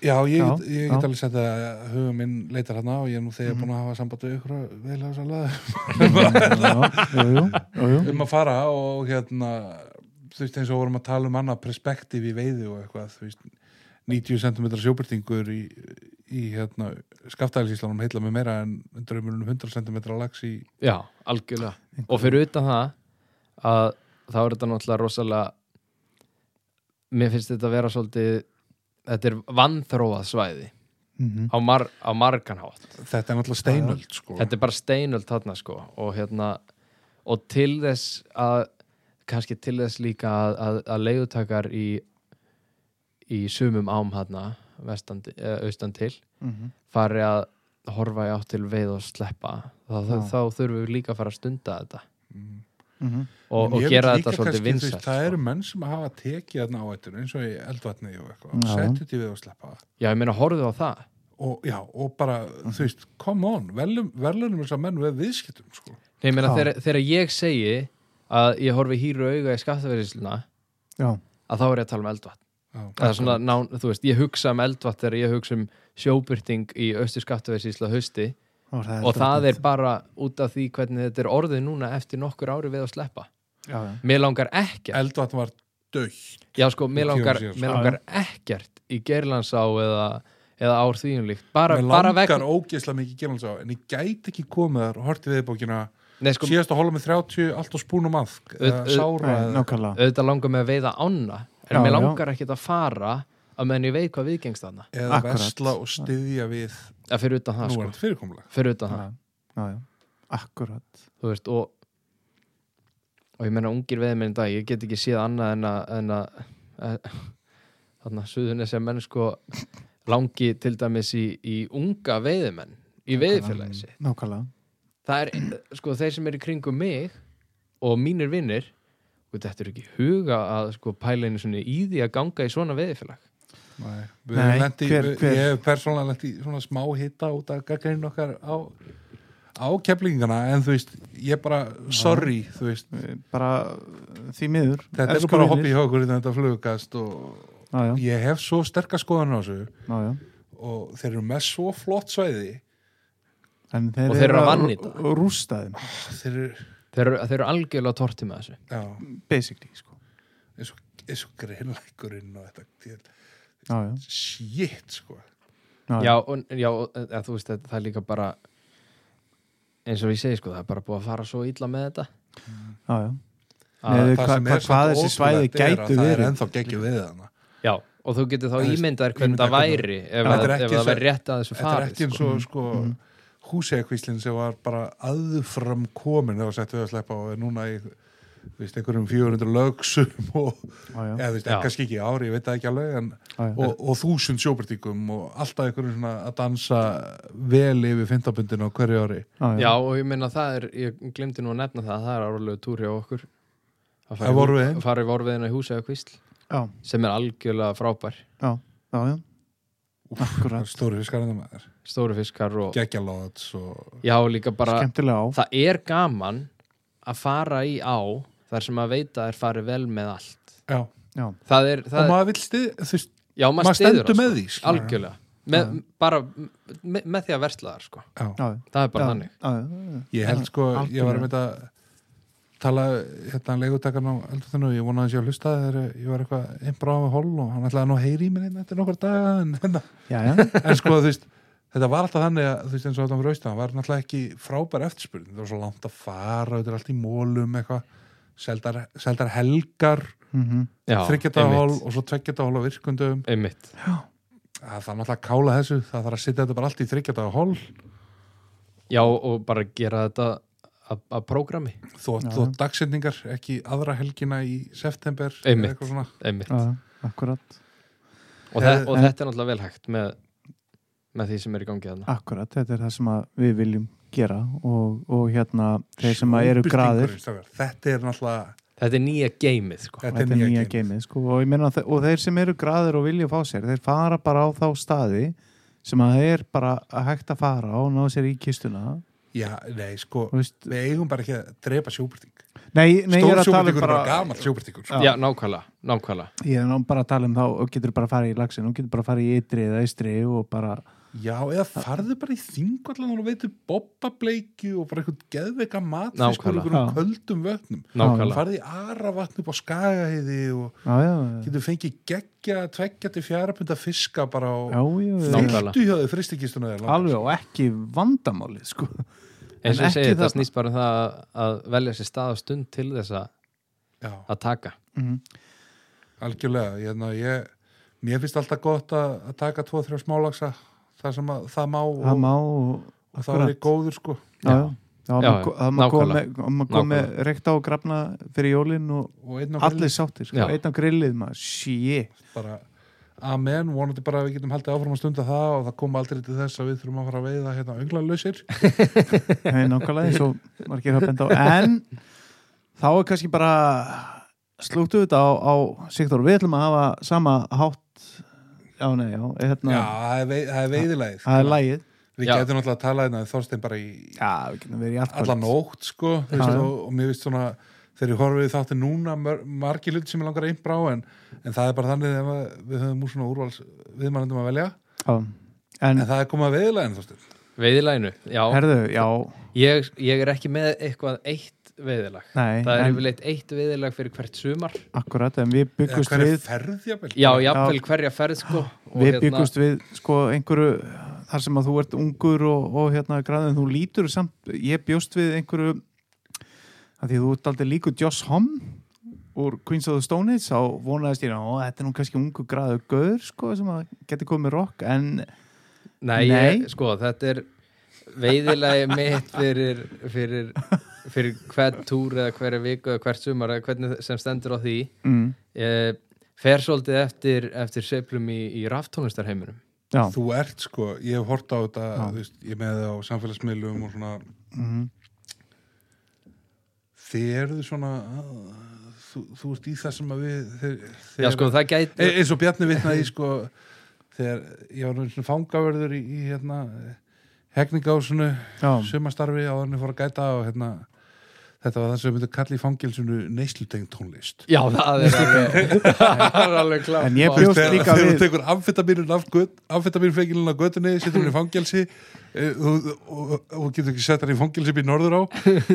já, ég, Já, get- já. ég Mhm. get alveg sett að huga minn leitar hann á og ég er nú þegar búin að hafa samband við ykkur veila þess að já, jú, jú, jú, jú. um að fara og hérna þú veist eins og vorum að tala um annað perspektíf í veiði og eitthvað þú veist 90 cm sjóbyrtingur í, í hérna skaftælisíslanum heilla með meira en draumurinn um 100 cm lags í já, algjörlega og fyrir utan það að þá er þetta náttúrulega rosalega mér finnst þetta að vera svolítið þetta er vanþróað svæði Mhm. á, mar, á margan hátt þetta er náttúrulega steinöld sko þetta er bara steinöld þarna sko og hérna og til þess að kannski til þess líka að, að, að leiðutakar í í sumum ám þarna vestan, eh, austan til mm -hmm. fari að horfa í átt til veið og sleppa þá, þá, Já. þá þurfum við líka að fara að stunda þetta Mm -hmm. og, En og ég gera veit þetta líka svolítið kannski, þú vinsælt veist, Það sko. eru menn sem hafa tekið þarna áættinu eins og í eldvatni og eitthvað Já. og settu þetta í við og sleppa Já, ég meina, horfðu á það og, já, og bara, Mhm. þú veist, come on velum, velunum þess að menn við viðskiptum sko. Nei, ég meina, Já. þegar, þegar ég segi að ég horfi hýru auga í skattaverðisluna Já, að þá er ég að tala um eldvatt Já. það er svona, nán, þú veist, ég hugsa um eldvatt þegar ég hugsa um sjóbyrting í austu skattaverðsísla hausti og það og það er bara út af því hvernig þetta er orðið núna eftir nokkur ári við að sleppa já, já. mér langar ekkert eldvatn var dögt já sko, mér Tíu árum langar, síðar, sko. mér langar ekkert í gerlandsá eða, eða ár þvíum líkt bara, Mér bara langar vegna ógeðslega mikið gemals á en ég gæti ekki komið þar og horti viðbókina Nei, sko, síðast að hóla með 30, allt á spúnum aðk eða Auð- auð- sára Nei, eða- nákvæmlega auðvitað langar mig að veiða ána en Já, mér já. langar ekkert að fara að menn ég veit hvað viðgengst þarna eða Akkurat. vesla og styðja við að fyrir utan það sko, núverð fyrirkomlega fyrir utan það Já, já, já. Akkurat þú veist og og ég menna ungir veðmenn í dag ég get ekki séð annað en að en að eh, þarna suðunni sem menn sko langi til dæmis í, í unga veiðmenn í veiðfélagi sitt Nákvæmlega það er eh, sko þeir sem eru í kringum mig og mínir vinnir og þetta er ekki í huga að sko pæla einu svona í því að ganga í svona veiðfélag Nei, Nei, Nei, í, hver- við- hver- ég hef persónulega lent í svona smá hitta út af gaggarinn okkar á, á keflingana en þú veist, ég bara, sorry þú veist, Bara eh, því miður þetta er Elsku nú bara vinir. hobby hjá okkur í þetta flugkast og Já, já, ég hef svo sterkar skoðan á þessu já, já og þeir eru með svo flott svæði En þeir Og þeir eru að rú- vannýta. rú- Rústa þeim, þeir eru, þeir, eru- þeir eru algjörlega torti með þessu já, basically sko. eins og, eins og greinlækurinn og þetta til, Já, já, shit, sko já, já, og, já og, eða, þú veist þetta, það er líka bara eins og ég segi sko það er bara búið að fara svo illa með þetta já, já. að, Nei, Það hva- sem hva- er samt hvað þessi ótrúlegt svæði er að gætu það er verið. ennþá geggjum við hana Já, og þú getur Það þá er- ímyndað þér hvernig ímynda það hvernig- væri ef, En að, þetta er ef ekki það sem- væri rétt að þessu þetta er farið ekki eins sko. og sko húsegakvíslinn sem var bara aðfram komin þegar sett við að sleppa og er núna í þú veist, einhverjum 400 lögsum og, já, já, eða þú veist, Já. kannski ekki í ári, ég veit það ekki alveg en, já, já. og, og þúsund sjóbyrtingum og alltaf einhverjum svona að dansa vel yfir fintabundinu á hverju ári Já, og ég meina það er, ég glemdi nú að nefna það það er árlega túr hjá okkur að Það voru við. að fara í vorviðina í húsega kvísl já, sem er algjörlega frábær já, já. Akkurat, stóri fiskarinn maður, stóru fiskar og geggjalóts og já, líka bara, skemmtilega á það er gaman að fara í á þar sem að veita er farið vel með allt já, Já, það er, og það maður vil stið þú veist, já, maður, maður styður stendur það, með því sko. algjörlega, með, bara með, með því að versla þar, sko, já. já, það er bara já, þannig já, já, já. Ég held sko, ég var með að tala hérna leigutakarn á eldurðinu og ég vonaði að sé að hlusta þegar ég var eitthvað einbrá á hól og hann ætlaði að ná heyri í mér einn eftir nokkur daga en, en, Já, já, en sko þú veist þetta var alltaf þannig að þú veist eins og þetta var raust það var náttúrulega ekki frábær eftirspurning það var svo langt að fara, þetta er allt í mólum eitthvað, seldar, seldar helgar mhm, Já, þryggjadahól einmitt. og svo tveggjadahól á virkundum einmitt, það þarf náttúrulega að kála þessu, það þarf að setja þetta bara allt í þryggjadahól já, og bara gera þetta að- að prógrami, þó, Já. þó dagsetningar ekki aðra helgina í september eða Einmitt. eitthvað svona einmitt já, já, akkurat og, þe og En- þetta er náttúrulega vel hægt með, með því sem er í gangi þarna Akkurat, þetta er það sem að við viljum gera og, og hérna þeir sem að eru graðir Sjóbyltingurinn, strákar. þetta er náttúrulega þetta er nýja geimið, sko þetta þetta er nýja geimið sko, og, ég meina, að þe- og þeir sem eru graðir og vilja fá sér þeir fara bara á þá staði sem að þeir bara hægt að fara og ná sér í kistuna já, nei, sko, Þú veist, við eigum bara ekki að drepa sjóbyrting nei, nei, ég er að tala um stór sjóbyrtingur er bara, bara gamall sjóbyrtingur já, nákvæmlega, nákvæmlega ég er nú bara að tala um þá og getur bara að fara í lagsin og getur bara að fara í ytri eða eistri og bara já, eða farðu bara í þingvallan og veitu bobbableikju og bara einhvern geðveika mat Nákvæmlega. um Já. köldum vötnum nákvæmlega, farðu í ara vatn upp á skagaheiði og já, já, já, getur fengið geggja tveggja til fjara punda fiska bara já, á já, já. Nákvæmlega. fylgtu hjá þau fristikistuna þér langar. alveg og ekki vandamáli sko. eins og en ég segi ekki þetta þarna. snýst bara um það að- að velja sér stað og stund til þess að já að taka Mhm. Algjörlega, hérna ég mér finnst alltaf gott að, að taka tvo, þrjá smálaksa það sem að það má og, það má og, og það er ég góður sko já, já. Það Já, má já, ko- það má koma nákvæmlega. með- það má koma með rekta og grafna fyrir jólinn og og einn og allir sáttir, sko, Já. einn á grillið maður, shit bara amen, vonandi bara að við getum haldið áfram að stunda það og það kom aldrei til þess að við þurfum að fara að veiða hérna önglalausir Nei, nákvæmlega eins og margir hafa bent á En þá er kannski bara slúttu þetta á, á Sigþór, við ætlum að hafa sama hátt Já, nei, já, eh, hérna, Já, það er, vei, það er veiðilegið það er lægið Við Já. getum náttúrulega að tala hérna við Þorstein bara í Já, við getum verið í allt alla nótt sko þú veist, Já. og, og mér veist svona þegar ég horfið þátti núna mör, margir hlut sem ég langar að impra á en, en það er bara þannig þegar maður- við höfum úr svona úrvals viðmælendum að velja Já. En, en það er komið að veiðilegin Þorstein Veiðilaginu, já. herðu, já, Ég, ég er ekki með eitthvað eitt veiðilag. nei það er en, yfirleitt eitt veiðilag fyrir hvert sumar. Akkurat, en við eða byggust hverja við ferð jafnvel Já, jafnvel hverja ferð sko. og Ah, Við byggust við sko einhverju þar sem að þú ert ungur og, og hérna græðin, þú lítur samt, ég bjóst við einhverju að því að þú ert aldrei líku Joss Homme úr Queens of the Stone Age þá vonaðist ég að þetta er nú kannski ungu græðu göður sko sem að geti komið rock en Nei, ég, Nei. sko, þetta er veiðilagi mitt fyrir, fyrir, fyrir hvert túr eða hverja viku eða hvert sumar eða hvernig sem stendur á því. mm, Ég fer svolítið eftir, eftir seiflum í, í raftónlistarheiminum. já, þú ert sko, ég hef hort á þetta Já. þú veist, ég með það á samfélagsmiðlum og svona Mhm. þið eruð svona þú, þú ert í það sem að við þeir, þeir, Já, sko, það gæti... Eh, E- eins og Bjarni vitnaði í, sko þegar ég var nú svona fangavörður í, í hérna hegningásinu já, sumastarfi á þannig fór að gæta og hérna þetta var það sem við myndum kalla í fangilsinu neysluteng tónlist Já, það er alveg, það er alveg klart. En ég mál. bjóst- þegar líka þegar þú við- tekur amfetamínun af göt, amfetamínflekilin af götunni setur hún í fangelsi eh, þú og- og- og getur ekki sett hann í fangelsi upp í norður á,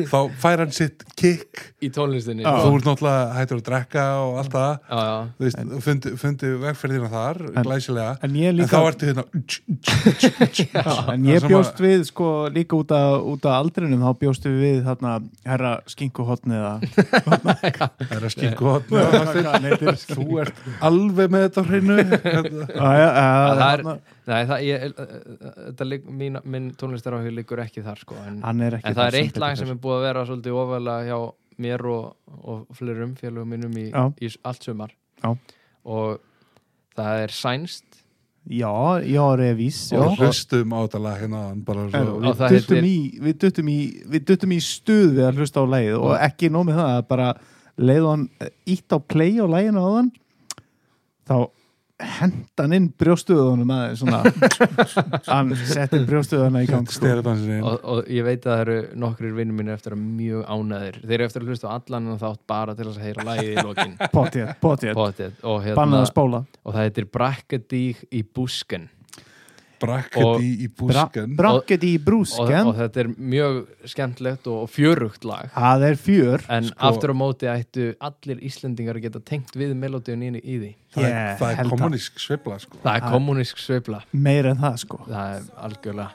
þá fær hann sitt kick, í tónlistinni. Já. þú ert náttúrulega hættur að drekka og allt það Já, já. þú veist, en, fundi, fundi vegferðina þar glæsilega, en ég en þá líka ertu hérna tsch, tsch, tsk, tsk. en það ég sem bjóst að- við sko líka út að, út að aldrinum þá bjóst við við þarna herra skinkuhotni eða það er að skinku hotn þú ert alveg með þetta á hreinu Hérna. Það er- það Nei, það, ég, eh, þetta, ligg- mín, minn tónlistaráhug liggur ekki þar sko, en, hann er ekki en það er sem eitt betur lag fer. sem er búið að vera svolítið ofalega hjá mér og, og flerum félögum mínum í, Já. í s- allt sumar Já. og það er sænst Já, já, revís já. og hlustum á þetta lag hérna áðan, bara En svo, Og Við það duttum heitir- í, við duttum í við duttum í stuð við að hlusta á lagið og ekki nómið það að bara leiðu hann ítt á play á laginu á þann þá henda hann inn brjóstuðunum aðeins svona hann setti brjóstuðuna í gang sko. steradansin og, og ég veit að það eru nokkrir vinnum mínu eftir að vera mjög ánæðir þeir eru eftir að hlusta á allan en þátt bara til þess að heyra lagið í lokin potið, potið, Pottet. bannað og, hérna, að spóla og það heitir Brakkadíg í busken og- brakket í, í Bra, búskan brakket í og, og brúsken þetta er mjög skemmtlegt og, og fjörugt lag það er fjör En aftur á móti ættu allir Íslendingar að geta tengt við melodíun í, í því. það, Ég er- það held er að- kommunísk sveifla sko. Það er kommunísk sveifla, meira en það sko það er algjörlega.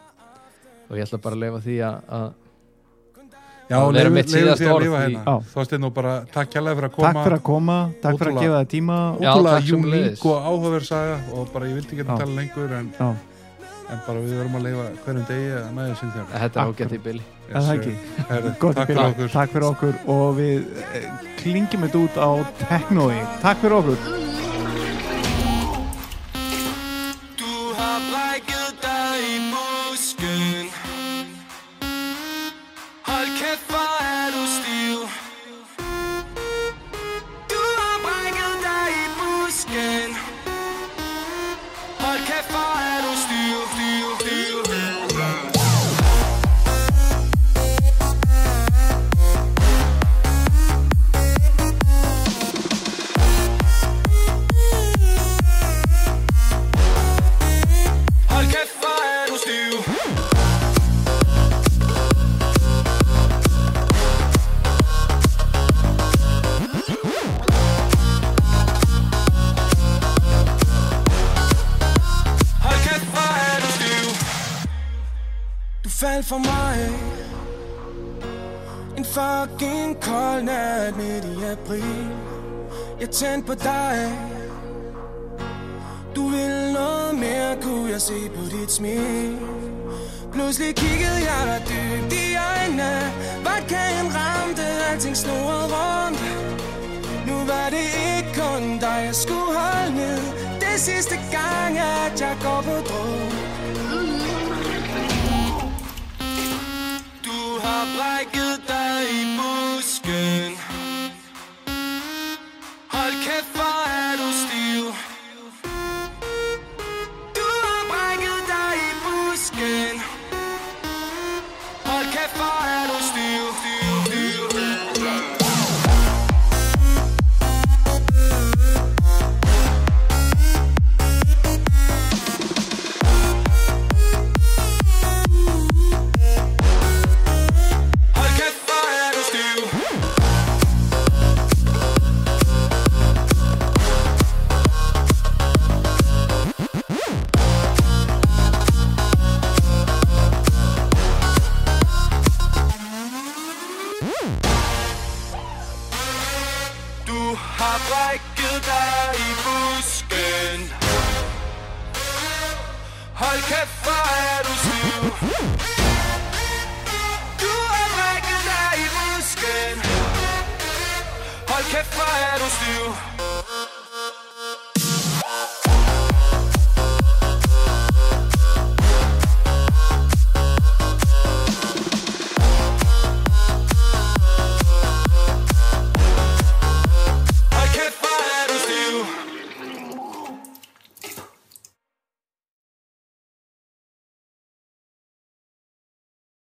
Og ég ætla bara að leifa því að, að já, Það er leyfum- mitt leyfum síðasta því að orð lifa í- hérna Já. þá stið nú bara takk hérlega fyrir að takk koma fyrir að koma, takk fyrir að Ótrúlega. gefa það tíma Já, ótrúlega takk sömuleiðis. uník og áhugaverð saga og bara ég vildi ekki Já. að tala lengur en, Já, en bara við verum að leifa hverjum degi að næja sín þjálf þetta er ágætt í bili. er það ekki Herðu, Gott takk fyrir byrjun. okkur Takk fyrir okkur og við eh, klingjum þetta út á teknói. Takk fyrir okkur. Du har brækket dig i musken Hold kæft, hvor er du stiv Du har brækket dig i musken Hold kæft, hvor er du stiv, stiv, stiv, stiv. Hold kæft, hvor er du stiv Hold kæft, hvor er du stiv Du faldt for mig En fucking kold nat midt i april Jeg tændte på dig du ville noget mere, kunne jeg se på dit smil Pludselig kiggede jeg dig dybt i øjnene Vodkaen ramte, alting snurrede rundt Nu var det ikke kun dig, jeg skulle holde ned Det det sidste gang, at jeg går på druk Du har brækket dig i busken Hold kæft, hvor er du stiv Du har brækket dig i busken Hold kæft, hvor er du stiv, stiv, stiv. Hold kæft, hvor er du stiv Du har brækket dig i busken Hold kæft, hvor er du stiv Du har brækket dig i busken Hold kæft, hvor er du stiv er